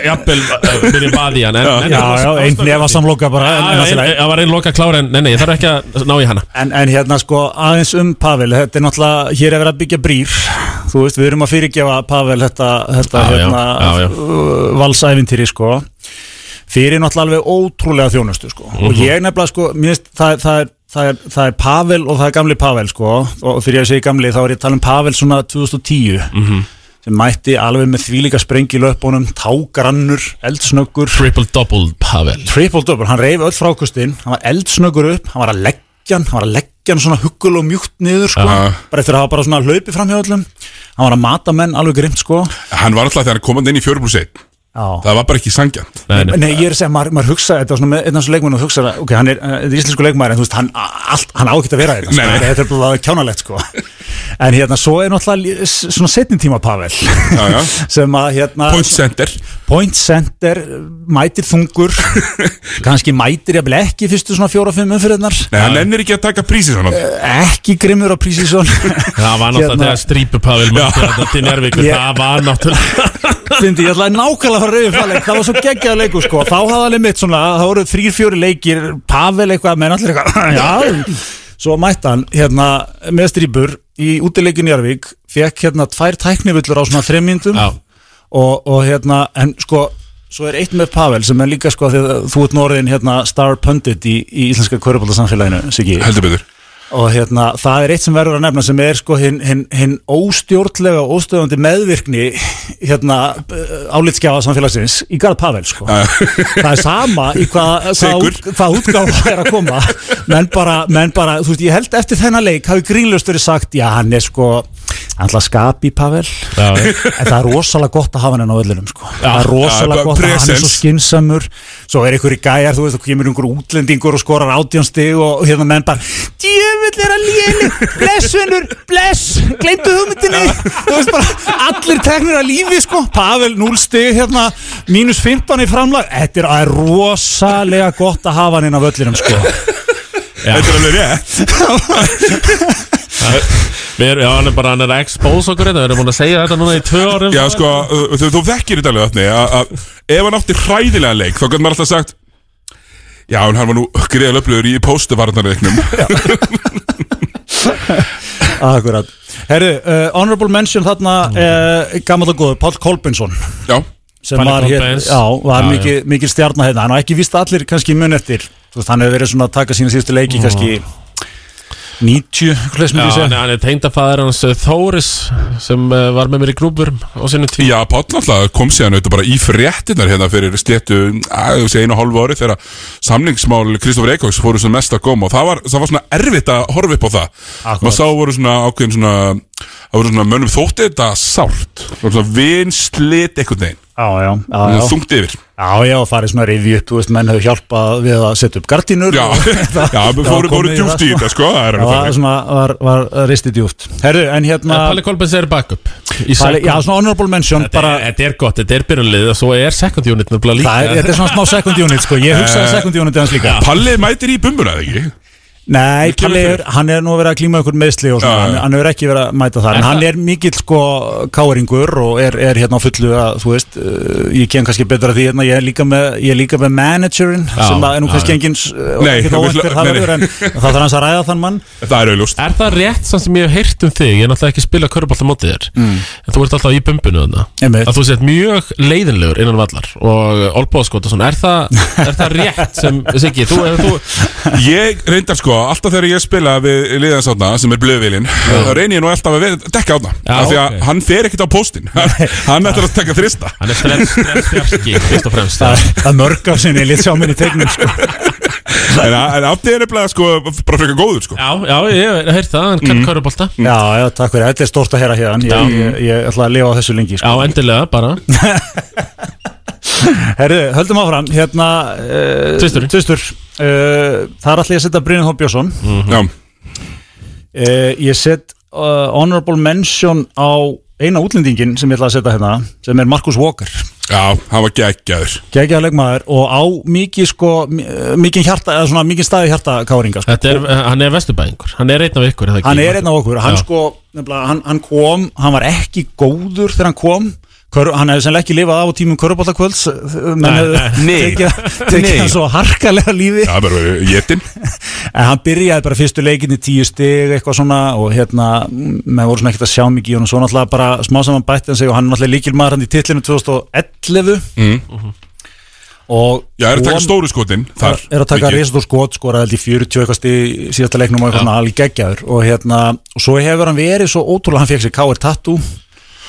[SPEAKER 2] Jafnvel, uh, byrja baði hann en,
[SPEAKER 12] Já,
[SPEAKER 2] en,
[SPEAKER 12] já, já, einn nefa samloka bara en- en allt í
[SPEAKER 2] en,
[SPEAKER 12] lagi.
[SPEAKER 2] Það var einn loka klára en, nei, nei, ég þarf ekki að ná í hana
[SPEAKER 12] En, en hérna sko aðeins um Pavel þetta er náttúrulega, hér er verið að byggja brýr þú veist, við erum að fyrirgefa Pavel þetta, þetta
[SPEAKER 2] Já, já,
[SPEAKER 12] hérna,
[SPEAKER 2] já, já.
[SPEAKER 12] uh, valsævintýri sko fyrir náttúrulega alveg ótrúlega þjónustu sko. og
[SPEAKER 13] Mhm.
[SPEAKER 12] ég nefnilega sko, mér finnst það, það, er, það, er, það er Pavel og það er gamli Pavel sko, og þegar ég segi gamli þá er ég að tala um Pavel svona 2010
[SPEAKER 2] Mhm.
[SPEAKER 12] sem mætti alveg með þvílíka sprengi í löpunum, tágrannur, eldsnöggur
[SPEAKER 2] Triple-double Pavel
[SPEAKER 12] Triple-double, hann reyfi öll frákustin hann var eldsnöggur upp, hann var að leggja hann, hann var að leggja hann svona huggul og mjúkt niður sko,
[SPEAKER 1] Aha.
[SPEAKER 12] bara eftir að hafa bara svona hlaupið fram hjá öllum hann var að mata menn alveg grimt sko
[SPEAKER 1] Hann var alltaf þegar hann komandi inn í 4 plus 1 Það var bara ekki sangjant
[SPEAKER 12] Nei, ég er að segja, maður, maður hugsa þetta var svona með einn af þessu leikmennu og hugsa ok, hann er, uh, er íslensku leikmæður en þú veist, hann, allt, hann á ekki að vera þetta sko,
[SPEAKER 1] Nei, nei.
[SPEAKER 12] þetta er bara kjánalegt sko en hérna, svo er náttúrulega lí- s- svona setni tíma Pavel
[SPEAKER 1] já.
[SPEAKER 12] sem að hérna
[SPEAKER 1] Point center
[SPEAKER 12] Point center, mætir þungur kannski mætir jafnvel ekki í fyrstu svona fjóra-fimm umfyrirnar
[SPEAKER 1] Nei, hann ennir ekki að taka prísi svona
[SPEAKER 12] ekki grimmur á prísísson
[SPEAKER 2] Það var náttúrulega
[SPEAKER 12] Hérna.
[SPEAKER 2] þegar strípupavil mætti
[SPEAKER 12] Já.
[SPEAKER 2] þetta til Njárvíkur,
[SPEAKER 12] Ég-
[SPEAKER 2] það var náttúrulega
[SPEAKER 12] Bindi, ég ætlaði nákvæmlega að fara rauðið það leik Það var svo geggjaða leikur sko Þá hafði alveg mitt svona Það voru þrýr, fjóri leikir Pavel eitthvað Menn allir eitthvað Já Svo mætti hann hérna Með strýpur Í útileikinu Jarvík Fekk hérna tvær tæknivullur á svona þremmyndum Já og, og hérna En sko Svo er eitt með Pavel Sem er líka sko Þegar þú ert norðin hérna Star pundit í, í íslenska kvörubaldasamfélaginu Siggi
[SPEAKER 1] Heldur betur
[SPEAKER 12] og hérna, það er eitt sem verður að nefna sem er sko hinn hin, hin óstjórnlega og óstöðandi meðvirkni hérna álitskjáða samfélagsins í Garð Pavel sko það er sama í hvað hva,
[SPEAKER 13] Sigur.
[SPEAKER 12] hva útgáfa er að koma menn bara, menn bara, þú veist, ég held eftir þennan leik hafi grínlöst verið sagt, já hann er sko hann ætla að skapi Pavel
[SPEAKER 2] Já, já.
[SPEAKER 12] en það er rosalega gott að hafa hann á öllunum sko. það er
[SPEAKER 13] já,
[SPEAKER 12] rosalega gott að hann er svo
[SPEAKER 13] presence.
[SPEAKER 12] skinsamur svo er einhverju gæjar, þú veist, þú kemur einhverju útlendingur og skorar átjónsti og hérna menn bara Djöfull er að léni Bless vinnur, bless Gleimdu hugmyndinni Þú veist bara Allir teknir að lífi sko Pavel 0 stig hérna Mínus 15 í framlag Þetta er, það er rosalega gott að hafa hann inn á völlinum sko
[SPEAKER 1] Þetta er alveg rétt
[SPEAKER 2] Við erum, já, hann er bara, hann er að expose okkur þetta Við erum búin að segja þetta núna í tvö hérna. árum
[SPEAKER 1] Já, sko, uh, þú, þú þekkir þetta alveg þannig að- að ef hann átti hræðilega leik þá gæti maður alltaf sagt Já, en hann var nú greiðal upplöður í póstuvarnarleiknum
[SPEAKER 12] Akkurat Herru, uh, honorable mention þarna
[SPEAKER 13] Mm.
[SPEAKER 12] uh, gammal og góður, Páll Kolbensson
[SPEAKER 1] Já
[SPEAKER 12] sem
[SPEAKER 2] Palli
[SPEAKER 12] var, hér,
[SPEAKER 2] Kolbeins.
[SPEAKER 12] já, var
[SPEAKER 2] Já, já.
[SPEAKER 12] mikil, mikil stjarnar hérna, hann á ekki vist allir kannski mun eftir, þú veist, hann hefur verið svona að taka sína síðustu leiki kannski 90, hvað leist mér
[SPEAKER 2] Já,
[SPEAKER 12] því segja
[SPEAKER 2] hann er- hann er tengdafæðar hans eh, Þóris sem eh, var með mér í grúpur og sinni tíu
[SPEAKER 1] Já, Páll alltaf kom síðan auðvitað bara í fréttinar hérna fyrir sléttu, að þú sé einu og hálfu ári þegar samningsmál Kristofur Eikóks fóru svona mest að góma og það var, það var svona erfitt að horfa upp á það maður sá voru svona ákveðin svona það voru svona mönnum þótti þetta sárt það voru svona vinslit einhvern veginn
[SPEAKER 12] Já, já, já,
[SPEAKER 1] Svona
[SPEAKER 12] já.
[SPEAKER 1] þungt yfir
[SPEAKER 12] Já, já, og farið svona rifi upp, þú veist, menn hefur hjálpað við að setja upp gardínur
[SPEAKER 1] Já,
[SPEAKER 12] og-
[SPEAKER 1] já, við
[SPEAKER 12] það
[SPEAKER 1] fórum-
[SPEAKER 12] var
[SPEAKER 1] fórum
[SPEAKER 12] komið
[SPEAKER 1] djúpt í þetta, sko, það er
[SPEAKER 12] Já,
[SPEAKER 1] alveg Eh,
[SPEAKER 12] það
[SPEAKER 1] þannig.
[SPEAKER 12] var svona, var, var ristið djúft Herru, en hérna
[SPEAKER 2] Eh, Palli Kolbens er backup í
[SPEAKER 12] Palli-
[SPEAKER 2] second.
[SPEAKER 12] Já, svona honorable mention
[SPEAKER 2] Þetta er- þetta er gott, þetta er byrjunlið og svo er second unit nefnilega líka
[SPEAKER 12] Það er, þetta er svona smá second unit, sko Ég hugsaði
[SPEAKER 2] Eh,
[SPEAKER 12] second unit hans líka
[SPEAKER 1] Palli mætir í bumbuna, eða ekki?
[SPEAKER 12] Nei,
[SPEAKER 1] kemur
[SPEAKER 12] Palli, er,
[SPEAKER 1] fyrir.
[SPEAKER 12] hann er nú verið að klíma ykkur meðsli og svona,
[SPEAKER 1] Já, já.
[SPEAKER 12] hann, hann hefur ekki verið að mæta þar En
[SPEAKER 1] Er
[SPEAKER 12] hann
[SPEAKER 1] það-
[SPEAKER 12] er mikill, sko, káringur og er, er hérna á fullu að, þú veist, uh, ég kem kannski betra að því hérna, ég er líka með, ég er líka með managerinn
[SPEAKER 1] Já,
[SPEAKER 12] sem að er nú
[SPEAKER 1] já,
[SPEAKER 12] kannski
[SPEAKER 1] já.
[SPEAKER 12] engin uh,
[SPEAKER 1] Nei,
[SPEAKER 12] ekkert óvænt
[SPEAKER 1] við-
[SPEAKER 12] hver það
[SPEAKER 1] nei, nei.
[SPEAKER 12] verður, en það þarf hans að ræða þann mann
[SPEAKER 1] Það er auðlust
[SPEAKER 2] Er það rétt samt sem ég hef heyrt um þig, ég er náttúrulega ekki að spila körbált á mótið þér, en þú ert alltaf í bumbunu þarna,
[SPEAKER 12] Mm. Einmitt.
[SPEAKER 2] að þú sett mjög leiðinlegur innan vallar og olbóðskot og svona, er það, er það rétt sem, Siggi, þú, ef þú,
[SPEAKER 1] Ég reyndar sko, alltaf þegar ég spila við liðans átna, sem er blöðvílin þá reynir ég nú alltaf að vera- dekka átna
[SPEAKER 2] Já,
[SPEAKER 1] af því að
[SPEAKER 2] ok.
[SPEAKER 1] hann fer ekkit á póstinn hann ætlar að taka þrista
[SPEAKER 2] hann er stress, stressfjarki, fyrst og fremst.
[SPEAKER 12] það, það mörg af sinni lít sjá minni tegnum sko.
[SPEAKER 1] En, en Abdi er nefnilega sko, bara frekar góður sko.
[SPEAKER 2] Já, já, ég hef heyrt það, hann kann mm. körbólta.
[SPEAKER 12] já, já, takk fyrir, þetta er stórt að heyra hérna
[SPEAKER 2] Já.
[SPEAKER 12] ég, ég, ég ætla að lifa á þessu lengi sko.
[SPEAKER 2] Já, endilega, bara.
[SPEAKER 12] Herðu, höldum áfram hérna, uh,
[SPEAKER 2] Tvistur.
[SPEAKER 12] tvistur. Uh, þar ætla ég að setja Brynir Hópp Björnsson
[SPEAKER 1] Já
[SPEAKER 12] uh, ég set uh, honorable mention á eina útlendingin sem ég ætla að setja hérna sem er Markus Walker
[SPEAKER 1] Já, hann var geggjaður
[SPEAKER 12] geggjaða leikmaður og á mikið sko, mikið hjarta eða svona mikið staði hjarta káringa sko.
[SPEAKER 2] Þetta er, eh, hann er vesturbæðingur, hann er einn af ykkur, er það ekki?
[SPEAKER 12] hann er einn af okkur hann,
[SPEAKER 2] Já.
[SPEAKER 12] sko, nefnilega, hann, hann kom, hann var ekki góður þegar hann kom Kör, hann hefði sennilega ekki lifað af á tímum körubáttakvölds menn
[SPEAKER 1] Nei,
[SPEAKER 12] hefði
[SPEAKER 1] nei.
[SPEAKER 12] tekið
[SPEAKER 1] Nei.
[SPEAKER 12] tekið hann svo harkalega lífi
[SPEAKER 1] Já, bara verið jetin
[SPEAKER 12] en hann byrjaði bara fyrstu leikinni tíu stig eitthvað svona og hérna með voru svona ekkert að sjá mikið í honum svo náttúrulega bara smá saman bætti hann sig og hann er náttúrulega líkilmaður hann í titlinu 2011
[SPEAKER 1] mm.
[SPEAKER 12] og
[SPEAKER 1] Já, er að taka
[SPEAKER 12] von-
[SPEAKER 1] stóru skotin þar
[SPEAKER 12] er að taka
[SPEAKER 1] mikið.
[SPEAKER 12] reist og skot skora held í 40 eitthvað í síðasta leiknum og eitthvað svona alveg geggjaður og hérna, og svo hefur hann verið svo ótrúlega hann fekk sér K.R. Tattoo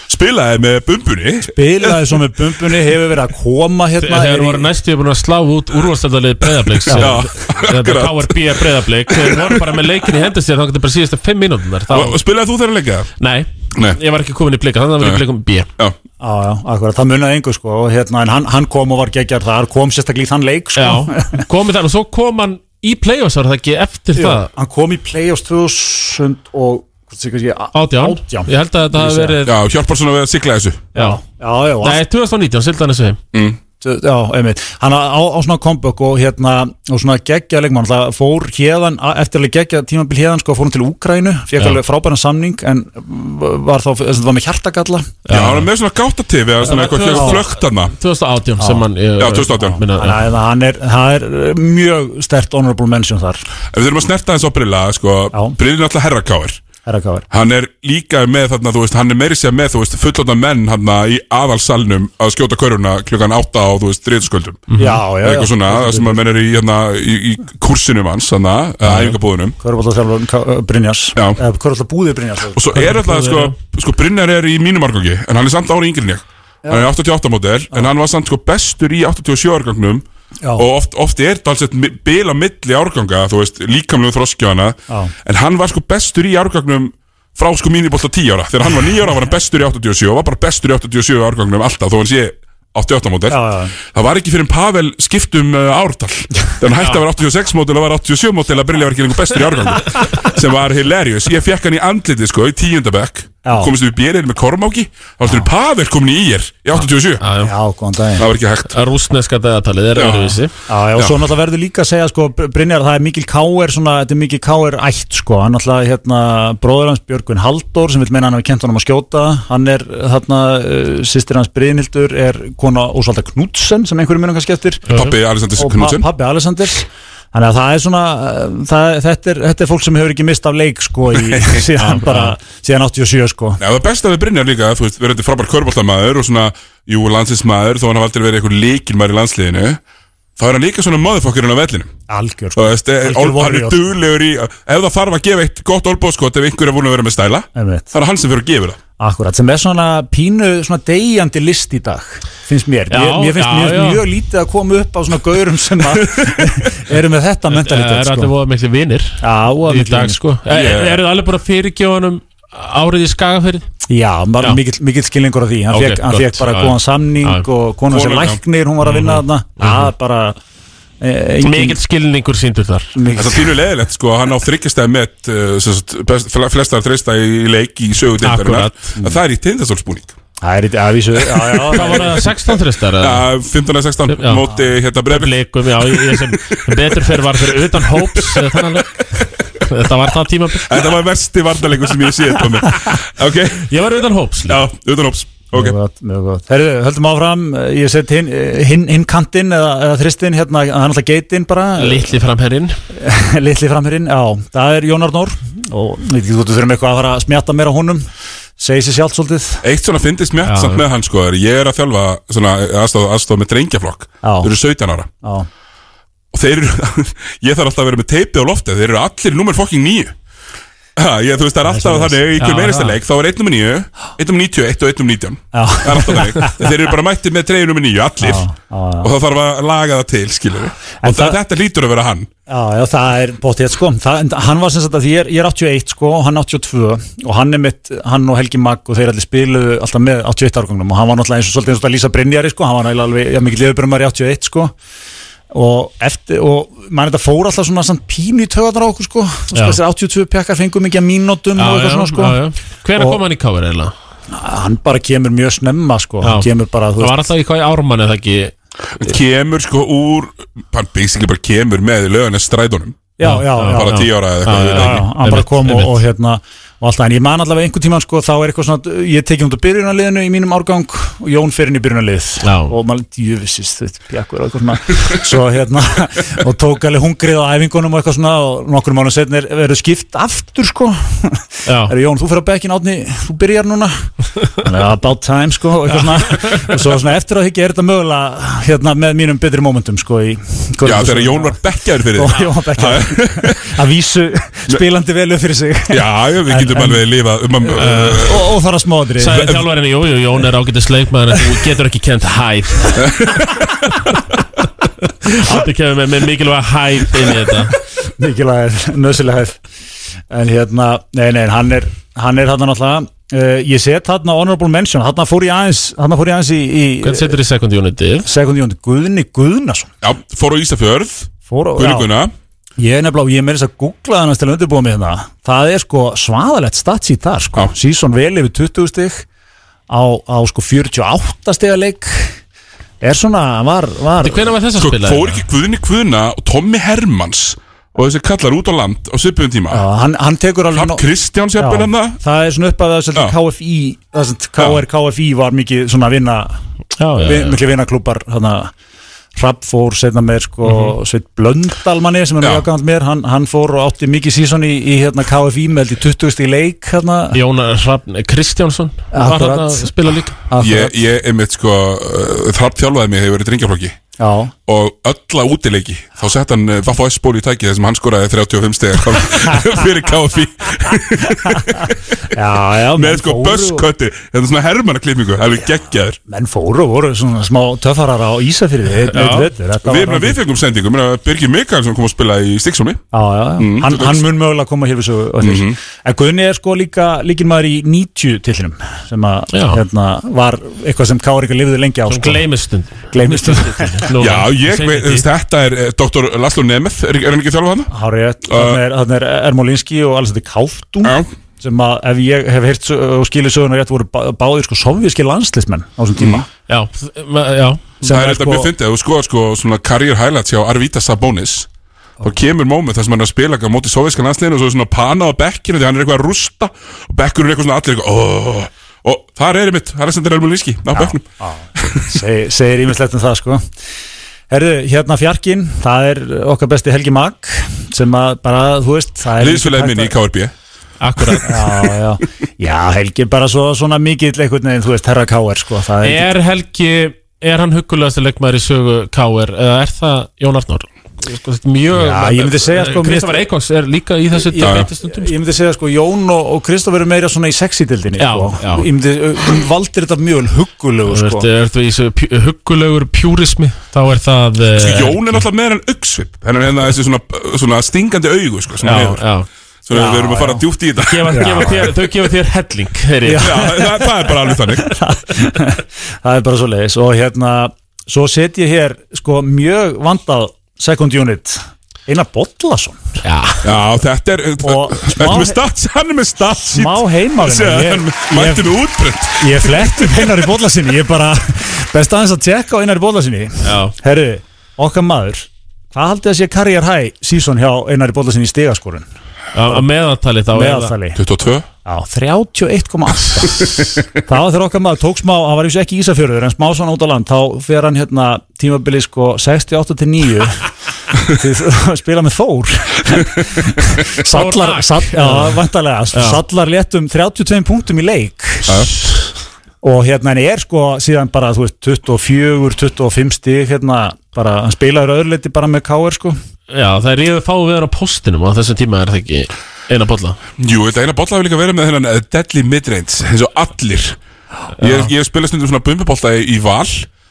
[SPEAKER 1] Spilaði með bumbunni
[SPEAKER 12] Bilaði svo með bumbunni, hefur verið að koma hérna
[SPEAKER 2] Þegar
[SPEAKER 12] er í-
[SPEAKER 2] voru næstu búin að slá út úrvalstældalið breyðablík
[SPEAKER 12] Já,
[SPEAKER 2] Þetta
[SPEAKER 12] akkurat.
[SPEAKER 2] KRB breyðablík Þeir voru bara með leikin í hendur sér Þá getur bara síðustu fimm mínútunar þá...
[SPEAKER 1] Og- og spilaði þú þeirra leika?
[SPEAKER 2] Nei,
[SPEAKER 1] Nei.
[SPEAKER 2] ég var ekki komin í blika Þannig að var ég
[SPEAKER 12] Nei.
[SPEAKER 2] blikum B
[SPEAKER 1] Já,
[SPEAKER 12] Já, já, akkurat, það munnaði engu sko og hérna, en hann, hann kom og var geggjar þar kom sérstaklega í þann leik sko
[SPEAKER 2] Já, komið þannig og svo kom hann í play-offs var það ekki eftir
[SPEAKER 12] Jú,
[SPEAKER 2] það
[SPEAKER 12] Hann kom í play-offs 2000 og hvort sé, kannski, a-
[SPEAKER 2] Átján. Ég held að þetta hafi
[SPEAKER 12] Ég sé.
[SPEAKER 2] verið-
[SPEAKER 1] Já, hjálpar svona við að sigla þessu
[SPEAKER 2] Já,
[SPEAKER 12] já, já
[SPEAKER 2] Nei, 2019, sildan þessu heim
[SPEAKER 1] mm.
[SPEAKER 12] Já, einmitt, hann á, á, á svona comeback og hérna, og svona geggja leikmann það fór hérðan, eftir alveg geggja tímabil hérðan sko, fór hann til Úkrænu,
[SPEAKER 1] Já.
[SPEAKER 12] fekk alveg frábæran samning en var þá, þess að var með hjartagalla
[SPEAKER 1] Já, hann er með svona gáttatifi eða svona
[SPEAKER 12] Já,
[SPEAKER 1] eitthvað
[SPEAKER 12] já.
[SPEAKER 1] flögt þarna
[SPEAKER 2] 2018
[SPEAKER 12] sem hann-
[SPEAKER 1] Já, 2018
[SPEAKER 2] Þannig
[SPEAKER 12] að hann er, það er mjög stert honorable mention þar
[SPEAKER 1] Ef við erum að snerta hans á Brilla, sko Brilla er náttúrulega herrakáir
[SPEAKER 12] herrakáir
[SPEAKER 1] Hann er líka með þarna, þú veist, hann er meiri sér með, þú veist, fullotna menn hann í aðalsalnum að skjóta körfuna klukkan 8 á, þú veist, þriðsköldum.
[SPEAKER 12] Mhm. Já, já, já.
[SPEAKER 1] Eitthvað svona, það sem að menn eru í, hérna, í, í kursinum hans, hann að æfingabúðunum.
[SPEAKER 12] Körbóllaþjálfur Brynjas Já Körbóllaþjálfur búðir Brynjas
[SPEAKER 1] Og svo er alltaf, sko, sko Brynjar er í mínum árgangi, en hann er samt ári yngri en ég. Hann er 88 mótel, en hann var samt, sko, bestur í 87 árgangnum.
[SPEAKER 12] Já.
[SPEAKER 1] Og oft, oft er þetta alls eitt bila milli árganga, þú veist, líkamlegu þroskjána.
[SPEAKER 12] Já.
[SPEAKER 1] En hann var sko bestur í árgangnum frá sko mínibólta 10 ára Þegar hann var 9 ára var hann bestur í 87 og var bara bestur í 87 árgangnum alltaf þó hann sé 88 mótel Það var ekki fyrir en Pavel skiptum uh, ártal Þegar hann hætti að vera 86 mótel og var 87 mótel að Brynja var ekki lengur bestur í árgangnum sem var hilarious Ég fekk hann í andliti sko í 10. bekk
[SPEAKER 12] Já.
[SPEAKER 1] komist við bjerið með Kormáki þá var þetta Pavel komin í ír í 87
[SPEAKER 2] Já,
[SPEAKER 12] já góðan daginn
[SPEAKER 1] Það var ekki hægt
[SPEAKER 2] Rúsneska dagatalið er
[SPEAKER 1] Já.
[SPEAKER 2] öðruvísi
[SPEAKER 12] Já, já, og svo náttúrulega verður líka að segja sko, Br- Brynjar, það er mikil káir svona, þetta er mikil káir ætt sko, hann náttúrulega hérna, bróður hans Björgvin Halldór sem vil meina hann hafi kent honum að skjóta hann er þarna, uh, sýstir hans Brynhildur er kona Ósvalda Knudsen sem einhverjum munum kannski eftir
[SPEAKER 1] Pabbi Alexanders
[SPEAKER 12] Og pa-
[SPEAKER 1] Knudsen.
[SPEAKER 12] pabbi Alexanders Þannig að það er svona, uh, það, þetta, er, þetta er fólk sem hefur ekki mist af leik sko í, síðan bara, síðan 87 sko
[SPEAKER 1] Já, það besta við Brynjar líka, þú veist, verður þetta frábær körbóltamaður og svona, jú, landsinsmaður, þó hann hafa aldrei verið einhver líkilmaður í landsliðinu, þá er hann líka svona motherfuckerinn á vellinu.
[SPEAKER 12] Algjör, sko.
[SPEAKER 1] Þú veist, eh,
[SPEAKER 12] Algjör
[SPEAKER 1] ol- hann er
[SPEAKER 12] warrior.
[SPEAKER 1] duglegur í, ef það þarf að gefa eitt gott olbóðskot ef einhver er búin að vera með stæla,
[SPEAKER 12] Einmitt.
[SPEAKER 1] það er hann sem fyrir að gefa það.
[SPEAKER 12] Akkurat, sem er svona pínu svona deyjandi list í dag finnst mér,
[SPEAKER 1] Já,
[SPEAKER 12] mér, mér finnst
[SPEAKER 1] já,
[SPEAKER 12] mér
[SPEAKER 1] já.
[SPEAKER 12] finnst mjög lítið að koma upp á svona gaurum sem að eru með þetta
[SPEAKER 2] Það
[SPEAKER 12] mentalitet
[SPEAKER 2] eru Eh, allir
[SPEAKER 12] sko.
[SPEAKER 2] voða miklu vinir
[SPEAKER 12] Já, voða
[SPEAKER 2] Í
[SPEAKER 12] miklir
[SPEAKER 2] dag
[SPEAKER 12] vinir.
[SPEAKER 2] sko
[SPEAKER 12] Ég-
[SPEAKER 2] yeah. Eru það alveg bara fyrirgjóðanum árið í skagafyrð?
[SPEAKER 12] Já, bara
[SPEAKER 2] Já.
[SPEAKER 12] mikill, mikill skilningur á því hann
[SPEAKER 2] Ok,
[SPEAKER 12] fékk hann
[SPEAKER 2] gott.
[SPEAKER 12] fékk bara
[SPEAKER 2] Já,
[SPEAKER 12] góðan
[SPEAKER 2] já.
[SPEAKER 12] samning
[SPEAKER 2] Já.
[SPEAKER 12] og konan sem
[SPEAKER 2] Konan, já. Mhm.
[SPEAKER 12] læknir, hún var að vinna þarna það er bara e,
[SPEAKER 2] Mikill skilningur síndur þar
[SPEAKER 1] Það er pínu leðilegt, sko, hann á þryggjastæði með uh, sem sagt, best- fle- flestar þreista í leik í sögu deildarinnar, að það er í tindastólsbúning.
[SPEAKER 12] Það er í að vísu já, já,
[SPEAKER 2] Hvað var það, 16 þristar? eða?
[SPEAKER 1] Já, 15 að 16
[SPEAKER 2] Já.
[SPEAKER 1] móti hérna breyflik.
[SPEAKER 2] Blikum, já, ég sem sem betur fyrir var fyrir utan hóps eh, þennan leik. Þetta var það tíma
[SPEAKER 1] Þetta var versti varnarleikur sem ég séð, Tommi. Ok.
[SPEAKER 2] Ég var utan hóps.
[SPEAKER 1] Já, utan hóps. Ok.
[SPEAKER 12] Mjög gott, mjög gott. Herðu, höldum áfram, ég set hinn hin, hin kantinn eða, eða þristinn hérna, það er náttúrulega geitinn bara.
[SPEAKER 2] Litli framherrin.
[SPEAKER 12] Litli framherrin, já, það er Jón Arnór og ég veit ekki þú þurfum eitthvað að fara að smjata meira á honum, segi sér sjálf svolítið.
[SPEAKER 1] Eitt svona fyndist mjött
[SPEAKER 12] Já.
[SPEAKER 1] samt með hann sko er Ég er að þjálfa svona aðstof, aðstof með drengjaflokk Þeir eru 17 ára
[SPEAKER 12] Já.
[SPEAKER 1] Og þeir eru Ég þarf alltaf að vera með teipið á loftið Þeir eru allir númer fokking nýju Ha, ég, þú veist, það er alltaf
[SPEAKER 12] svoleiðis.
[SPEAKER 1] þannig í hver
[SPEAKER 12] Já,
[SPEAKER 1] meirista
[SPEAKER 12] já.
[SPEAKER 1] leik, þá er 1 um 9 1 um 91 og 1 um 19
[SPEAKER 12] Já.
[SPEAKER 1] það er alltaf þannig, þeir eru bara mættið með 3 um 9 allir, og það þarf að laga það til skilur við, og það, þetta lítur að vera hann
[SPEAKER 12] Já, já, það er bóttið, sko, það, en hann var sem sagt að því ég er, ég er 81, sko, og hann 82 og hann er mitt, hann og Helgi Magg og þeir allir spiluðu alltaf með 81 árgangnum og hann var náttúrulega eins og svolítið eins og þetta Lísa Brynjari, sko, hann var náttúrulega alveg, já, mikið liðubrumar í 81, sko og eftir, og mann þetta fór alltaf svona samt pínu í töðanar á okkur, sko, Þú veist,
[SPEAKER 2] Já.
[SPEAKER 12] þessir 82 pjakkar fengu mikið að mínútum og eitthvað svona, sko
[SPEAKER 2] Hver
[SPEAKER 12] Og-
[SPEAKER 2] kom hann í káver eiginlega?
[SPEAKER 12] hann bara kemur mjög snemma sko. hann kemur bara, þú
[SPEAKER 2] Það
[SPEAKER 12] veist
[SPEAKER 2] var alltaf í hvað í ármann eða ekki
[SPEAKER 1] kemur sko úr hann basically bara kemur með lögana strædunum
[SPEAKER 12] já, já, já,
[SPEAKER 1] bara
[SPEAKER 12] já.
[SPEAKER 1] 10 ára eða eitthvað ég
[SPEAKER 12] já, já,
[SPEAKER 1] veit
[SPEAKER 12] já,
[SPEAKER 1] ekki.
[SPEAKER 12] hann bara kom og, og hérna og alltaf, en ég man allavega einhvern tímann sko, þá er eitthvað svona, ég tekið hún til byrjunarliðinu í mínum árgang og Jón fyrir henni í byrjunarlið Já. og maður djöfisist þetta pjakkur og eitthvað svona, svo hérna og tók alveg hungrið á æfingunum og eitthvað svona og nokkur mánu setnir verður skipt aftur sko, er Jón þú fyrir á bekkin átni, þú byrjar núna þannig að about time sko og, eitthvað svona, og svo svona eftir að higgja er þetta mögulega hérna með mínum betri momentum sko í,
[SPEAKER 1] Já, þegar Jón var bekkjaður fyrir
[SPEAKER 12] Og Jón var bekkjaður. að vísu spilandi velu fyrir sig
[SPEAKER 1] Já, já, við getum alveg lifa um að uh,
[SPEAKER 12] og, og þar að smáðri
[SPEAKER 2] Sæði þjálfarinn, jú, jú, Jón er ágættis leikmaður en þú getur ekki kent hæð Aldrei kemur með, með mikilvæga hæð inn í þetta
[SPEAKER 12] mikilvæg, nöðsilega hæð en hérna, nei, nei, hann er hann er þarna náttúrulega uh, ég set þarna honorable mention, þarna fór ég aðeins þarna fór ég aðeins í, í
[SPEAKER 2] Hvernig setur þið second unitið?
[SPEAKER 12] Second unit, Guðni Guðnason
[SPEAKER 1] Já, fór á Ísafjörð
[SPEAKER 12] Fór á-
[SPEAKER 1] Guðni
[SPEAKER 12] já.
[SPEAKER 1] Guðna
[SPEAKER 12] Ég er nefnilega, ég er meira þess að googla hann til að undirbúa mig hérna Það er sko svaðalegt stats í þar sko. Síson vel yfir 20 stig á, á sko 48 stiga leik Er svona, var, var
[SPEAKER 1] sko,
[SPEAKER 2] hérna?
[SPEAKER 1] Fór ekki Guðni Guðna og Tommy Hermans og þessi kallar út á land á svipum tíma Já,
[SPEAKER 12] hann, hann tekur alveg
[SPEAKER 1] Hrafn Kristjáns jafnvel hérna. hann það
[SPEAKER 12] Það er svona upp að þess að KFI þess að KR, KFI var mikið svona vinna já,
[SPEAKER 2] já, já.
[SPEAKER 12] mikið vinnaklúpar þannig að Rapp fór setna með sko mm
[SPEAKER 2] Mhm.
[SPEAKER 12] Sveit Blöndalmanni sem er mjög gammal mér hann, hann fór og átti mikið síson í, í hérna, KFI með held í 20. stig leik hérna,
[SPEAKER 2] Jón Hrafn Kristjánsson var
[SPEAKER 12] Akkurat.
[SPEAKER 2] þarna að spila líka
[SPEAKER 1] Ég, ég einmitt sko, uh, þarf þjálfaði mig hefur verið drengjaflokki
[SPEAKER 12] Já
[SPEAKER 1] og öll að útileiki þá sett hann uh, Vaffa S-ból í tæki þessum hann skoraði 35 stegar fyrir KFI
[SPEAKER 12] Já, já
[SPEAKER 1] Með sko
[SPEAKER 12] fóru og-
[SPEAKER 1] busskötti Þetta er svona hermannaklippingu, alveg geggjaður
[SPEAKER 12] menn fóru og voru svona smá töffarar á Ísafyrði einn-
[SPEAKER 1] Já.
[SPEAKER 12] einn vetur, þetta
[SPEAKER 1] Við,
[SPEAKER 12] var
[SPEAKER 1] við
[SPEAKER 12] alveg-
[SPEAKER 1] fengum sendingu, meina, Birgir Mikkelsson kom að spila í Stikksóni
[SPEAKER 12] Já, já, já.
[SPEAKER 1] Mm,
[SPEAKER 12] hann, hann mun mögulega koma hér við svo mm
[SPEAKER 1] Mhm.
[SPEAKER 12] -hmm. en Guðni er sko líka líkin maður í 90 tillinum sem að
[SPEAKER 1] Já.
[SPEAKER 12] hérna, var eitthvað sem Kári ekki lifði lengi á sko.
[SPEAKER 2] Sem gleymistund
[SPEAKER 12] gleymistund
[SPEAKER 1] Já, ég veit, þú veist, þetta er eh, Dr. Laszlo Nemeth, er, er hann ekki þjálfað hann?
[SPEAKER 12] Hárið, þannig er, þarna er Ermolinski og alls þetta Káftum sem að ef ég hef heyrt sö- og skilið söguna rétt voru bá- báðir sko sovjíski landslismenn á þessum tíma
[SPEAKER 2] Já, ma- já
[SPEAKER 12] Sem
[SPEAKER 1] Mm. Það er
[SPEAKER 12] er
[SPEAKER 1] eitthvað
[SPEAKER 12] sko-
[SPEAKER 1] mjög fyndið, ef þú skoðar sko svona career highlights hjá Arvita Sabonis þá kemur móment þar sem hann er að spila eitthvað á móti soviska landsliðinu og svo er svona pana á bekkinu því hann er eitthvað að rústa og bekkurinn er eitthvað svona allir eitthvað oh, og þar er einmitt, það er sendir Elmur Líski á bekknum
[SPEAKER 12] Seg, segir ímislegt um það sko Herðu, hérna fjarkinn, það er okkar besti Helgi Mag sem að bara, þú veist það er
[SPEAKER 1] Liðsfélagi minni í KRB
[SPEAKER 2] Akkurat
[SPEAKER 12] Já, já, já, Helgi er bara svo, svona mikill einhvern veginn, þú veist, herra K.R. sko það er,
[SPEAKER 2] Er Helgi, er hann huggulegasti leikmaður í sögu KR eða er það Jón Arnór? Sko, þetta er mjög
[SPEAKER 12] Já, ég myndi segja, sko, mér-
[SPEAKER 2] Kristofar Eikons er líka í þessu
[SPEAKER 12] Já, já.
[SPEAKER 2] dæmi stundum
[SPEAKER 12] Ég myndi segja sko, Jón og, og Kristoffer er meira svona í sexi-dildinni
[SPEAKER 2] Já,
[SPEAKER 12] sko.
[SPEAKER 2] já.
[SPEAKER 12] Ég myndi, um, valdir þetta mjög huggulegu
[SPEAKER 2] Þú eh,
[SPEAKER 12] sko
[SPEAKER 2] ert- Ertu í þessu pjú- huggulegur pjúrismi þá er það eh,
[SPEAKER 1] Sko, Jón er náttúrulega með hann auksvip hann er hérna þessi svona, svona stingandi augu sko, sem
[SPEAKER 2] Já,
[SPEAKER 1] hann hefur
[SPEAKER 2] já.
[SPEAKER 1] Svo
[SPEAKER 2] Já,
[SPEAKER 1] við erum að fara
[SPEAKER 2] já.
[SPEAKER 1] djúpt í þetta
[SPEAKER 2] gefa, gefa þér, Þau gefa þér helling heyri
[SPEAKER 1] Já,
[SPEAKER 2] ég.
[SPEAKER 1] það, það er bara alveg þannig
[SPEAKER 12] það er bara svo leiðis og hérna, svo set ég hér sko mjög vandað second unit Einar Bollason
[SPEAKER 2] Já,
[SPEAKER 1] þetta er
[SPEAKER 12] og
[SPEAKER 1] Ertu með stats? Hann er með stats
[SPEAKER 12] smá heimavinna
[SPEAKER 1] Hann mætti með útbreytt
[SPEAKER 12] ég flett upp Einar í Bollasinni ég bara, best aðeins að tjekka á Einar í Bollasinni
[SPEAKER 2] Já.
[SPEAKER 12] herru, okkar maður hvað haldið að sé karriér hæ sísón hjá Einar í Bollasinni í stigaskorun
[SPEAKER 2] Að meðaltali þá er það-
[SPEAKER 12] Meðaltali.
[SPEAKER 1] 22
[SPEAKER 12] Já, 31,8 Það var þegar okkar maður tók smá, hann var í þessu ekki í Ísafjörður en smá svona út á land, þá fer hann hérna tímabilið sko 68 til 9 til að spila með Þór Sallar
[SPEAKER 2] Ak.
[SPEAKER 12] sall, Já, vantarlega,
[SPEAKER 2] Já.
[SPEAKER 12] sallar léttum 32 punktum í leik
[SPEAKER 1] Já.
[SPEAKER 12] og hérna henni er sko síðan bara, þú veist, 24 25 stig, hérna, bara hann spilaður öðruleiti bara með KR sko
[SPEAKER 2] Já, það er ríðu fáið við hann á postinum á þessum tíma er það ekki eina bolla
[SPEAKER 1] Jú, þetta eina bolla hefur líka verið með þennan eh, deadly midrange, eins og allir Ég, ég spila stundum svona bumbubolta í, í val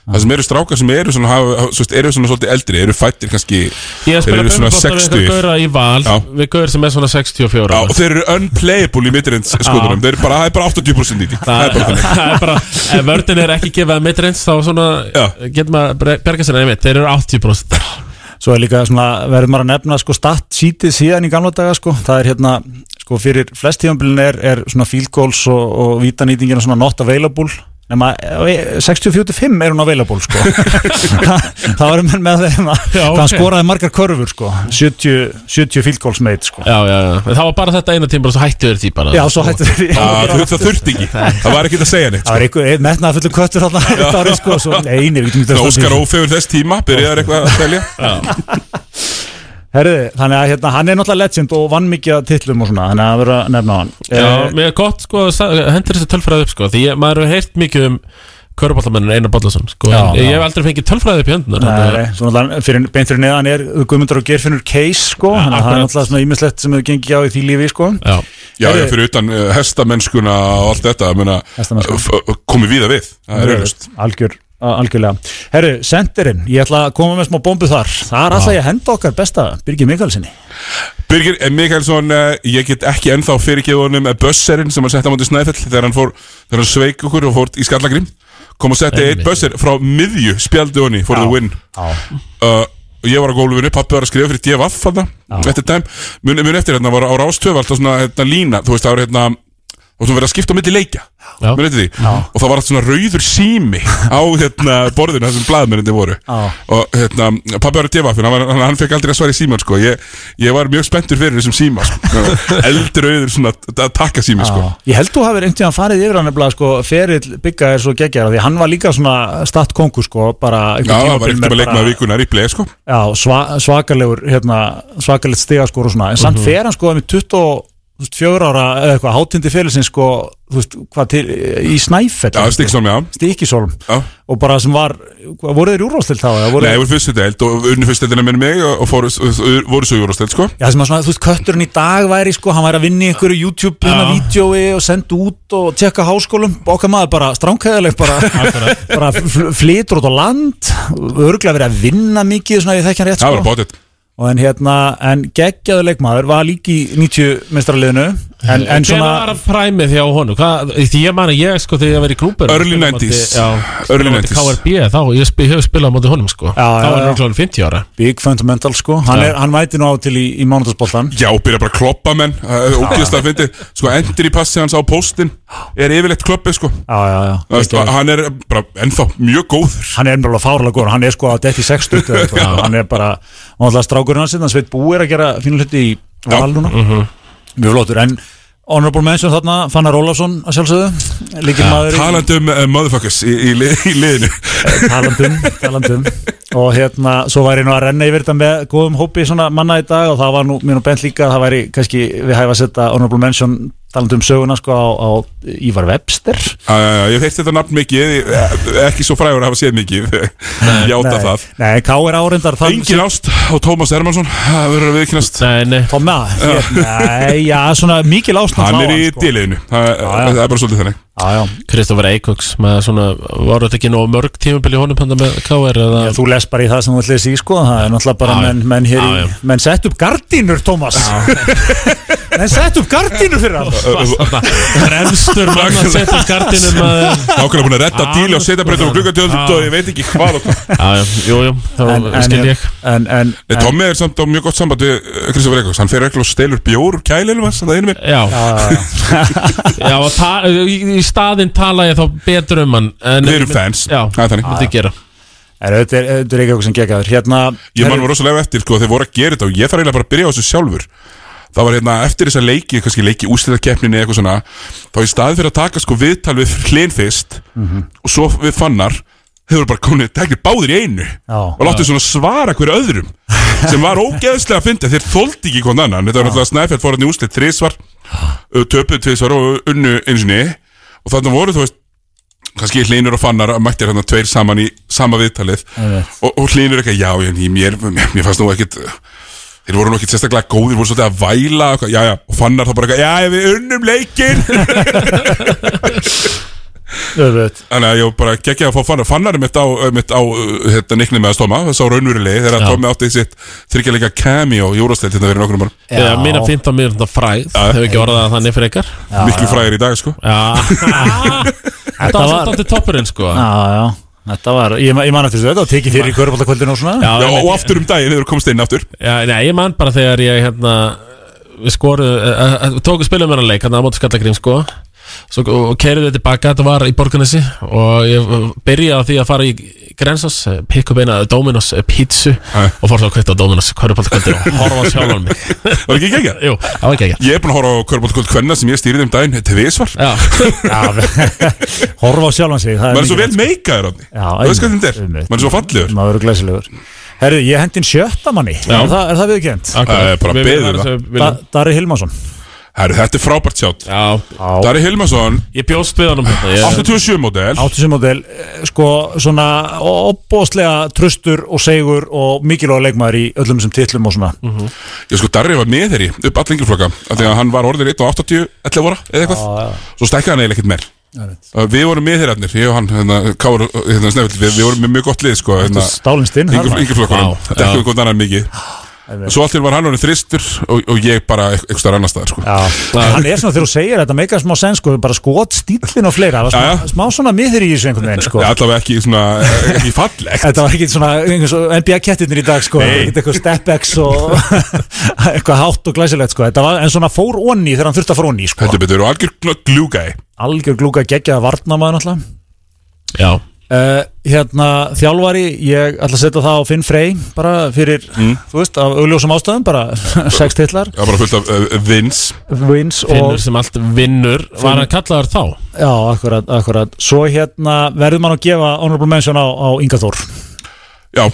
[SPEAKER 1] Það sem eru strákar sem eru svona, hafa, hafa- svo veist, eru svona svolítið eldri, eru fættir kannski
[SPEAKER 2] Ég
[SPEAKER 1] þeir
[SPEAKER 2] spila
[SPEAKER 1] eru svona
[SPEAKER 2] bumbubolta við
[SPEAKER 1] 60
[SPEAKER 2] eitthvað gauðra í val
[SPEAKER 1] Já.
[SPEAKER 2] Við gauður sem er svona
[SPEAKER 1] Já,
[SPEAKER 2] 64 ára.
[SPEAKER 1] og þeir eru unplayable í midrange skotunum Þeir eru bara, það er bara 80% í því Það er bara þannig
[SPEAKER 2] það er bara ef vördin er ekki gefið að midreins þá svona getur maður bre- berga sér einmitt þeir eru 80% þar.
[SPEAKER 12] Svo er líka svona, verður maður að nefna sko statt sítið síðan í gamla daga sko, það er hérna, sko fyrir flest tífambilin er, er svona field goals og, og vítanýtingin er svona not available nema eh, 64-5 er hún available sko Þa- það var menn með þeim að
[SPEAKER 2] Já,
[SPEAKER 12] hvað hann
[SPEAKER 2] ok.
[SPEAKER 12] skoraði margar körfur sko 70, 70 field goals made sko
[SPEAKER 2] Já, já, já, en það var bara þetta eina tíma og svo hættu þér því bara Sko.
[SPEAKER 12] Já, svo hættu þeir því.
[SPEAKER 1] ekki Það var ekki að segja neitt
[SPEAKER 12] Það var einhver metnað fullum köttur þarna þetta árið sko svo, Nei, nei, við getum ekki
[SPEAKER 1] Þannig
[SPEAKER 12] dæmt
[SPEAKER 1] að
[SPEAKER 12] að
[SPEAKER 1] Óskar
[SPEAKER 12] því.
[SPEAKER 1] Ófegur þess tíma Byrjaðar eitthvað að telja
[SPEAKER 12] Herðu, þannig að hérna, hann er náttúrulega legend og vann mikið að titlum og svona Þannig að vera að nefna hann Eh,
[SPEAKER 2] Já, mér er gott sko að sa- hendur þessi tölfræði upp sko Því ég, maður hefur heyrt mikið um Körbállamennin Einar Bollason sko
[SPEAKER 12] Já,
[SPEAKER 2] en Ég
[SPEAKER 12] já.
[SPEAKER 2] hef aldrei fengið tölfræði upp í höndunar
[SPEAKER 12] Nei, nei, svo náttúrulega fyrir, beint fyrir neðan er Guðmundur og Geirfinnur Case sko Þannig að það er
[SPEAKER 2] akkurat.
[SPEAKER 12] náttúrulega svona ímislegt sem hefur gengið á í því lífi sko
[SPEAKER 2] Já,
[SPEAKER 1] Já,
[SPEAKER 12] Heyrðu-
[SPEAKER 1] já, fyrir utan uh, hestamennskuna og allt þetta ég meina, uh, f- komið víða við Það er auðvist
[SPEAKER 12] Algjör, a- algjörlega Herru, sendirinn, ég ætla að koma með smá bombu þar Þar ætla ég að henda okkar besta Birgir Mikalsinni
[SPEAKER 1] Birgir eh, Mikkelsson, eh, ég get ekki ennþá fyrirgefið honum eh, Bösserinn sem að setja á móti Snæfell þegar hann, fór, þegar hann sveik okkur og fór í Skallagrim kom að setja eitt
[SPEAKER 2] Einmitt.
[SPEAKER 1] bösser frá miðju spjaldi honni for the win uh, og ég var á gólfinu, pappi var að skrifa fyrir DFF þarna, eftir tæm mun, mun eftir hérna var á rástöf alltaf svona hérna, lína þú veist það var hérna og þú verið að skipta á milli leikja
[SPEAKER 2] Já.
[SPEAKER 1] Munið eftir því? og það var alltaf svona rauður sími á hérna, borðinu þar sem blaðmenninni voru
[SPEAKER 12] Já.
[SPEAKER 1] og hérna, pappi var að defa hann, var- hann, hann fekk aldrei að svara í síman sko. ég, ég var mjög spenntur fyrir þessum síma sko. eldrauður svona takka sími sko.
[SPEAKER 12] Ég held þú hafið einhvern tíðan farið yfir hann nefnilega sko, ferill bygga er svo geggjara því hann var líka svona stattkongur sko bara
[SPEAKER 1] já,
[SPEAKER 12] einhvern
[SPEAKER 1] það var
[SPEAKER 12] tímabil
[SPEAKER 1] ekkert
[SPEAKER 12] með
[SPEAKER 1] með
[SPEAKER 12] bara-
[SPEAKER 1] leikmaður vikunar í bleið sko.
[SPEAKER 12] Já, sva, svakalegur hérna, svakalegt stigaskor og svona en samt
[SPEAKER 1] Mhm.
[SPEAKER 12] fer hann sko með 24 ára eða eitthvað hátindi fyrirlisinn sko þú veist, hvað til, í snæfell
[SPEAKER 1] Já, Stykkishólm, já.
[SPEAKER 12] Stíkisólm
[SPEAKER 1] Já.
[SPEAKER 12] og bara sem var, hvað, voru þeir úrvástil þá? eða voru-
[SPEAKER 1] Nei, voru fyrstu deild og unni fyrstu deildina með mig og, og fóru, voru svo júrasteld sko.
[SPEAKER 12] Já, sem að svona, þú veist, kötturinn í dag væri sko, hann væri að vinna í einhverju YouTube hérna vídjói og senda út og tjekka háskólum okkar maður bara stránkæðileg bara, bara fl- flytur út á land örgulega verið að vinna mikið svona, ég þekki hann rétt
[SPEAKER 1] Það var
[SPEAKER 12] sko
[SPEAKER 1] bótið
[SPEAKER 12] og en hérna, en geggjaðu leikmaður var líki í 90 mistraliðinu en, en svona,
[SPEAKER 2] Hvernig var að præmið hjá honum? Hvað, því ég man að ég sko þegar ég var í grúpur
[SPEAKER 1] Early 90s. Early
[SPEAKER 2] Early 90s
[SPEAKER 1] 90s.
[SPEAKER 2] KRB þá, ég spi, hef spilað á móti honum sko já,
[SPEAKER 12] já,
[SPEAKER 2] Það var
[SPEAKER 12] já.
[SPEAKER 2] náttúrulega 50 ára
[SPEAKER 12] big fundamental sko hann,
[SPEAKER 2] Já.
[SPEAKER 12] er, hann mæti nú á til í, í mánudagsboltan
[SPEAKER 1] Já, byrja bara að kloppa menn Ógjöðslega að fyndi Sko, endur í passi hans á postin Er yfirleitt kloppi sko.
[SPEAKER 12] já, já, já,
[SPEAKER 1] Það veist, Hann er bara ennþá mjög góður
[SPEAKER 12] hann er bara fárlega góður, hann er sko að detti 60 eða eitthvað,
[SPEAKER 1] Já.
[SPEAKER 12] hann er bara og alltaf strákurinn hans, hann sveit búi er að gera fínu hluti í val núna mjög flottur, en honorable mention þarna Fannar Ólafsson að sjálfsögðu líkil maður í-
[SPEAKER 1] Talandi um uh, motherfuckers í, í, li- í liðinu
[SPEAKER 12] talandum, talandum og hérna, svo væri nú að renna yfir þetta með góðum hópi svona manna í dag og það var nú mér nú bent líka að það væri kannski við hæfa að setja honorable mention talandum söguna sko á, á Ívar Webster
[SPEAKER 1] Já, já, já, Ég hef heilt þetta nafn mikið ég- eh, Ekki svo frægur að hafa séð mikið Játa
[SPEAKER 12] Nei,
[SPEAKER 1] það
[SPEAKER 12] Nei, K er áreindar þann-
[SPEAKER 1] Engin ást á Tómas Hermansson Það verður að viðkynast
[SPEAKER 2] Nei, nei
[SPEAKER 12] Tóma, nei, já, svona mikil ástand
[SPEAKER 1] Hann
[SPEAKER 12] á
[SPEAKER 1] er í
[SPEAKER 12] sko.
[SPEAKER 1] dýliðinu Það það er bara svolítið þannig
[SPEAKER 12] Já, já.
[SPEAKER 2] Kristoffer Eikoks með svona, voru þetta ekki nóg mörg tímabili honum pönda með KR eða
[SPEAKER 12] Þú les bara í það sem þú ætlaði sig sko Það er náttúrulega bara
[SPEAKER 2] Já, já.
[SPEAKER 12] menn, menn hér
[SPEAKER 2] Já, já.
[SPEAKER 12] í Menn sett upp gardínur, Tómas Menn sett upp gardínur fyrir hann
[SPEAKER 2] Fremstur mann að setja upp gardinum maður.
[SPEAKER 1] Nákvæmlega búin að redda
[SPEAKER 2] Ah,
[SPEAKER 1] díli og setja breytum og gluggatjöld
[SPEAKER 2] ah.
[SPEAKER 1] og ég veit ekki hvað og hvað
[SPEAKER 2] Já, já, jú, jú,
[SPEAKER 12] En-
[SPEAKER 2] þá
[SPEAKER 12] en-
[SPEAKER 2] skil ég
[SPEAKER 12] En, en,
[SPEAKER 1] Nei,
[SPEAKER 12] en
[SPEAKER 1] Tommi er samt á mjög gott samband við eh, Kristoffer Eikos, hann fer ekki og stelur bjór úr kælinu hans, það er einu minn
[SPEAKER 2] Já, já og ta- í, í staðinn tala ég þá betur um hann en-
[SPEAKER 1] Við erum fans,
[SPEAKER 2] Já,
[SPEAKER 1] það er þannig
[SPEAKER 2] myndi gera
[SPEAKER 12] En þetta er, þetta er ekki okkur sem geggaður Hérna
[SPEAKER 1] Ég man var rosalega eftir, sko, þeir voru að gera þetta og ég þarf eiginlega bara að byrja á þessu sjálfur Það var hérna, eftir þessa leiki, kannski leiki úsliðakeppninni eitthvað svona Þá í staði fyrir að taka sko viðtal við hlinn fyrst og svo við fannar Þeir voru bara komnið, teknir báðir í einu
[SPEAKER 12] Já.
[SPEAKER 1] og láttu svona svara hverju öðrum sem var ógeðslega að fyndi, þeir þóldi ekki hvern annan Þetta var náttúrulega Snæfjall fór hann í úslið þrísvar, töpuð tvísvar og unnu einu sinni og þannig voru, þú veist, kannski hlinur og fannar að mættir hann tveir saman í sama viðtalið og, og hlinur eitthvað, já, ég, ég- mér, mér, mér fannst nú ekkit þeir voru nú ekkit sérstaklega góðir, voru svolítið að væla og, eitthvað, já, já, og fannar þá bara eitthvað, já, við unnum leikinn
[SPEAKER 12] Öðvöld
[SPEAKER 1] þannig að ég bara geggja að fá fannar fannar er mitt á, mitt á uh, hérna, nikni með að stóma, þess á raunverulegi þegar að
[SPEAKER 2] Já.
[SPEAKER 1] Tommi átti sitt þryggjalega cameo í úrastelt hérna verið nokkrum árum
[SPEAKER 2] Eða mína 15 mínútur fræð Hefur ekki orðað það þannig fyrir ykkar
[SPEAKER 1] miklu fræðir í dag, sko
[SPEAKER 2] Já Þetta var samt átti toppurinn sko
[SPEAKER 12] Já, já, þetta var, ég, ma- ég man eftir þessu þetta og tekið fyrir í körbóltakvöldinu og svona
[SPEAKER 1] Já,
[SPEAKER 2] einmitt.
[SPEAKER 1] og aftur um daginn, þegar þú komst inn aftur
[SPEAKER 2] Já, nei, ég man eh, hérna, bara þegar ég hérna Við skoruð, tóku spilum hennar leik Þannig að móti skallagrim sko svo, og keiriði tilbaka, þetta var í Borgarnesi og ég eh, byrjaði á því að fara í Grensas, pikk upp eina Dominos eh, pizzu og fór svo að kveita Dominos hverjupaldkvöldi og horfa á sjálfan mig
[SPEAKER 1] Var ekki ekki ekki?
[SPEAKER 2] Jú, það var ekki ekki
[SPEAKER 1] Ég er búin að horfa á Körbóltkvöld Kvenna sem ég stýrið um daginn Tvísvar
[SPEAKER 2] Já,
[SPEAKER 12] Horfa á sjálfan sig
[SPEAKER 1] Maður er svo vel meikaður Árni. Þú veist hvernig þetta er Maður er svo fallegur
[SPEAKER 12] Maður er glæsilegur Herru, ég hendi inn sjötta manni
[SPEAKER 1] Já.
[SPEAKER 12] Er það, er það viðkjönd?
[SPEAKER 1] Akkurat. Það er bara Við viljum beðið aðeins það. að við viljum-
[SPEAKER 12] Dari Hilmarsson
[SPEAKER 1] Herru, þetta er frábært sjátt Dari Hilmarsson
[SPEAKER 2] Ég bjóst við honum hérna, ég-
[SPEAKER 1] 87 model
[SPEAKER 12] 87 model eh, Sko, svona opbóðslega tröstur og segur og mikilvæg leikmaður í öllum þessum titlum og svona
[SPEAKER 1] Ég sko, Darri var með þeirri upp all lengjuflokka Þegar hann var orðin 1 og 80, 11 ára eða eitthvað Svo stækkaði hann eiginlega ekkert meir Uh, Við vorum með þeirra hannir, ég og hann, hérna, Káur, hérna, Snefell, við, við vorum með mjög gott lið, sko hérna,
[SPEAKER 12] stálinn stinn,
[SPEAKER 1] Yngur,
[SPEAKER 12] þarna.
[SPEAKER 1] Yngurflokkunum,
[SPEAKER 12] Vá,
[SPEAKER 1] dekkum
[SPEAKER 12] já. Ah,
[SPEAKER 1] við hvort annan mikið Svo allt í einu var hann orðin þristur og, og ég bara ekk- einhvers staðar annar staðar, sko
[SPEAKER 12] En Hann er svona þegar þú segir þetta meika smá sen sko, bara skot stílinn og fleira það var
[SPEAKER 1] Já,
[SPEAKER 12] smá, smá svona miður í þessu einhvern veginn sko.
[SPEAKER 1] Já, allavega ekki svona, ekki fallegt
[SPEAKER 12] Þetta var ekki svona einhvers og NBA-kettirnir í dag sko,
[SPEAKER 1] Nei.
[SPEAKER 12] ekkert eitthvað step-ex og eitthvað hátt og glæsilegt sko. Þetta var en svona fór onni þegar hann þurfti að fór onni sko.
[SPEAKER 1] Heldur betur og algjör glúgæ
[SPEAKER 12] Algjör glúka geggjaða varnamaður náttúrulega
[SPEAKER 2] Já
[SPEAKER 12] Uh, hérna þjálfari ég ætla að setja það á Finn Frey bara fyrir,
[SPEAKER 1] Mm.
[SPEAKER 12] þú veist, af augljósum ástöðum bara sex titlar
[SPEAKER 1] Já, bara fullt af uh, vins
[SPEAKER 12] Vins
[SPEAKER 2] Finnur
[SPEAKER 12] og-
[SPEAKER 2] sem allt vinnur Var hann kallaður þá?
[SPEAKER 12] Já, akkurat, akkurat Svo hérna verður mann að gefa honorable mention á, á Inga Þór
[SPEAKER 1] Já,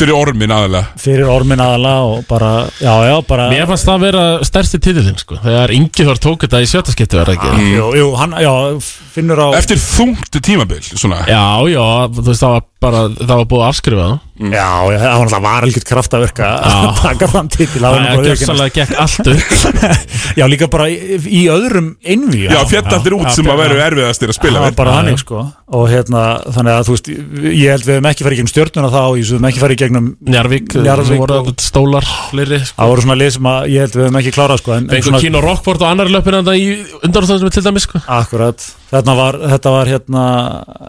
[SPEAKER 1] fyrir ormin aðalega
[SPEAKER 12] Fyrir ormin aðala og bara, já, já, bara
[SPEAKER 2] Mér fannst það vera stærsti titilinn sko Þegar Ingiþór tók þetta í sjötaskiptu var það ekki
[SPEAKER 1] Mm.
[SPEAKER 12] Jú, jú, hann, já, finnur á
[SPEAKER 1] Eftir þungt tímabil, svona
[SPEAKER 2] Já, já, þú veist það var bara Það var búið að afskrifa það
[SPEAKER 12] Já, já, það var náttúrulega varalgjörn kraft að verka að taka þann titil það var nú
[SPEAKER 2] Það
[SPEAKER 12] bara sko.
[SPEAKER 2] gerðsalega gekk allt upp
[SPEAKER 12] viðurkennast. Já, líka bara í, í öðrum einví
[SPEAKER 1] Já, fjall allir út sem að veru erfiðastir að spila
[SPEAKER 12] Það var
[SPEAKER 1] við.
[SPEAKER 12] bara
[SPEAKER 1] Já,
[SPEAKER 12] hannig
[SPEAKER 1] já.
[SPEAKER 12] sko Og hérna, þannig að þú veist Ég held við hefum ekki farið í gegnum stjörnuna þá Ég hefum ekki farið í gegnum
[SPEAKER 2] Njarvík, sem
[SPEAKER 12] Njarðvík
[SPEAKER 2] voru
[SPEAKER 12] og-
[SPEAKER 2] og... stólar fleiri sko.
[SPEAKER 12] Það voru svona lið sem að ég held við hefum ekki klárað sko en- en
[SPEAKER 2] Fengur
[SPEAKER 12] svona-
[SPEAKER 2] Kino Rockport og annar löpinn Þannig í undanúrstofnum til dæmis sko
[SPEAKER 12] Akkurat, þetta var, þetta var hérna,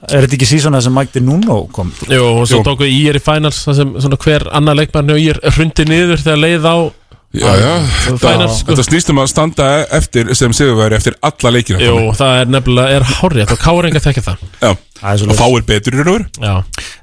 [SPEAKER 12] er þetta ekki síðan það sem Magdi Nuno kom?
[SPEAKER 2] Jú, og svo tóku IR í finals Það sem svona, hver annar leikmann og IR hrundi niður Þegar leið á
[SPEAKER 1] Já, já, þetta,
[SPEAKER 2] finals sko
[SPEAKER 1] þetta snýst um að standa eftir sem sigurveri eftir alla leikina
[SPEAKER 2] Jú, það er nefnilega, er hárið Og Káringa þekkja það
[SPEAKER 1] Já,
[SPEAKER 12] svoleiðis.
[SPEAKER 1] og fáir betur í raunur
[SPEAKER 2] Já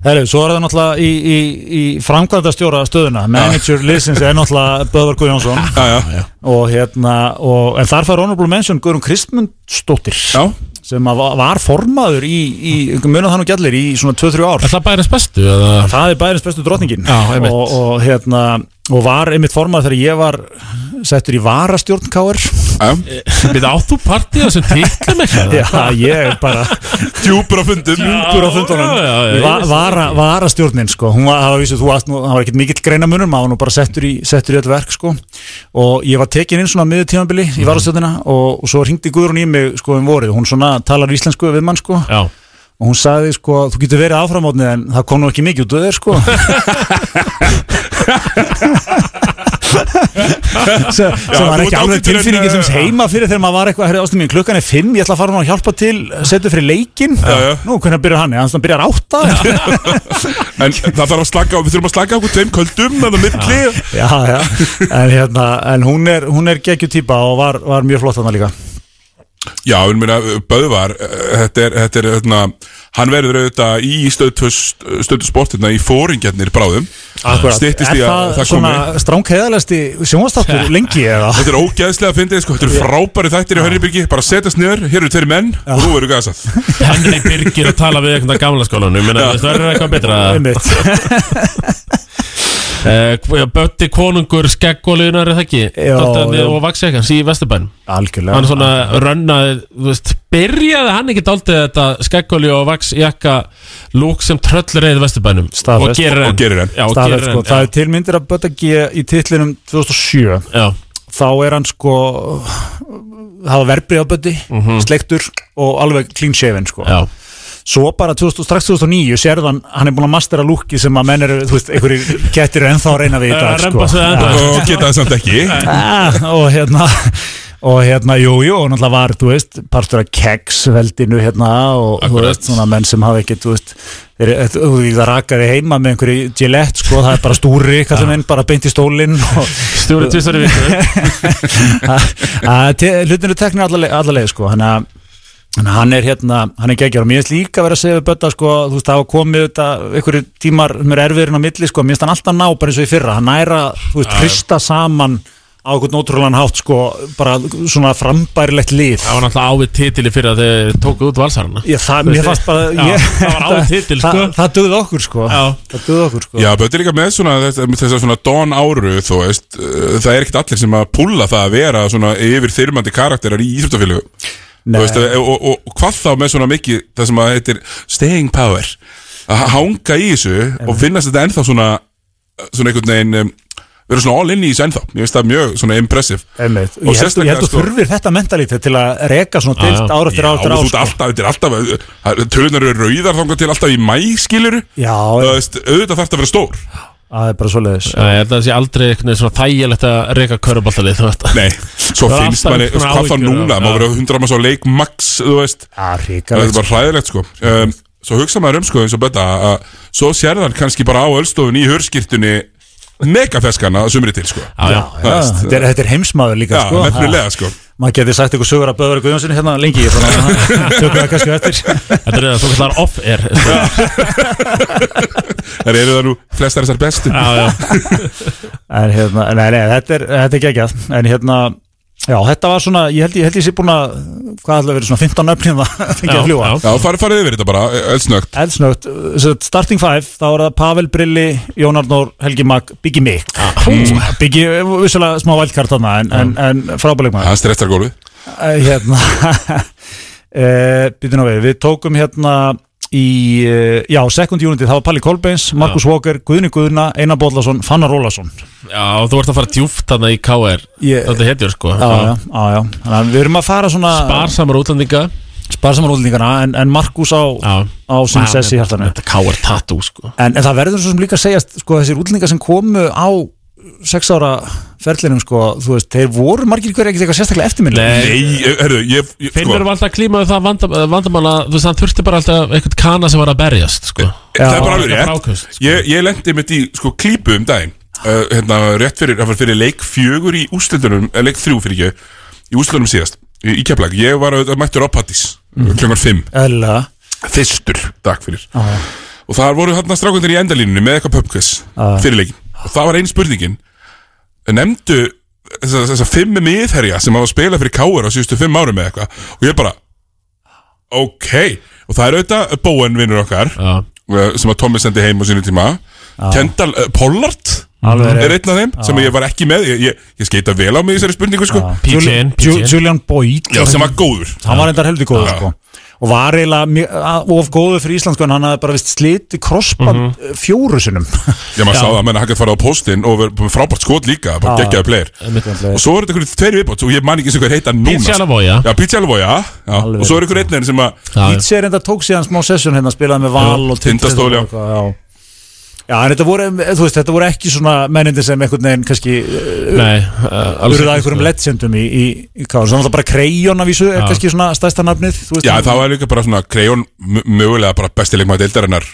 [SPEAKER 12] Herru, svo er það náttúrulega í, í, í framkvæmda stjóra stöðuna, manager liðsins er náttúrulega Böðvar Guðjónsson
[SPEAKER 1] já, já.
[SPEAKER 12] og hérna, og, en þar fær honorable mention Guðrún Kristmundsdóttir
[SPEAKER 1] já.
[SPEAKER 12] sem að va- var formaður í, í munið hann og gjallir í svona 2-3 ár
[SPEAKER 2] Er það bærens bestu? Eða?
[SPEAKER 12] Það er bærens bestu drottningin
[SPEAKER 2] Já, einmitt.
[SPEAKER 12] og, og hérna og var einmitt formaður þegar ég var settur í varastjórn KR
[SPEAKER 2] Við áttu partí þessum titlum eitthvað
[SPEAKER 12] Já, ég bara
[SPEAKER 1] Djúpur á fundum
[SPEAKER 12] Djúpur á fundunum
[SPEAKER 2] já, já, já,
[SPEAKER 12] Va-
[SPEAKER 2] ég-
[SPEAKER 12] vara, vara stjórnin sko hún var, það var, vísu, þú varst nú, hann var ekkert mikill greinamunur maður var nú bara settur í, settur í öll verk sko og ég var tekin inn svona á miður tímabili
[SPEAKER 2] Mhm.
[SPEAKER 12] í varastjórnina og, og svo hringdi Guðrún í mig sko um vorið, hún svona talar íslensku við mann sko
[SPEAKER 2] Já.
[SPEAKER 12] og hún sagði sko, þú getur verið áframotnið en það kom nú ekki mikið út af þér sko sem, sem
[SPEAKER 1] Já,
[SPEAKER 12] var
[SPEAKER 1] þú
[SPEAKER 12] ekki
[SPEAKER 1] ert
[SPEAKER 12] alveg
[SPEAKER 1] ágætur en,
[SPEAKER 12] tilfinningin sem
[SPEAKER 1] uh,
[SPEAKER 12] heima fyrir þegar maður var eitthvað herri ástum mín, klukkan er fimm, ég ætla að fara nú að hjálpa til setja fyrir leikin,
[SPEAKER 1] Já, já.
[SPEAKER 12] nú hvernig byrjar hann hann byrjar átta já,
[SPEAKER 1] En það þarf að slaka á, við þurfum að slaka á okkur tveim köldum Það er milli
[SPEAKER 12] já. En, hérna, en hún er, hún er geggju típa og var, var mjög flott hann líka
[SPEAKER 1] Já, en meina, Böðvar eh, Þetta er, þetta er hérna Hann verður auðvitað í stöðu sportina hérna, í fóringjarnir bráðum Ah, Styttist í
[SPEAKER 12] er
[SPEAKER 1] að
[SPEAKER 12] það
[SPEAKER 1] það komi
[SPEAKER 12] svona stránkheðalegasti sjónastáttur lengi eða
[SPEAKER 1] Þetta er ógeðslega að fyndið, sko, þetta eru frábæri þættir í Hörnibyrgi, bara setjast niður, hér eru tveir menn og nú verður gasað.
[SPEAKER 2] Henry Birgir að tala við eitthvað af gamla skólanum Menna,
[SPEAKER 1] Já.
[SPEAKER 2] veist, það er eitthvað betra
[SPEAKER 12] Einmitt.
[SPEAKER 2] uh, Bötti konungur skeggólunar er það ekki
[SPEAKER 12] Já,
[SPEAKER 2] Dóttarni
[SPEAKER 12] já.
[SPEAKER 2] og vaksekkans í Vesturbænum
[SPEAKER 12] algjörlega
[SPEAKER 2] Hann svona rönnaði, þú veist, byrjaði hann ekki dálítið þetta skeggóli og vaksjakka lúk sem tröllreið Vesturbænum
[SPEAKER 12] Staðfest.
[SPEAKER 2] Og gerir enn
[SPEAKER 1] Og gerir enn.
[SPEAKER 2] Já, og
[SPEAKER 12] Staðar,
[SPEAKER 2] gerir
[SPEAKER 12] sko,
[SPEAKER 2] enn,
[SPEAKER 12] það
[SPEAKER 2] já.
[SPEAKER 12] er tilmyndir að Bötta G í titlinum 2007
[SPEAKER 2] Já.
[SPEAKER 12] þá er hann sko hafa verbrið á Bötti sleiktur og alveg clean shaven sko.
[SPEAKER 2] Mhm. Já.
[SPEAKER 12] svo bara 2000, strax 2009 sérðan, hann er búin að mastera lúki sem að menn eru, þú veist, einhverjir
[SPEAKER 2] Eh,
[SPEAKER 12] kettir eru ennþá að reyna við í dag sko.
[SPEAKER 2] Rembast við ennþá.
[SPEAKER 12] Já.
[SPEAKER 1] Og geta það samt ekki.
[SPEAKER 12] Ah, og hérna og hérna, jú, jú, og náttúrulega var, þú veist, partur af kegsveldinu hérna og þú veist, svona menn sem hafa ekki, þú veist, þeir, þú veist, það rakaði heima með einhverju gillett, sko, það er bara stúri, kallum inn, bara beint í stólinn og...
[SPEAKER 2] Stúri tvisvar í viku.
[SPEAKER 12] viku. Hlutinu teknir allaveg, sko, hann að Þannig að hann er hérna, hann er geggjör og mér finnst líka verið að segja við Bötta sko, þú veist, það hafa komið þetta einhverju tímar mér erfiðurinn á milli sko, mér finnst hann alltaf ná bara eins og í fyrra, hann næra, þú
[SPEAKER 2] Já,
[SPEAKER 12] veist,
[SPEAKER 2] já.
[SPEAKER 12] hrista saman á einhvern ótrúlegan hátt sko, bara svona frambærilegt lið
[SPEAKER 2] Það var náttúrulega ávið titili fyrir að þau tóku út valsarana
[SPEAKER 12] Já, það, mér fannst bara
[SPEAKER 2] Já,
[SPEAKER 12] ég,
[SPEAKER 2] Það var ávið titil, sko
[SPEAKER 12] það, það döði okkur sko
[SPEAKER 2] Já.
[SPEAKER 12] það döði okkur sko
[SPEAKER 1] Já, Bötti er líka með svona þess þess að svona Don Áru, þú veist uh, Það er ekkert allir sem að púlla það að vera svona yfir þyrmandi karakterar í Íþróttafélögu Þú veist, og, og, og, hvað þá með svona mikið það sem að heitir staying power að hanga í þessu og finnast þetta ennþá svona svona einhvern veginn um, vera svona all inni í þessu ennþá ég veist það mjög svona impressive
[SPEAKER 12] Einmitt.
[SPEAKER 1] Og
[SPEAKER 12] Ég held, ég held
[SPEAKER 1] sérstaklega,
[SPEAKER 12] að
[SPEAKER 1] sko-
[SPEAKER 12] þurfir þetta mentalítið til að reka svona dild ára eftir ára eftir sko.
[SPEAKER 1] Já,
[SPEAKER 12] ára
[SPEAKER 1] þú ert alltaf, þetta er alltaf tölunar eru rauðar þangað til alltaf í mæ skiluru
[SPEAKER 12] Já,
[SPEAKER 1] þú veist, auðvitað þarf þetta að vera stór
[SPEAKER 12] það er bara svo leiðis
[SPEAKER 2] Já, Eh, ég held að það sé aldrei eitthvað svona þægilegt að reyka körubáttalið
[SPEAKER 1] Nei, svo finnst manni, sko, hvað þá núna má vera hundra manns á leik max, þú veist
[SPEAKER 12] Já,
[SPEAKER 1] Það er bara hræðilegt, sko um, Svo hugsa maður um, sko, eins og betta að svo sér þann kannski bara á öllstofunni í hörskirtunni megafeskana að sumri til, sko
[SPEAKER 12] Já, já, þetta er, þetta er heimsmaður líka
[SPEAKER 1] Já,
[SPEAKER 12] sko.
[SPEAKER 1] nefnilega, sko.
[SPEAKER 12] Maður geti sagt eitthvað sögur að Böðvar Guðjónssoni hérna lengi Þannig að tökum við það kannski eftir
[SPEAKER 2] Þetta er það svo kallar off-air sko.
[SPEAKER 1] Það eru það nú flestar þessar bestu
[SPEAKER 2] Já, já
[SPEAKER 12] En hérna, nei, nei, þetta er, þetta er geggjað En hérna, já, þetta var svona Ég held ég, held ég sé búin að, hvað ætla að vera svona 15 öfnið það fengið að fljúa
[SPEAKER 1] Já, farið farið yfir þetta bara, eldsnögt
[SPEAKER 12] Eldsnögt, uh, starting five þá er það Pavel Brilli, Jón Arnór Helgi Mag, Biggi Mikk
[SPEAKER 1] Ah, mm.
[SPEAKER 12] Biggi, vissulega smá valdkart þarna en, en, en frábæleikmaður
[SPEAKER 1] Hann stressar gólfið
[SPEAKER 12] Eh, hérna uh, býtum á við, við tókum hérna í, uh, já, second unity það var Palli Kolbeins, Markus Walker, Guðni Guðna Einar Bóllason, Fannar Ólason
[SPEAKER 2] Já, og þú ert að fara djúft þarna í KR
[SPEAKER 12] Ég-
[SPEAKER 2] Þetta hetjur sko
[SPEAKER 12] já, já, já, já, þannig að við erum að fara svona
[SPEAKER 2] Sparsamar útlendinga
[SPEAKER 12] sparsamar útlendingana, en, en Markus á, á
[SPEAKER 2] Vá,
[SPEAKER 12] sín sessi
[SPEAKER 2] þetta-
[SPEAKER 12] í hjartanu
[SPEAKER 2] Þetta KR tattoo sko
[SPEAKER 12] en, en það verður svo sem líka að segjast sko, þessir útlendingar sem komu á sex ára ferlinum sko, þú veist, þeir voru margir hverju ekkert eitthvað sérstaklega eftirminnilegir.
[SPEAKER 1] Nei, herru, ég, ég
[SPEAKER 12] Sko.
[SPEAKER 1] sko.
[SPEAKER 2] Finnur var alltaf klímaði það vandam, vandamála Þú veist, hann þurfti bara alltaf einhvern kana sem var að berjast sko
[SPEAKER 1] það er bara alveg
[SPEAKER 2] Þetta
[SPEAKER 1] rétt
[SPEAKER 2] ákast,
[SPEAKER 1] ég, ég lendi mitt í sko klípu um daginn uh, hérna rétt fyrir, það var fyrir leik fjögur í úslitunum, eh, leik þrjú fyrir ekki í úslitunum síðast, í, í keflag ég var auðvitað mættur á Pattís mm. klungar 5,
[SPEAKER 12] Eðlilega.
[SPEAKER 1] þystur dag fyrir og það voru þarna strákundir í endalínunni með eitthvað pubquiz
[SPEAKER 12] Já.
[SPEAKER 1] fyrir leikin og það var einn spurningin nefndu þessa, þessa fimm miðherja sem hafa spilað fyrir káur á síðustu fimm árum með eitthvað og ég bara ok, og það er auðvitað uh, Bowen vinnur okkar
[SPEAKER 2] Já.
[SPEAKER 1] eh, sem að Tommy sendi heim á sínu tíma Kendall uh, Pollard
[SPEAKER 12] Alveg
[SPEAKER 1] er einn
[SPEAKER 12] rétt.
[SPEAKER 1] af þeim sem ég var ekki með ég, ég, ég skeita vel á mig í þessari spurningu sko.
[SPEAKER 12] Julian, Ju- Julian Boyd
[SPEAKER 1] Já, sem var góður
[SPEAKER 12] hann var endar heldur góður
[SPEAKER 1] Já.
[SPEAKER 12] sko. og var eiginlega mjög- að- of góður fyrir Ísland sko, en hann hafði bara vist sliti krossband mm fjóru sinum
[SPEAKER 1] Mhm. Já, maður sá það, menn hann gæti farið á postin og verið með frábært skot líka, bara
[SPEAKER 12] Já.
[SPEAKER 1] geggjaði player Og svo er þetta einhverju tveir viðbót og ég man ekki sem hvað heita núna
[SPEAKER 2] Pizzi
[SPEAKER 1] sko.
[SPEAKER 2] Alavoya.
[SPEAKER 1] Já, Pizzi Alavoya, já Og svo er einhverju einn þeirn sem að
[SPEAKER 12] Ítsi er enda tók síðan smá sessjón hérna spilaði með Val og
[SPEAKER 1] Tindastól, já.
[SPEAKER 12] og eitthvað, já Já, en þetta voru, eh, þú veist, þetta voru ekki svona mennindir sem einhvern veginn kannski
[SPEAKER 2] Nei, sko.
[SPEAKER 12] Þú eru það einhverjum legendum í, í, í Káru Svona það bara Krejón af vísu er
[SPEAKER 1] sko. Já.
[SPEAKER 12] kannski svona stærsta nafnið þú veist,
[SPEAKER 1] Já,
[SPEAKER 12] hann-
[SPEAKER 1] það var líka bara svona Krejón mögulega bara besti leikmaði deildarinnar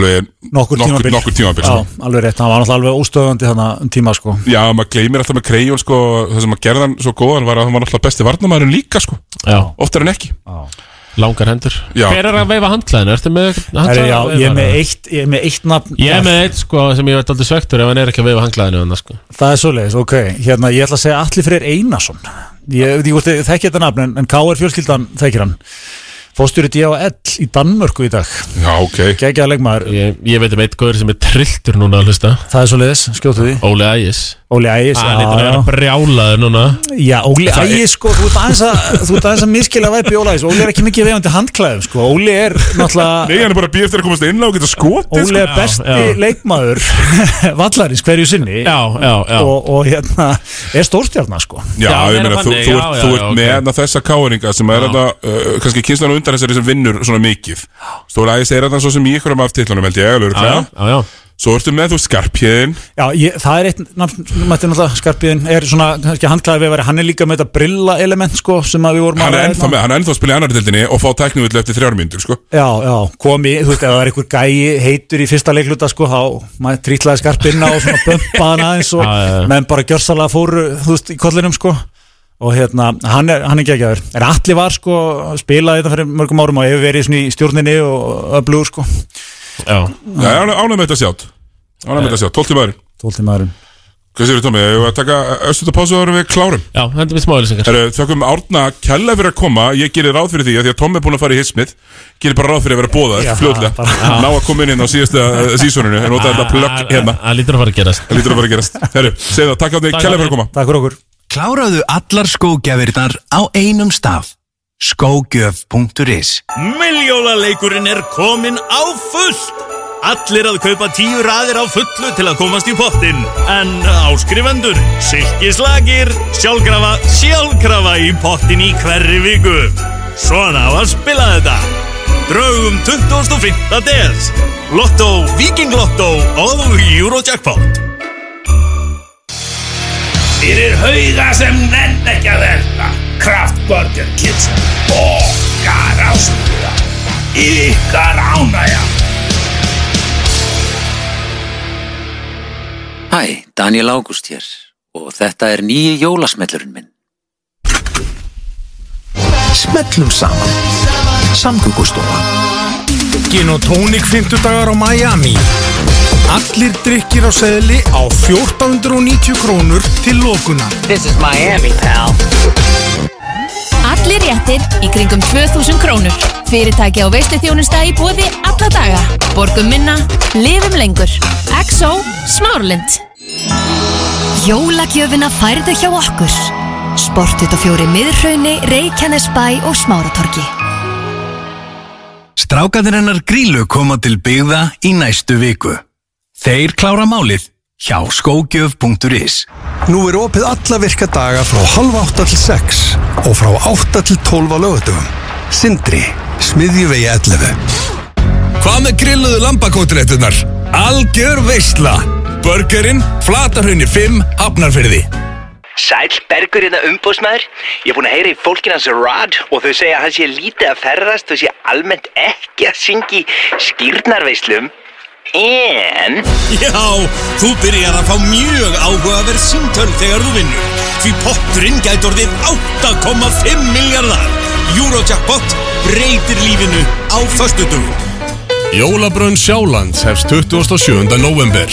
[SPEAKER 1] Alveg
[SPEAKER 12] Nokkur tímabil.
[SPEAKER 1] Nokkur tímabil
[SPEAKER 12] Já,
[SPEAKER 1] sko.
[SPEAKER 12] alveg rétt, hann var náttúrulega alveg óstöðandi þannig um tíma sko
[SPEAKER 1] Já, maður gleymir alltaf með Krejón sko, það sem að gerða hann svo góðan var að hann var alltaf besti varnamæðurinn líka sko.
[SPEAKER 2] Já.
[SPEAKER 1] oftar en ekki
[SPEAKER 2] Langar hendur
[SPEAKER 1] Já.
[SPEAKER 2] Hver er að veifa handklæðinu? Ertu með
[SPEAKER 12] Herri,
[SPEAKER 2] handklæðinu?
[SPEAKER 12] já, ég er með eitt, ég er með eitt nafn hérna.
[SPEAKER 2] Ég er með eitt sko sem ég veit aldrei svektur ef hann er ekki að veifa handklæðinu annars, sko.
[SPEAKER 12] Það er svoleiðis, ok Hérna, ég ætla að segja Alli Freyr Einarsson Ég veit ekki hvort þið þekkja þetta nafn En, en K.R. fjölskyldan þekkir hann Fóstjúri D.A.L. í Danmörku í dag
[SPEAKER 1] Já, ok
[SPEAKER 12] Gægjaða leikmaður
[SPEAKER 2] ég, ég veit um eitt góður sem er trilltur núna að hlusta
[SPEAKER 12] Það er svoleiðis, skjóttu því
[SPEAKER 2] Óli Ægis
[SPEAKER 12] Óli Ægis,
[SPEAKER 2] Ah, Hann er
[SPEAKER 12] já,
[SPEAKER 2] að vera
[SPEAKER 12] já.
[SPEAKER 2] brjálaður núna
[SPEAKER 12] Já, Óli
[SPEAKER 2] Það
[SPEAKER 12] Ægis, sko, þú ert aðeins að Þú ert aðeins að miskila væpi Óli Ægis Óli er ekki mikið vegandi handklæðum, sko Óli er náttúrulega
[SPEAKER 1] Nei, hann er bara að býja eftir að komast inn á og geta skotið
[SPEAKER 12] Óli er
[SPEAKER 1] sko.
[SPEAKER 12] besti leikmaður vallarins hverju sinni
[SPEAKER 2] Já, já, já
[SPEAKER 12] og, og hérna er stórstjarnar sko
[SPEAKER 1] Já,
[SPEAKER 2] Já,
[SPEAKER 1] ég
[SPEAKER 2] meira
[SPEAKER 1] meina, þú,
[SPEAKER 2] þannig,
[SPEAKER 1] þú,
[SPEAKER 2] já,
[SPEAKER 1] ert,
[SPEAKER 2] já,
[SPEAKER 1] þú
[SPEAKER 2] já,
[SPEAKER 1] ert
[SPEAKER 2] ok.
[SPEAKER 1] með okay. þessa káringa sem er þetta, uh, kannski kynslan og undan þessari sem vinnur svona mikið Stóla ægis er þetta svo sem í ykkur af titlunum held ég, alveg
[SPEAKER 2] Já,
[SPEAKER 1] örugglega.
[SPEAKER 2] já, já
[SPEAKER 1] Svo ertu með þú skarpjöðin
[SPEAKER 12] Já, ég, það er eitt nafn, mætti náttúrulega skarpiðin er svona, kannski handklæði við að vera hann er líka með þetta brilla element sko sem að við vorum
[SPEAKER 1] Hann er
[SPEAKER 12] að ræða
[SPEAKER 1] ennþá,
[SPEAKER 12] hérna.
[SPEAKER 1] með, hann er ennþá að spila í annar deildinni og fá tæknumvillu eftir þrjár mínútur sko.
[SPEAKER 12] Já, já, komi, þú veist, ef það er einhver gæi heitur í fyrsta leikluta sko, þá maður trýtlaði skarpinn á og svona bömpaðan aðeins og menn bara gjörsalega fóru, þú veist, í kollinum sko og hérna, hann er, hann er geggjaður en allir var sko, spilaði þetta fyrir mörgum árum og hefur verið svona í stjórninni og öflugur sko
[SPEAKER 2] Já,
[SPEAKER 1] Já ánægð með þetta sjátt Ánægð með þetta sjátt, 12 maður
[SPEAKER 12] 12 maðurinn
[SPEAKER 1] Hvað sér þú Tómi, ég var að taka östut og pásu og erum við klárum
[SPEAKER 2] Já, hendur við smáðlýsingar
[SPEAKER 1] Þökkum Árna kella fyrir að koma Ég gerir ráð fyrir því að því að Tómi er búin að fara í hismið Gerir bara ráð fyrir að vera bóða
[SPEAKER 2] Já,
[SPEAKER 1] fljótlega
[SPEAKER 2] bara-
[SPEAKER 1] Ná að koma inn inn á síðasta uh, sísoninu En nota þetta plögg hérna
[SPEAKER 2] Það lítur að fara að gerast
[SPEAKER 1] Það lítur að fara að gerast Herru, segðu það, takk á því
[SPEAKER 2] Takk
[SPEAKER 1] kella
[SPEAKER 2] Árni.
[SPEAKER 1] fyrir að koma
[SPEAKER 12] Takk fyrir okkur
[SPEAKER 9] Kláraðu allar skógjafirnar á einum staf skógjöf.is
[SPEAKER 13] Miljólaleikurinn er komin á fullt Allir að kaupa tíu raðir á fullu til að komast í pottin En áskrifendur, silkislagir, sjálfkrafa, sjálfkrafa í pottin í hverri viku Svona á að spila þetta Draugum 25. des Lotto, Viking Lotto og Eurojackpot
[SPEAKER 14] Fyrir hauga sem nenn ekki að velta Kraftburger Kids Okkar ástúða Ykkar ánægja
[SPEAKER 15] Hæ, Daniel Ágúst hér og þetta er nýji jólasmellurinn minn.
[SPEAKER 9] Smellum saman Samgöngustofa Gin og tónik 50 dagar á Miami Allir drikkir á seðli á 1490 krónur til lokuna
[SPEAKER 16] This is Miami, pal.
[SPEAKER 17] Allir réttir í kringum 2000 krónur. Fyrirtæki á veislu þjónusta í bóði alla daga. Borgum minna, lifum lengur. XO Smárlind.
[SPEAKER 5] Jólagjöfina færðu hjá okkur. Sportut og fjóri miðrhraunni, Reykjanesbæ og Smáratorgi.
[SPEAKER 9] Strákaðir hennar grílu koma til byggða í næstu viku. Þeir klára málið hjá skógjöf.is
[SPEAKER 18] Nú er opið alla virka daga frá halv átta til 6 og frá átta til 12 á lögutum. Sindri, smiðjuvegi 11.
[SPEAKER 6] Hvað með grilluðu lambakótilettunar? Algjör veisla Burgerinn, flatarhunni 5, hafnarfyrði
[SPEAKER 16] Sæl Bergur hérna umbúsmaður. Ég er búin að heyra í fólkin hans Rod og þau segja að hann sé lítið að ferðast og sé almennt ekki að syngi skýrnarveislum. En...
[SPEAKER 13] Já, þú byrjar að fá mjög áhugaverð símtöl þegar þú vinnur Því potturinn gæti orðið 8,5 miljardar Eurojackpot breytir lífinu á föstudum
[SPEAKER 10] Jólabrönn Sjálands hefst 27. november.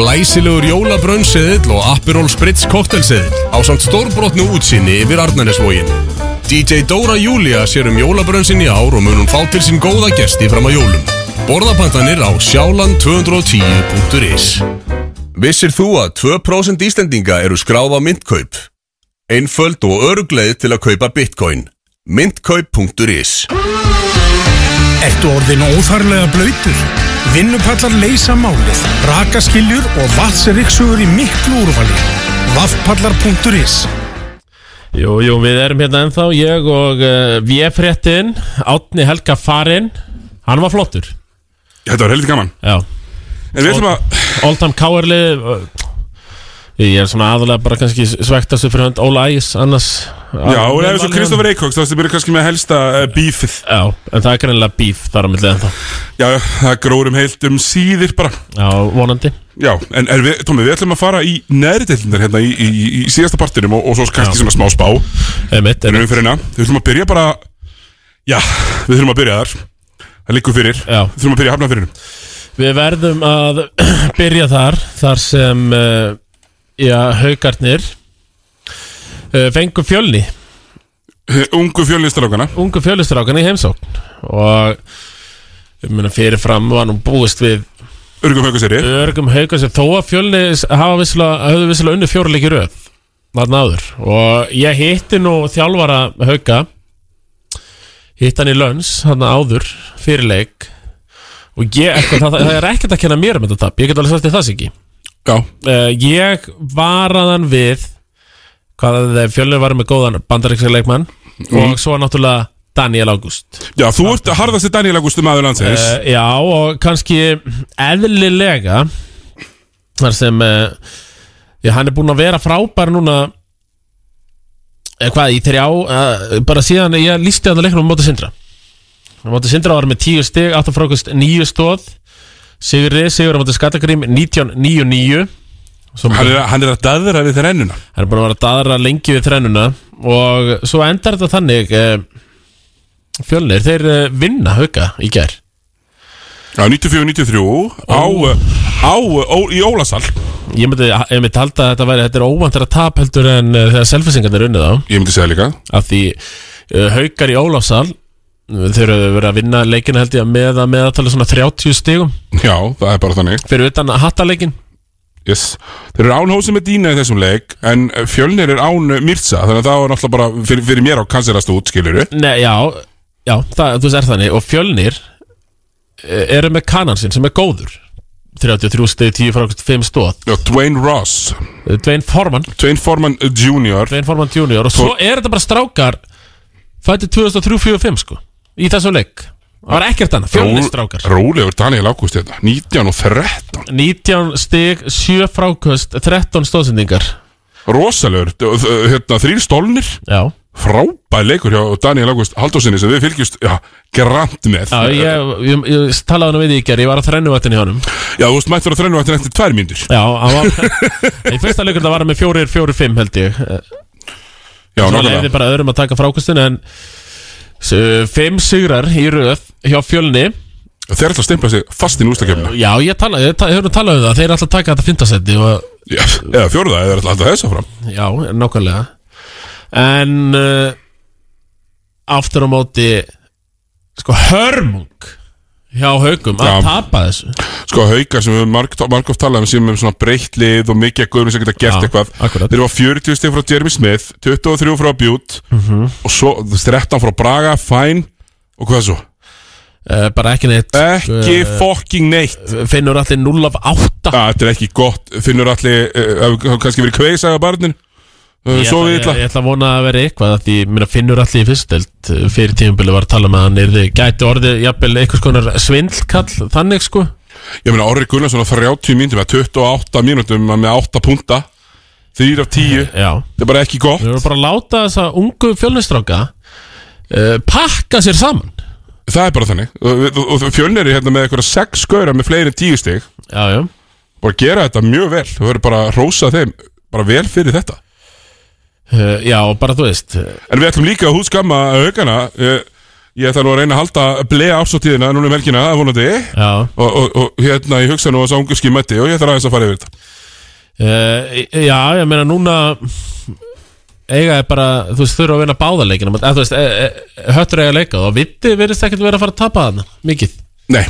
[SPEAKER 10] Glæsilegur jólabrönnseðill og Aperol Spritz koktelseðill á samt stórbrotnu útsýni yfir Arnarnesvógin. DJ Dóra Júlia sér um jólabrönn sinni ár og mun hún fá til sín góða gesti fram að jólum. Borðapantanir á sjáland210.is Vissir þú að 2% Íslendinga eru skráð á myndkaup? Einföld og örugleið til að kaupa bitcoin. myndkaup.is
[SPEAKER 9] Ertu orðin óþarlega blöytur? Vinnupallar leysa málið, rakaskiljur og vatsriksugur í miklu úrvali. Vaffpallar.is
[SPEAKER 2] Jú, jú, við erum hérna ennþá, ég og uh, Véfréttin, Átni Helga Farin, hann var flottur.
[SPEAKER 1] Þetta var helviti gaman.
[SPEAKER 2] Já.
[SPEAKER 1] En við ætlum að...
[SPEAKER 2] Oldham Káerli, eh, ég er svona aðalega bara kannski svektastu fyrir hönd Óla Ægis, annars...
[SPEAKER 1] Já, og ef svo Kristoffer Eikóks, þá byrjar kannski með helsta uh, bífið
[SPEAKER 2] Já, en það er greinlega bíf þar á millið ennþá
[SPEAKER 1] Já, já, það grórum heilt um síðir bara
[SPEAKER 2] Já, vonandi
[SPEAKER 1] Já, en er við, Tómi, við ætlum að fara í neðri deildindar hérna í, í, í, í síðasta partinum og, og svo kannski svona smá spá
[SPEAKER 2] Einmitt,
[SPEAKER 1] einmitt Við ætlum að byrja bara Já, við þurfum að byrja þar Það liggur fyrir
[SPEAKER 2] Já
[SPEAKER 1] Við þurfum að byrja hafna fyrir
[SPEAKER 2] Við verðum að byrja þar Þar sem uh, Já, haugarnir uh, Fengu fjölni
[SPEAKER 1] Eh, Ungu fjölnistrákana
[SPEAKER 2] Ungu fjölnistrákana í heimsókn Og Ég meina fyrirfram var nú búist við
[SPEAKER 1] Örgum haugaseri
[SPEAKER 2] Örgum haugaseri Þó að fjölni hafa vissulega Hafðu vissulega unni fjóruleiki röð Þarna áður Og ég hitti nú þjálfara hauga Hitt hann í lönns Hann áður fyrir leik Og ég, eitthvað, það, það er ekkert að kenna mér um þetta tap Ég get alveg sagt þér það Siggi
[SPEAKER 1] Já
[SPEAKER 2] Eh, Ég varaðan
[SPEAKER 1] Mhm.
[SPEAKER 2] við Hvað að þeir fjölnir varum með góðan bandaríksa leikmann Og svo náttúrulega Daniel August
[SPEAKER 1] Já, þú ert harðasti Daniel Augustu maður landsins
[SPEAKER 2] Eh, Já, og kannski eðlilega þar sem uh, já, hann er búinn að vera frábær núna eða hvað, í þrjá uh, bara síðan ég lísti hann að leiknum á móti sindra á móti sindra var hann með 10 stig 8 frákast 9 stóð Sigurri, Sigur á móti Skattagrím 19-9-9
[SPEAKER 1] Hann er- hann er að daðra við þrennuna
[SPEAKER 2] Hann er búinn að vera að daðra lengi við þrennuna og svo endar þetta þannig uh, Fjölnir, þeir eh, vinna hauka í gær
[SPEAKER 1] Já, 94-93 á, eh, á, á, í Ólasal
[SPEAKER 2] Ég myndi, ég myndi halda að þetta væri Þetta er óvantar að tap heldur en uh, þegar selfisingarnir unnið á
[SPEAKER 1] Ég myndi segja líka
[SPEAKER 2] Af því uh, haukar í Ólafsal uh, Þeir eru verið að vinna leikina held ég að með að meðatala svona 30 stigum
[SPEAKER 1] Já, það er bara þannig
[SPEAKER 2] Fyrir utan hattaleikin
[SPEAKER 1] Yes. Þeir eru án hósið með dýna í þessum leik En eh, fjölnir er án Mirza Þannig að það var náttúrulega bara fyrir, fyrir mér á kanserast út Skilur
[SPEAKER 2] Nei, já, já það, þú veist er þannig Og fjölnir eh, eru með kanan sinn sem er góður 33 stig, 10 frá 5 stóð
[SPEAKER 1] Já, Dwayne Ross
[SPEAKER 2] Dwayne Forman
[SPEAKER 1] Dwayne Forman Junior
[SPEAKER 2] Dwayne Forman Junior Og svo er þetta bara strákar Fætti 2003-45 sko Í þessum leik Það var ekkert annað, fjölnir strákar
[SPEAKER 1] Rólegur Daniel Ágúst hérna 19 og 13
[SPEAKER 2] 19 stig, 7 frákvöst 13 stóðsendingar
[SPEAKER 1] Rosalegur, d- þ- hérna, þrýr stólnir
[SPEAKER 2] Já
[SPEAKER 1] Frábær leikur hjá Daniel Ágúst Halldórsinni sem við fylgjumst já, grant með
[SPEAKER 2] Já, ég, ég, ég talaði hann við því í gerð, ég var á þrennuvættinni hjá honum
[SPEAKER 1] Já, þú veist mættur á þrennuvættinni eftir tvær mínútur
[SPEAKER 2] Já, hann var Í fyrsta leikur það var hann með fjórir, fjórir, fimm held ég
[SPEAKER 1] Já,
[SPEAKER 2] Svo
[SPEAKER 1] nákvæmlega.
[SPEAKER 2] leiði bara öðrum að taka frákvöstin en s- Fimm sigrar í röð hjá fjölni
[SPEAKER 1] Þeir ætla að stimpla sig fastin ústakefna
[SPEAKER 2] Já, ég, tala, ég, ta- ég höfum talað um það, þeir ætla að taka þetta fintasetti og
[SPEAKER 1] Já, eða fjórða, eða alltaf þess áfram
[SPEAKER 2] Já, nákvæmlega En uh, Aftur á móti Sko hörmung Hjá haugum að tapa þessu
[SPEAKER 1] Sko haukar sem við marg, margóft talaðum um, sem er svona breytt lið og mikið að guðurum sem geta gert
[SPEAKER 2] Já,
[SPEAKER 1] eitthvað
[SPEAKER 2] akkurat.
[SPEAKER 1] Þeir var 40 stið frá Jeremy Smith 23 frá Bute
[SPEAKER 2] Mhm.
[SPEAKER 1] og svo 13 frá Braga, fæn og hvað svo?
[SPEAKER 2] uh, Bara ekki neitt
[SPEAKER 1] Ekki
[SPEAKER 2] Eh,
[SPEAKER 1] fucking neitt Ah,
[SPEAKER 2] Finnur allir 0 af 8
[SPEAKER 1] Þetta er ekki gott, finnur allir uh, kannski verið kveisaði á barnin uh,
[SPEAKER 2] Ég
[SPEAKER 1] Svo við illa
[SPEAKER 2] ætla, ég, ég ætla að vona að vera eitthvað að því minna finnur allir í fyrstelt fyrir tímabili var að tala með að hann er gæti orðið jafnvel einhvers konar svindlkall þannig sko
[SPEAKER 1] Ég meina Orri Gunnarsson á 30 mínútum eða 28 mínútum með 8 punta 3 af 10
[SPEAKER 2] Já.
[SPEAKER 1] Það er bara ekki gott
[SPEAKER 2] Við vorum bara að láta þessa ungu fjölnistráka uh, pakka sér saman
[SPEAKER 1] Það er bara þannig Og, og, og fjölnir er hérna með eitthvað 6 skauðra með fleiri en 10 stig
[SPEAKER 2] Já, já
[SPEAKER 1] Bara gera þetta mjög vel Þú verður bara að rósa þeim Bara vel fyrir þetta
[SPEAKER 2] uh, Já, og bara þú veist uh,
[SPEAKER 1] En við ætlum líka að húskamma aukana Ég ætla nú að reyna að halda blei ásóttíðina Núna um helgina, vonandi
[SPEAKER 2] Já.
[SPEAKER 1] og, og, og hérna, ég hugsa nú að sá ungu skimætti Og ég ætla aðeins að fara yfir þetta
[SPEAKER 2] Eh, Já, ég meina núna eiga er bara, þú veist, þurfa að vinna báðarleikina eða þú veist, e, e, höttur eiga að leika og viti verðist ekkert vera að fara að tapa þarna mikið
[SPEAKER 1] Nei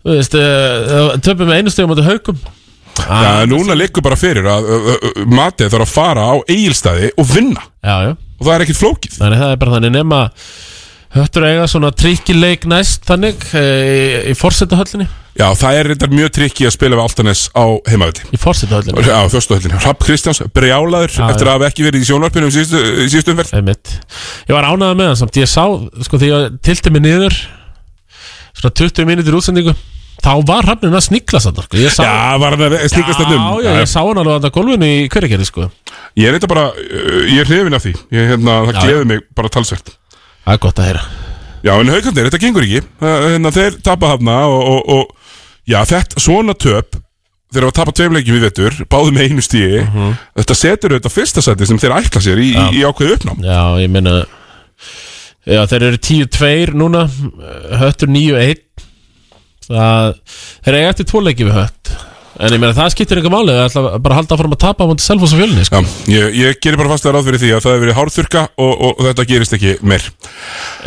[SPEAKER 2] Þú veist, uh, töpum með einu stegum á þetta haugum Ah,
[SPEAKER 1] Já, núna liggur bara fyrir að uh, uh, uh, Matið þarf að fara á eigilstaði og vinna
[SPEAKER 2] já, já.
[SPEAKER 1] Og það er ekkert flókið
[SPEAKER 2] Þannig það er bara þannig nema Höttur eiga svona trikkileik næst þannig e, í forsetahöllinni
[SPEAKER 1] Já, það er reyndar mjög trikki að spila við Altanes á heimavöldi
[SPEAKER 2] Í forsetahöllinni
[SPEAKER 1] Já, fjóstuhöllinni Rapp Kristjáns, brjálaður
[SPEAKER 2] Já,
[SPEAKER 1] Eftir
[SPEAKER 2] já.
[SPEAKER 1] að hafa ekki verið í sjónvarpinu um síðustu, í síðustu umferð
[SPEAKER 2] Einmitt. Ég var ánægða með hann samt Ég sá, sko því ég tilti mig niður Svona 20 mínútur útsendingu Þá var hafnin að snikla sann sko. Ég sá-
[SPEAKER 1] Já, var hann að sniglast þarna um?
[SPEAKER 2] Já, já,
[SPEAKER 1] Já, já.
[SPEAKER 2] ég sá hann alveg að það gólfinu í hverjargerði sko.
[SPEAKER 1] Ég er reyndar bara, uh, ég er hrifin af því ég, hérna, Það
[SPEAKER 2] Já, já.
[SPEAKER 1] gleður mig bara talsvert
[SPEAKER 2] Það er gott að heyra
[SPEAKER 1] Já, en haukandir, þetta gengur ekki Uh, hérna, Þeir tapa hafna og, og, og Já, þetta svona töp Þeir hafa tapað tveim leikjum í vetur, báðum með einu stíi Þetta setur auðvitað fyrsta sæti sem þeir ætla sér í, í, í ákveðu uppnám
[SPEAKER 2] Mhm. Já, ég meina Já, þeir eru 10-2 núna eh, Höttur 9-1 Það Þeir eiga eftir tvo leiki við hött En ég meina það skiptir einhver máli Það ætla bara að halda áfram að tapa á móti Selfoss og fjölni sko.
[SPEAKER 1] Ég, ég gerir bara fasta ráð fyrir því að það hefur verið hárþurka og, og þetta gerist ekki meir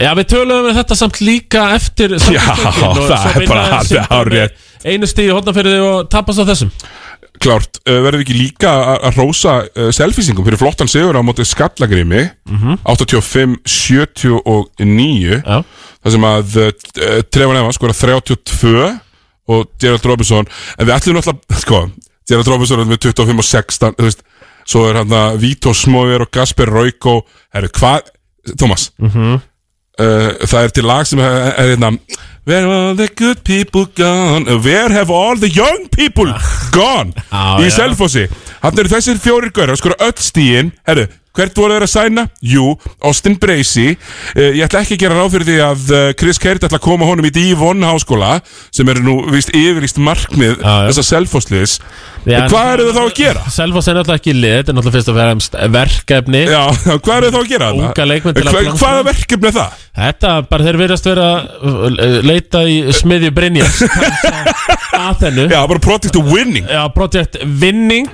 [SPEAKER 2] Já, við töluðum við þetta samt líka eftir samfélaginn og
[SPEAKER 1] það
[SPEAKER 2] svo
[SPEAKER 1] er
[SPEAKER 2] vinna
[SPEAKER 1] bara
[SPEAKER 2] þeir
[SPEAKER 1] alveg
[SPEAKER 2] Sindra með
[SPEAKER 1] hárrétt.
[SPEAKER 2] Einu stíð í hotnafyrði og tapast á þessum
[SPEAKER 1] Klárt, uh, verðum við ekki líka að- að rósa uh, selfisingum fyrir flottan sigur á móti skallagrimi 85-79 þar sem að uh, Trevor Evans skora 32 og Gerald Robinson en við ætlum náttúrulega, sko Gerald Robinson er með 25 og 16 þú veist, svo er hann að Vító Smóver og Gasper Rauko herru, hvað, Thomas Uh, það er til lag sem er, er hérna Where are the good people gone Where have all the young people gone Í
[SPEAKER 2] já.
[SPEAKER 1] Selfossi Þannig eru þessir fjórir gaur að skora öll stíin Herru, hvert voru þeir að sæna? Jú, Austin Bracey uh, Ég ætla ekki að gera ráð fyrir því að uh, Chris Kert ætla að koma honum í Divon háskóla sem eru nú vist yfirlýst markmið þessa Selfossliðs En Hvað eru þau þá að gera?
[SPEAKER 2] Selfoss er náttúrulega ekki lið, þetta er náttúrulega fyrst og fremst verkefni
[SPEAKER 1] Já, hvað eru þau þá að gera? þarna?
[SPEAKER 2] Unga leikmenn til að
[SPEAKER 1] Hva-
[SPEAKER 2] blanda.
[SPEAKER 1] Hvaða verkefni er það?
[SPEAKER 2] Þetta, bara þeir verðast vera uh, leita í smiðju Brynjars að þennu
[SPEAKER 1] Já, bara project winning
[SPEAKER 2] Já, project winning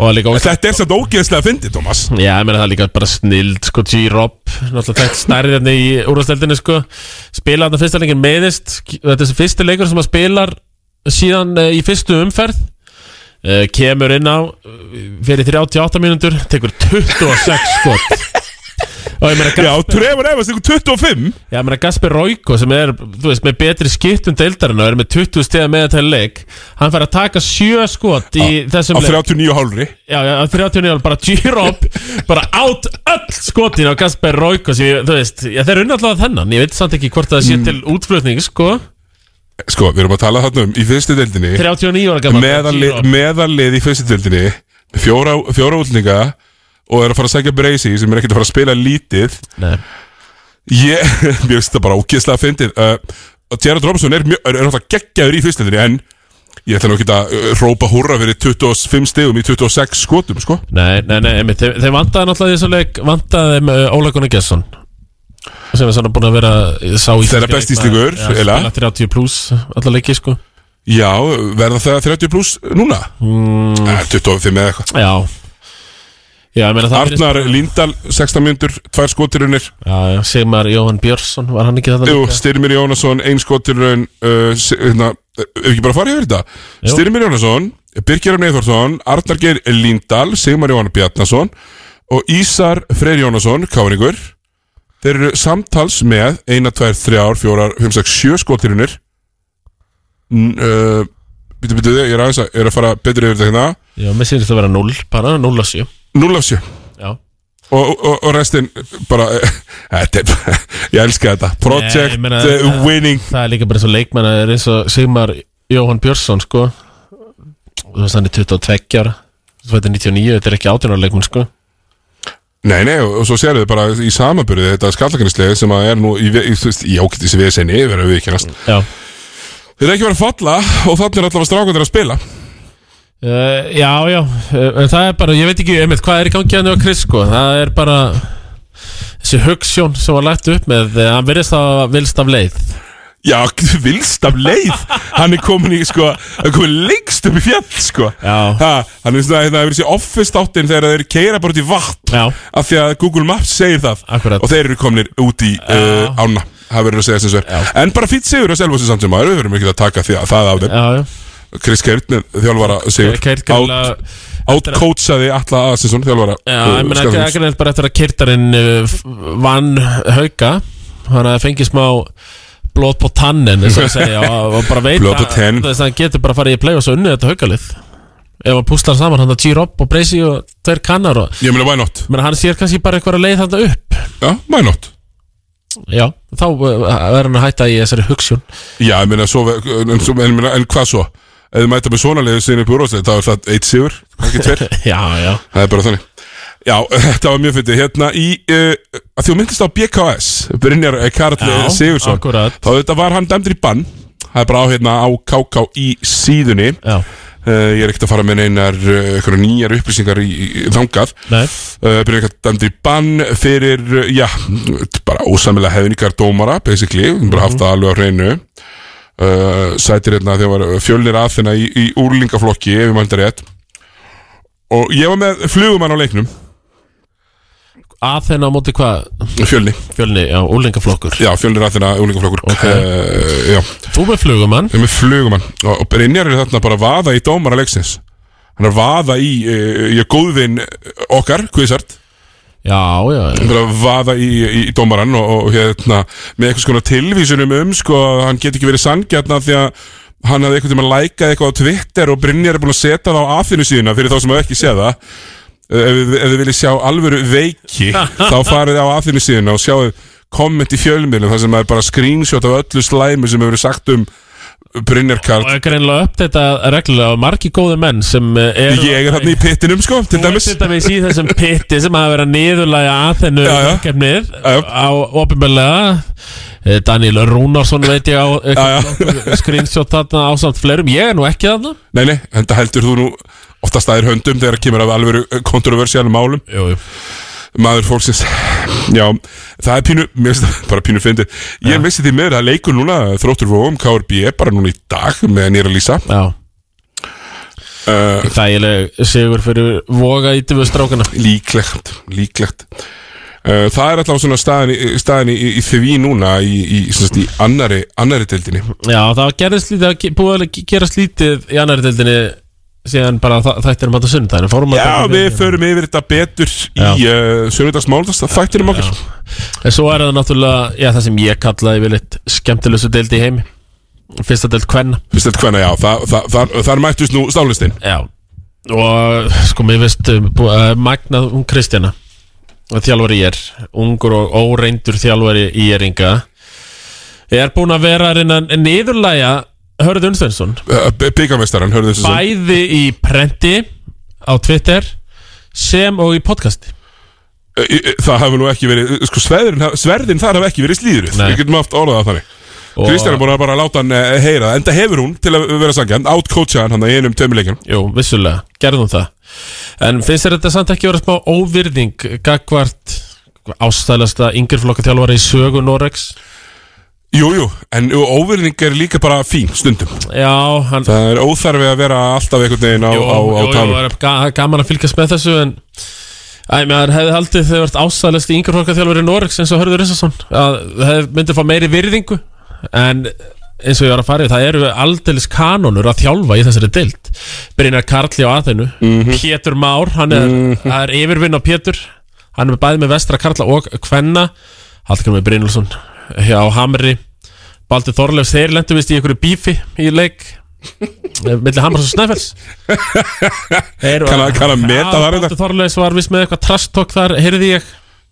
[SPEAKER 2] og líka
[SPEAKER 1] Þetta er satt ógeðslega fyndið, Thomas
[SPEAKER 2] Já, ég meina það er líka bara snild, sko, G-Rob Náttúrulega þetta snærið hérna í úrvasteldinu, sko Spila þarna fyrsta leikin meðist Þetta er þessi fyrsti leikur sem að spilar síðan uh, í fyrstu umferð uh, Kemur inn á eh, fyrir 38 mínútur Tekur 26 skot Og ég meina
[SPEAKER 1] Já, Trevor Evans tekur 25
[SPEAKER 2] Já, ég meina Gasper Royko sem er, þú veist, með betri skiptum deildarinn og er með 20 stegar með þetta leik Hann fær að taka 7 skot í þessum
[SPEAKER 1] Á 39 hálfri
[SPEAKER 2] Já, já, á 39 ára bara G-Rob bara átt öll skotin á Kasper Royko sem ég, þú veist, já, þeir unna allavega þennan ég veit samt ekki hvort það
[SPEAKER 1] Mm.
[SPEAKER 2] sé til útflutning sko,
[SPEAKER 1] Sko, við erum að tala þarna um í fyrstu deildinni
[SPEAKER 2] 39 ára gammal
[SPEAKER 1] meðallið meðallið í fyrstu deildinni fjóra, fjóra útlendinga og er að fara að sækja Bracey sem er ekkert að fara að spila lítið
[SPEAKER 2] Nei
[SPEAKER 1] Ég, mér finnst þetta bara ógeðslega fyndið uh, Gerard Robinson er, mjö, er, er alltaf geggjaður í fyrstu deildinni en ég ætla nú ekki að uh, rópa hurra fyrir 25 stegum í 26 skotum, sko
[SPEAKER 2] Nei, nei, nei, einmitt, þeim, þeim vantaði náttúrulega í þessu leik vantaði þeim uh, Óla Gunnar Gesson sem er svona búin að vera ég sá í
[SPEAKER 1] Þeirra besti íslíkur, eiginlega.
[SPEAKER 2] eiginlega 30 pluss, alla leiki sko
[SPEAKER 1] Já, verða það 30 pluss núna? Mm. 25 eða eitthvað
[SPEAKER 2] Já, já ég meina það
[SPEAKER 1] Arnar Líndal, 16 myndur, tvær skotirunir
[SPEAKER 2] Já, já, Sigmar Jóhann Björnsson var hann ekki þetta
[SPEAKER 1] Jú, Styrmir Jónasson, ein skotirun uh, si- hérna, Ef ekki bara að fara yfir þetta Styrmir Jónasson, Birgir Neyþórsson Arnar Geir Líndal, Sigmar Jóhann Bjarnason Og Ísar Freyr Jónasson, Káringur Þeir eru samtals með 1, 2, 3, 4, 5, 6, 7 skotirunir Býtu, býtu, uh, ég er aðeins að, ég er að fara betur yfir þetta hérna
[SPEAKER 2] Já, mér sýnist að vera 0, bara 0 að 7
[SPEAKER 1] 0 af 7
[SPEAKER 2] Já.
[SPEAKER 1] Og, og, og restin bara þetta er bara, ég elska þetta
[SPEAKER 2] Nei,
[SPEAKER 1] Project
[SPEAKER 2] ég meina,
[SPEAKER 1] eh,
[SPEAKER 2] það-
[SPEAKER 1] Winning
[SPEAKER 2] Það er líka bara eins og leikmenn Það er eins og Sigmar Jóhann Björnsson sko. Þú veist hann er 22 ára Þú veit er 99, þetta er ekki 18 ára leikmenn sko.
[SPEAKER 1] Nei, nei, og og svo sérðu þið bara í samaburði þetta skallakanislegi sem að er nú í, ve- í, þú veist, í ágætis vesenni, verður við ekki næst
[SPEAKER 2] Já
[SPEAKER 1] Þeir eru ekki verið að falla og þannig er allavega strákundir að spila
[SPEAKER 2] uh, Já, já, uh, en það er bara Ég veit ekki einmitt hvað er í gangi hann á Chris sko. Það er bara Þessi hugssjón sem var lagt upp með eh, Hann verðist að vilst af leið
[SPEAKER 1] Já, vilst af leið Hann er komin í, sko, hann er komin lengst upp í fjall, sko
[SPEAKER 2] Já
[SPEAKER 1] ha, Hann er svona, hérna, hefur þessi office þáttinn þegar þeir keira bara út í vatn
[SPEAKER 2] Já
[SPEAKER 1] Af því að Google Maps segir það Akkurat Og þeir eru komin út í uh, ána Það verður að segja sem svo er En bara fýtt sigur að selva sem samt sem maður Við verðum ekki að taka því að það af þeim
[SPEAKER 2] Já, já
[SPEAKER 1] Chris Keirt, þjálfara sigur
[SPEAKER 2] Keirt greinilega-
[SPEAKER 1] Átkótsaði Alla Aðsinsson, þjálfara
[SPEAKER 2] Já,
[SPEAKER 1] uh,
[SPEAKER 2] ég meina ekki
[SPEAKER 1] Skagafjörns.
[SPEAKER 2] ekki neitt bara eftir að kyrtarinn uh, f- vann hauka hann að fengi smá blóð på tannen eins og að segja og, og bara veit
[SPEAKER 1] Blóð på
[SPEAKER 2] að-
[SPEAKER 1] tenn.
[SPEAKER 2] þú veist, hann getur bara farið í play og svo unnið þetta haukalið ef hann púslar saman hann að G-Rob og Bracey og tveir kannar og
[SPEAKER 1] Ég meina, why not?
[SPEAKER 2] menn, hann sér kannski bara eitthvað að leið þetta upp
[SPEAKER 1] Já, why not?
[SPEAKER 2] Já, þá uh, verður hann að hætta í þessari hugsun
[SPEAKER 1] Já, ég meina, svo, en, svo, en, meina, en hvað svo? Ef þið mæta með svona liðið sinni upp úr úrvarsleik, þá er það eitt sigur, ekki tver
[SPEAKER 2] Já, já
[SPEAKER 1] Það er bara þannig Já, þetta var mjög fyndið Hérna í, uh, að þú myndist á BKS Brynjar eh, Karl
[SPEAKER 2] Já,
[SPEAKER 1] Sigursson
[SPEAKER 2] akkurat.
[SPEAKER 1] Þá þetta var hann dæmdur í bann Það er bara á hérna á KK í síðunni
[SPEAKER 2] Já
[SPEAKER 1] Eh, ég er ekkert að fara með neinar uh, einhverjar nýjar upplýsingar í, í þangað
[SPEAKER 2] Nei.
[SPEAKER 1] uh, Brynjar Karl dæmdur í bann fyrir, uh, já, bara ósamilega hefningar dómara, basically bara haft það alveg á hreinu uh, sætir hérna þegar var fjölnir að þeirna í, í úrlingaflokki, ef ég mænda rétt og ég var með flugumann á leiknum
[SPEAKER 2] að þennan á móti hvað?
[SPEAKER 1] Fjölni
[SPEAKER 2] Fjölni, já, úlingaflokkur
[SPEAKER 1] Já, fjölnir að þeirna úlingaflokkur uh, Já
[SPEAKER 2] Þú með flugumann
[SPEAKER 1] Ég með flugumann Og, og Brynjar er þarna bara að vaða í dómara leiksins Hann er að vaða í, uh, í góðvin okkar, Kvísart
[SPEAKER 2] Já, já, já
[SPEAKER 1] bara að vaða í, í, í dómarann og, og hérna með eitthvað skona tilvísunum um sko að hann get ekki verið sangjarna því að hann hafði einhvern tímann lækað eitthvað á Twitter og Brynjar er búin að setja það á afinu síðuna fyrir þá sem hafa ekki séð það Uh, ef, þið- ef þið viljið sjá alvöru veiki þá farið á afinu síðuna og sjáðu komment í fjölmiðlum þar sem það er bara screenshot af öllu slæmi sem hefur verið sagt um Brynjar Karl
[SPEAKER 2] Og ég er reynilega upp þetta reglulega og margi góði menn sem er
[SPEAKER 1] Ég er þarna í pittinum sko, til
[SPEAKER 2] dæmis Til dæmis í þessum pitti sem hafa verið að niðurlæga að þennu verkefnið á opinbelega Daniel Rúnarsson veit ég á eitthvað screenshot þarna ásamt fleirum Ég er nú ekki þarna
[SPEAKER 1] Nei, nei, þetta heldur þú nú oftast aðeir höndum þegar kemur af alvöru eh, kontroversiálum málum
[SPEAKER 2] Jú, jú
[SPEAKER 1] Maður fólksins Já, það er pínu, mér finnst það bara pínu fyndið Ég missi því meður að leikur núna Þróttur Vóum, KRB, bara núna í dag meðan ég er að lýsa
[SPEAKER 2] Já
[SPEAKER 1] uh,
[SPEAKER 2] Þægileg sigur fyrir voga í döfustrákana
[SPEAKER 1] Líklegt, líklegt uh, Það er alltaf svona staðin, í- staðin í, í því núna í, í, sem sagt, í annari, annari deildinni
[SPEAKER 2] Já, það gerðist lítið, það ge- búið að gera slítið í annari deildinni síðan bara þa- þættir um að það sunnudaginu Fórum að
[SPEAKER 1] Já,
[SPEAKER 2] taka
[SPEAKER 1] við
[SPEAKER 2] fyrir-
[SPEAKER 1] förum yfir þetta betur í uh, sunnudags máldags þættinum okkar
[SPEAKER 2] En svo er það náttúrulega, já, það sem ég kallaði vel eitt skemmtilegustu deildi í heimi Fyrsta deild kvenna
[SPEAKER 1] Fyrsta deild kvenna, já, það, það, það, þar mættust nú stálistin
[SPEAKER 2] Já, og sko mér veist um, bú- uh, Magnað, hún Kristjana Þjálfari ég er, ungur og óreindur þjálfari í eringa Er búin að vera að reyna að niðurlæja Hörð Unstensson
[SPEAKER 1] Byggamestaran, eh, hörðu þessu
[SPEAKER 2] Bæði í prenti á Twitter sem og í podcasti
[SPEAKER 1] Eh, Það hafa nú ekki verið, sko sverðin, sverðin þar hafa ekki verið slíðrið
[SPEAKER 2] Nei.
[SPEAKER 1] Við getum haft orðað það þannig
[SPEAKER 2] Og-
[SPEAKER 1] Kristján er búin að bara láta hann eh, heyra það Enda hefur hún, til að vera sangjan, outcoacha hann hann í einum tömuleikin
[SPEAKER 2] Jú, vissulega, gerðum það En finnst þér þetta samt ekki vera smá óvirðing Gagvart ástælasta yngri flokka þjálfari í sögu Norex
[SPEAKER 1] Jú, jú, en óvirðing er líka bara fín stundum
[SPEAKER 2] Já, hann
[SPEAKER 1] Það er óþarfi að vera alltaf einhvern veginn á,
[SPEAKER 2] Jú,
[SPEAKER 1] á, á
[SPEAKER 2] jú, jú,
[SPEAKER 1] tánum
[SPEAKER 2] það er ga gaman að fylgjast með þessu en Æ, maður hefði haldið þegar vart ástæðlist í yngur þjálfur í Noregs eins og Hörður Rissason að það myndi fá meiri virðingu en eins og ég var að fara í það eru aldeilis kanonur að þjálfa í þessari deild Brynjar Karli á aðeinu
[SPEAKER 1] Mhm.
[SPEAKER 2] Pétur Már, hann er, mm er yfirvinn á Pétur hann er bæði með vestra Karla og Kvenna Hallgrimur Brynjálsson hjá Hamri Baldur Þorleifs, þeir lendu vist í einhverju bífi í leik millir Hamars og Snæfells
[SPEAKER 1] Kann að- kann að meta þar
[SPEAKER 2] þetta Baldur Þorleifs var vist með eitthvað trash talk þar, heyrði ég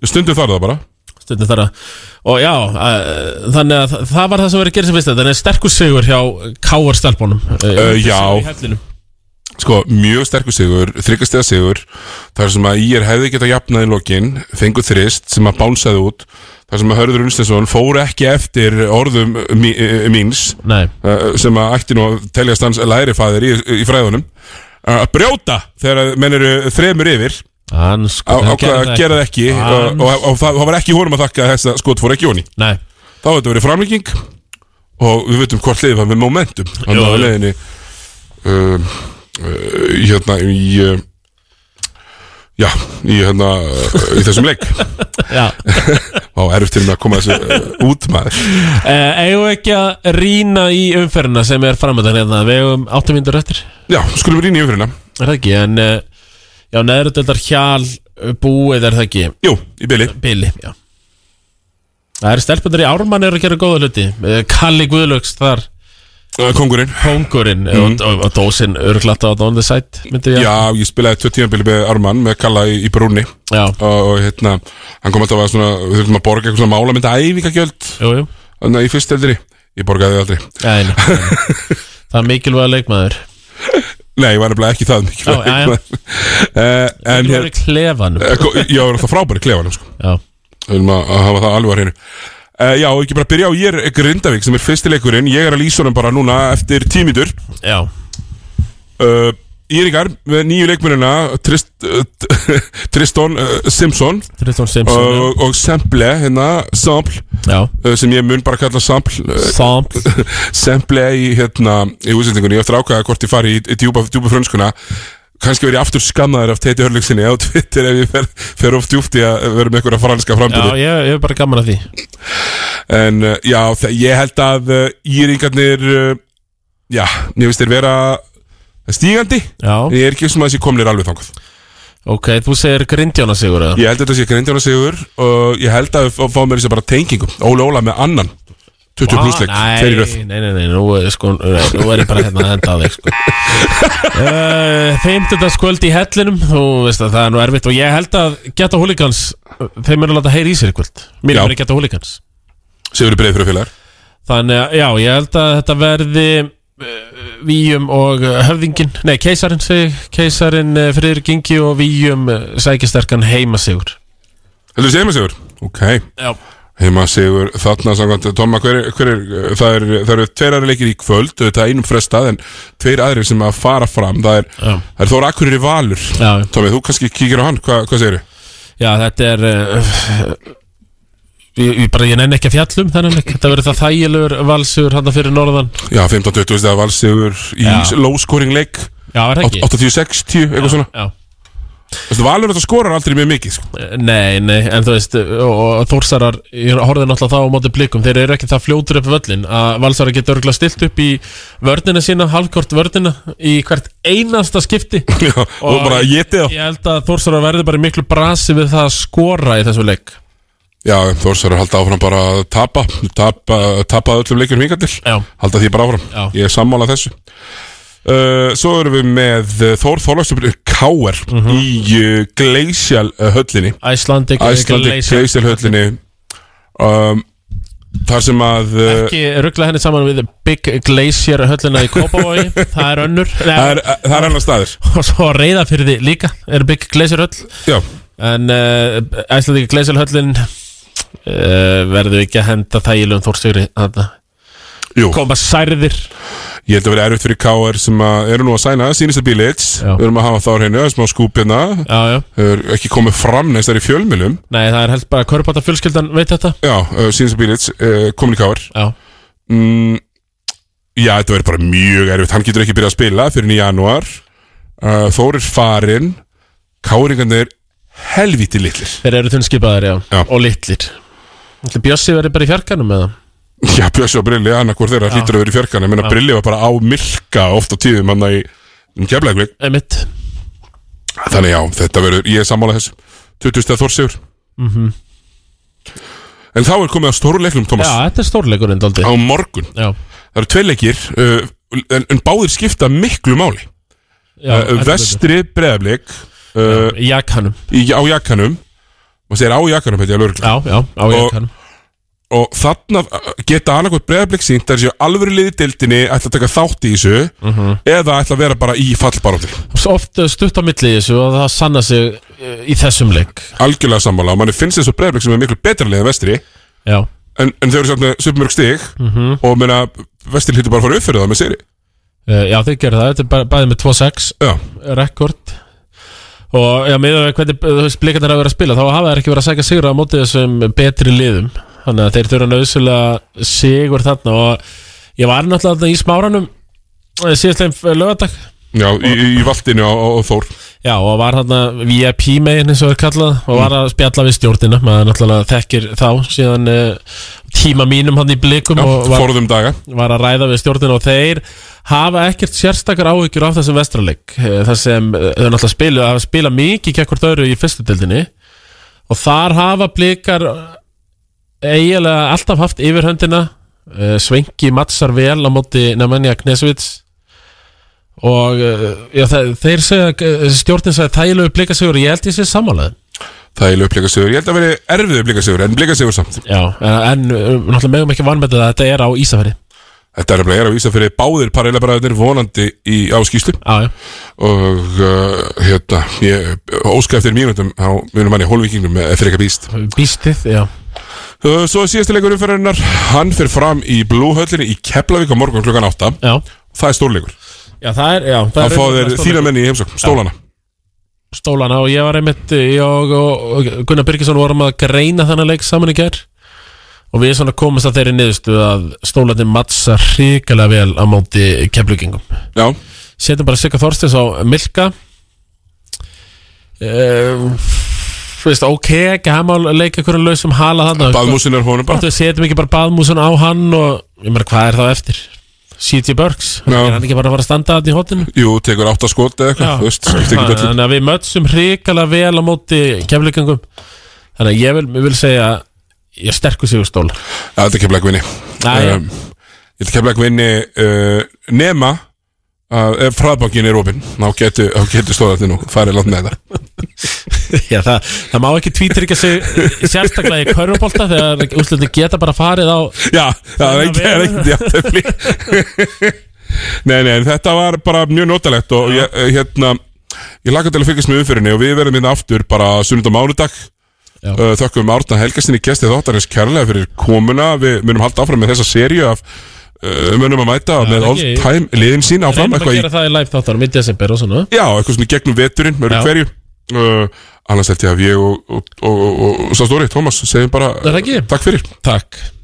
[SPEAKER 1] Stundum þar það bara
[SPEAKER 2] Stundum þar að Og já, uh, þannig að þa- það var það sem verið að gera sem fyrst Þannig að sterkur sigur hjá Káar stelpunum Eh,
[SPEAKER 1] Uh, já. Sko, mjög sterkur sigur, þryggastega sigur Þar sem að ég hefði getað jafnað í lokin Fengu þrist sem að bánsaði út Þar sem að Hörður Unstensson fór ekki eftir orðum mí, eh, míns
[SPEAKER 2] Nei.
[SPEAKER 1] Sem að ætti nú að teljast hans lærifaðir í, í fræðunum Eh, Að brjóta þegar menn eru þremur yfir
[SPEAKER 2] Hann sko
[SPEAKER 1] Á- ákvað að gera það ekki eh, og, og, og, og það það var ekki honum að þakka að þessa skot fór ekki honi
[SPEAKER 2] Nei.
[SPEAKER 1] þá hefði þetta verið framlíking og við veitum hvort leiði var með momentum hann
[SPEAKER 2] Jú,
[SPEAKER 1] var
[SPEAKER 2] jú.
[SPEAKER 1] leiðinni um, uh, hérna í uh, já, í hérna uh, í þessum leik
[SPEAKER 2] Já.
[SPEAKER 1] á erfitt til með að koma þessu uh, út maður
[SPEAKER 2] Uh, eigum við ekki að rýna í umferðina sem er framöndan hérna Við eigum áttum myndur eftir
[SPEAKER 1] Já, skulum rýna í umferðina
[SPEAKER 2] Er það ekki, en uh, Já, neðrutöldar hjal uh, búið er það ekki
[SPEAKER 1] Jú, í byli
[SPEAKER 2] Byli, já Það eru stelpunar í Ármann eru að gera góða hluti Uh, Kalli Guðlöks þar
[SPEAKER 1] Kongurinn
[SPEAKER 2] Kongurinn
[SPEAKER 1] Mhm.
[SPEAKER 2] og, og, og dósin örglatt á On The Side myndi ég
[SPEAKER 1] Já, ég spilaði tvö tímanbili með Arman með Kalla í, í Brúni
[SPEAKER 2] Já.
[SPEAKER 1] og, og hérna, hann kom alltaf að svona við þurfum að borga eitthvað svona málamynda æfingagjöld
[SPEAKER 2] Jú, jú
[SPEAKER 1] Þannig að í fyrst eldri, ég borgaði aldrei
[SPEAKER 2] Nei, nei, nei. Það er mikilvæga leikmaður
[SPEAKER 1] Nei, ég var nefnilega ekki það mikil
[SPEAKER 2] Já, já, já.
[SPEAKER 1] uh, En
[SPEAKER 2] Mikilvægur í klefanum.
[SPEAKER 1] Eh, ko- Já, það var alltaf frábæri klefanum sko.
[SPEAKER 2] Já
[SPEAKER 1] Við erum að, að hafa það alveg að hreinu uh, Já, ekki bara byrja á ég er Grindavík sem er fyrstileikurinn Ég er að lýsa honum bara núna eftir tímitur
[SPEAKER 2] Já
[SPEAKER 1] uh, Íringar með nýju leikmennina Trist, uh, Tristan uh, Simpson
[SPEAKER 2] Tristan Simpson, já.
[SPEAKER 1] Og, og Semple, hérna, Sample
[SPEAKER 2] Já.
[SPEAKER 1] uh, Sem ég mun bara kalla Sample uh,
[SPEAKER 2] Sample
[SPEAKER 1] Semple í, hérna, í útsendingunni Ég eftir að ákvaða hvort ég fari í, í djúpa, djúpa frönskuna kannski verið aftur skammaður af Teiti Hörlöksinni á Twitter ef ég fer, fer of djúpt í að vera með einhverja franska
[SPEAKER 2] Já,
[SPEAKER 1] frambyrði
[SPEAKER 2] ég, ég er bara gaman að því
[SPEAKER 1] En uh, já, þe- ég held að uh, Íringarnir uh, Já, mér finnst þeir vera stígandi
[SPEAKER 2] Já.
[SPEAKER 1] Ég er ekki sem að þessi komnir alveg þangað
[SPEAKER 2] Ok, þú segir Grindjóna Sigur eða?
[SPEAKER 1] Ég held að þetta sé grindjána sigur Og ég held að við fá- fáum mér þessi bara tengingu Óla Óla með annan 20 pluss leik, tveir í röð.
[SPEAKER 2] Nei, nei, nei, nei, nú, er- sko, nú er ég bara hérna að enda á þig sko. uh, Fimmtudagskvöld í hellinum Þú veist að það er nú erfitt Og ég held að geta húlikans Þeim eru að láta heyri í sér í kvöld Mér
[SPEAKER 1] Já.
[SPEAKER 2] er bara geta húlikans
[SPEAKER 1] Sigur breið fyrir félagar
[SPEAKER 2] Þannig að, já, ég held að þetta verði uh, Víum og uh, höfðingin Nei, keisarin segi ég. Keisarin uh, fyrir gengi og Víum uh, Sækisterkan heimasigur
[SPEAKER 1] Heldur þessi heimasigur? Ok
[SPEAKER 2] Já
[SPEAKER 1] Heimasigur þarna samkvæmt Tóma, hver, er- hver er, það, er, það eru tveir aðri leikir í kvöld Það er einum frestað en tveir aðri sem að fara fram Það er,
[SPEAKER 2] Já.
[SPEAKER 1] það er Þóra Akureyri Valur
[SPEAKER 2] Já.
[SPEAKER 1] Tómi, þú kannski kíkir á hann, Hva, hvað segir þau?
[SPEAKER 2] Já, þetta er uh, ég, ég bara, ég nenni ekki að fjallum þennan leik Þetta verður það þægilegur valsugur hann fyrir norðan
[SPEAKER 1] Já, 15-20 stæða Valsigur í
[SPEAKER 2] Já.
[SPEAKER 1] low scoring leik
[SPEAKER 2] Já, er það ekki?
[SPEAKER 1] 80-60, eitthvað svona
[SPEAKER 2] Já
[SPEAKER 1] Þessu, Valur þetta skorar aldrei mjög mikið sko.
[SPEAKER 2] Nei, nei, en þú veist og, og Þórsarar, ég horfði náttúrulega þá á móti blikum þeir eru ekki það fljótur upp völlin að Valsarar getur örgulega stilt upp í vörnina sína, halvkort vörnina í hvert einasta skipti
[SPEAKER 1] Já, og bara étið á.
[SPEAKER 2] Ég held að Þórsarar verður bara í miklu brasi við það að skora í þessu leik
[SPEAKER 1] Já, Þórsar er að halda áfram bara að tapa Tapa, tapa öllum leikjum hinga til
[SPEAKER 2] Já.
[SPEAKER 1] Halda því bara áfram
[SPEAKER 2] Já.
[SPEAKER 1] Ég er sammála þessu uh, Svo erum við með uh, Þór Þorlagsjöfn Káer
[SPEAKER 2] Mhm.
[SPEAKER 1] Í uh, Gleisjál höllinni
[SPEAKER 2] Æslandi
[SPEAKER 1] Æslandik Gleisjál höllinni um, Þar sem að uh,
[SPEAKER 2] Ekki ruggla henni saman við Big Glacier höllina í Kópavogi Það er önnur
[SPEAKER 1] Það er, það er annar staður
[SPEAKER 2] Og svo reyða fyrir því líka Er Big Glacier höll
[SPEAKER 1] Já
[SPEAKER 2] En uh, Æslandík Glacier höllin uh, Verður ekki að henda þægilegum þórstugri Þetta
[SPEAKER 1] Jú.
[SPEAKER 2] Koma særðir
[SPEAKER 1] Ég held að vera erfitt fyrir K.R. sem að eru nú að sæna sínista bílits, við erum að hafa þá hreinu að smá skúpina, er ekki komið fram neins þar í fjölmilum
[SPEAKER 2] Nei, það er helst bara Körbáta fjölskyldan veit þetta
[SPEAKER 1] Já, uh, sínista bílits, uh, komin í K.R.
[SPEAKER 2] Já
[SPEAKER 1] mm, Já, þetta verður bara mjög erfitt hann getur ekki byrjað að spila fyrir í janúar uh, Þórir farinn K.R.ingarnir helviti litlir
[SPEAKER 2] Þeir eru þunnskipaðir, já, já. Og litlir Ætli Bjössi verður bara í fjarkanum eða
[SPEAKER 1] Já, Bjössi og Brilli, annað hvort þeirra
[SPEAKER 2] Já.
[SPEAKER 1] hlýtur að vera í fjarkan ég meina
[SPEAKER 2] Já.
[SPEAKER 1] Brilli var bara á milka oft á tíðum hann í keflækvík
[SPEAKER 2] Einmitt
[SPEAKER 1] Þannig já, þetta verður, ég er sammála þessu 20. Þórsigur
[SPEAKER 2] mm
[SPEAKER 1] En þá er komið að stórleiklum, Thomas
[SPEAKER 2] Já, þetta er stórleikurinn daldi
[SPEAKER 1] Á morgun
[SPEAKER 2] Já.
[SPEAKER 1] Það eru tvei leikir uh, en, en báðir skipta miklu máli
[SPEAKER 2] Já,
[SPEAKER 1] uh,
[SPEAKER 2] heldur
[SPEAKER 1] Vestri breðablik uh,
[SPEAKER 2] Í jakkanum
[SPEAKER 1] í, Á jakkanum Og segir á jakkanum, heit ég alveg
[SPEAKER 2] Já, já, á jakkanum
[SPEAKER 1] Og þarna uh, geta annarkvæmt breðablik sínt Það er séu alvöru liði dildinni ætla að taka þátt í þessu
[SPEAKER 2] Mhm.
[SPEAKER 1] Eða ætla að vera bara í fallbaróttir
[SPEAKER 2] Svo oft eh, stutt á milli í þessu og það sanna sig eh, í þessum leik
[SPEAKER 1] Algjörlega sammála og manni finnst þessu breðablik sem er miklu betra liðið vestri
[SPEAKER 2] Já.
[SPEAKER 1] En, en þau eru samt með supermörg stig
[SPEAKER 2] Mhm.
[SPEAKER 1] Og meina, vestri hlýtur bara að fara upp fyrir það með seri
[SPEAKER 2] Eh, Já, þeir gerðu það, þetta er bara bæðið með 2-6 rekord og já, með hvernig eh, þú veist blikarnir hafa verið að spila þá hafa þeir ekki verið að sækja sigra á móti þessum betri liðum þannig að þeir þurfa nöðsynlega sigur þarna og ég var náttúrulega þarna í smáranum eh, síðastlegin lögadag
[SPEAKER 1] Já, í, í- í valdinu á, á, á Þór
[SPEAKER 2] Já, og var þarna VIP megin eins og er kallað og var að spjalla við stjórnina maður náttúrulega þekkir þá síðan uh, tíma mínum hann í blikum
[SPEAKER 1] Já,
[SPEAKER 2] og var,
[SPEAKER 1] forðum daga
[SPEAKER 2] var að ræða við stjórnina og þeir hafa ekkert sérstakar áhyggjur af þessum vestraleik þar sem eh, þau náttúrulega spila, hafa spila mikið gegn hvort öðru í fyrstu dildinni og þar hafa blikar eh, eiginlega alltaf haft yfirhöndina uh, Svenki mattsar vel á móti Nemanja Knesvits og uh, já, þe- þeir segja eh, stjórnin sagði þægilegu blikasigur ég held ég sé sammálaði
[SPEAKER 1] Það er lögblikasigur, ég held að veri erfiðu blikasigur En blikasigur samt
[SPEAKER 2] já, en eh, náttúrulega megum ekki vanmetið að þetta er á Ísafæri
[SPEAKER 1] Þetta er nefnilega er á Ísafirði báðir parallelabræðinir vonandi í áskýslu
[SPEAKER 2] Já, já
[SPEAKER 1] Og uh, hérna, ég óska eftir mínútum á mínum manni hólvíkingum eftir eitthvað býst
[SPEAKER 2] býstið, já
[SPEAKER 1] Uh, Svo er síðasti leikur umferðarinnar, hann fyrir fram í blúhöllinni í Keflavík á morgun klukkan 8
[SPEAKER 2] Já
[SPEAKER 1] Það er stórleikur
[SPEAKER 2] já, það er, já það
[SPEAKER 1] Það
[SPEAKER 2] er-
[SPEAKER 1] fá þeir
[SPEAKER 2] er-
[SPEAKER 1] þína menni í heimsókn, stólana
[SPEAKER 2] stólana og ég var einmitt ég og, og, og Gunnar Birgisson vorum að greina þannig leik saman í gær og við svona komumst að þeirri niðurstu að stólarnir mattsa hrikalega vel á móti keflugingum
[SPEAKER 1] Já
[SPEAKER 2] Setjum bara Sigga Þorstins á Milka Ehm, Þú veist, ok, ekki hann má leika einhverjum lausum hala þarna
[SPEAKER 1] Baðmúsin er honum bara.
[SPEAKER 2] Þú veist, setjum ekki bara baðmúsin á hann og ég meira, hvað er þá eftir? C.T. Burks,
[SPEAKER 1] Já.
[SPEAKER 2] er hann ekki bara að fara að standa þarna í hotinu?
[SPEAKER 1] Jú, tekur 8 skot eða eitthvað, þú veist, skiptir ekki öllu
[SPEAKER 2] Þannig að við mötsum hrikalega vel á móti kemleikangum Þannig að ég vil, ég vil segja ég sterkur sigurstól
[SPEAKER 1] Já, þetta er kemleik vinni
[SPEAKER 2] já.
[SPEAKER 1] um, Þetta er kemleik vinni uh, nema að ef fræðbankin er opinn þá getur getu stóðarnir nú farið langt með þetta
[SPEAKER 2] Já, það, það má ekki tvítryggja sig sérstaklega í körfubolta þegar úslutin geta bara farið á
[SPEAKER 1] Já, það er ekki, er ekki jafntefli Nei, nei, en þetta var bara mjög notalegt og ég, eh, hérna ég laka til að fylgjast með umfyrinni og við verðum hérna aftur bara sunnund og mánudag Uh, Þökkum Árna Helgasinni gestið þáttarins kærlega fyrir komuna Við munum halda áfram með þessa seríu af uh, munum að mæta með all
[SPEAKER 2] ekki-
[SPEAKER 1] time liðin sín
[SPEAKER 2] Reynum
[SPEAKER 1] áfram
[SPEAKER 2] að
[SPEAKER 1] eitthvað í
[SPEAKER 2] gera það í live þáttanum í desember og svona
[SPEAKER 1] Já, eitthvað svona í gegnum veturinn, mörg
[SPEAKER 2] Já.
[SPEAKER 1] hverju uh, Annars held ég að ég og, og, og, og, og Sá Stóri, Tómas, segjum bara
[SPEAKER 2] Er það ekki?
[SPEAKER 1] Takk fyrir
[SPEAKER 2] Takk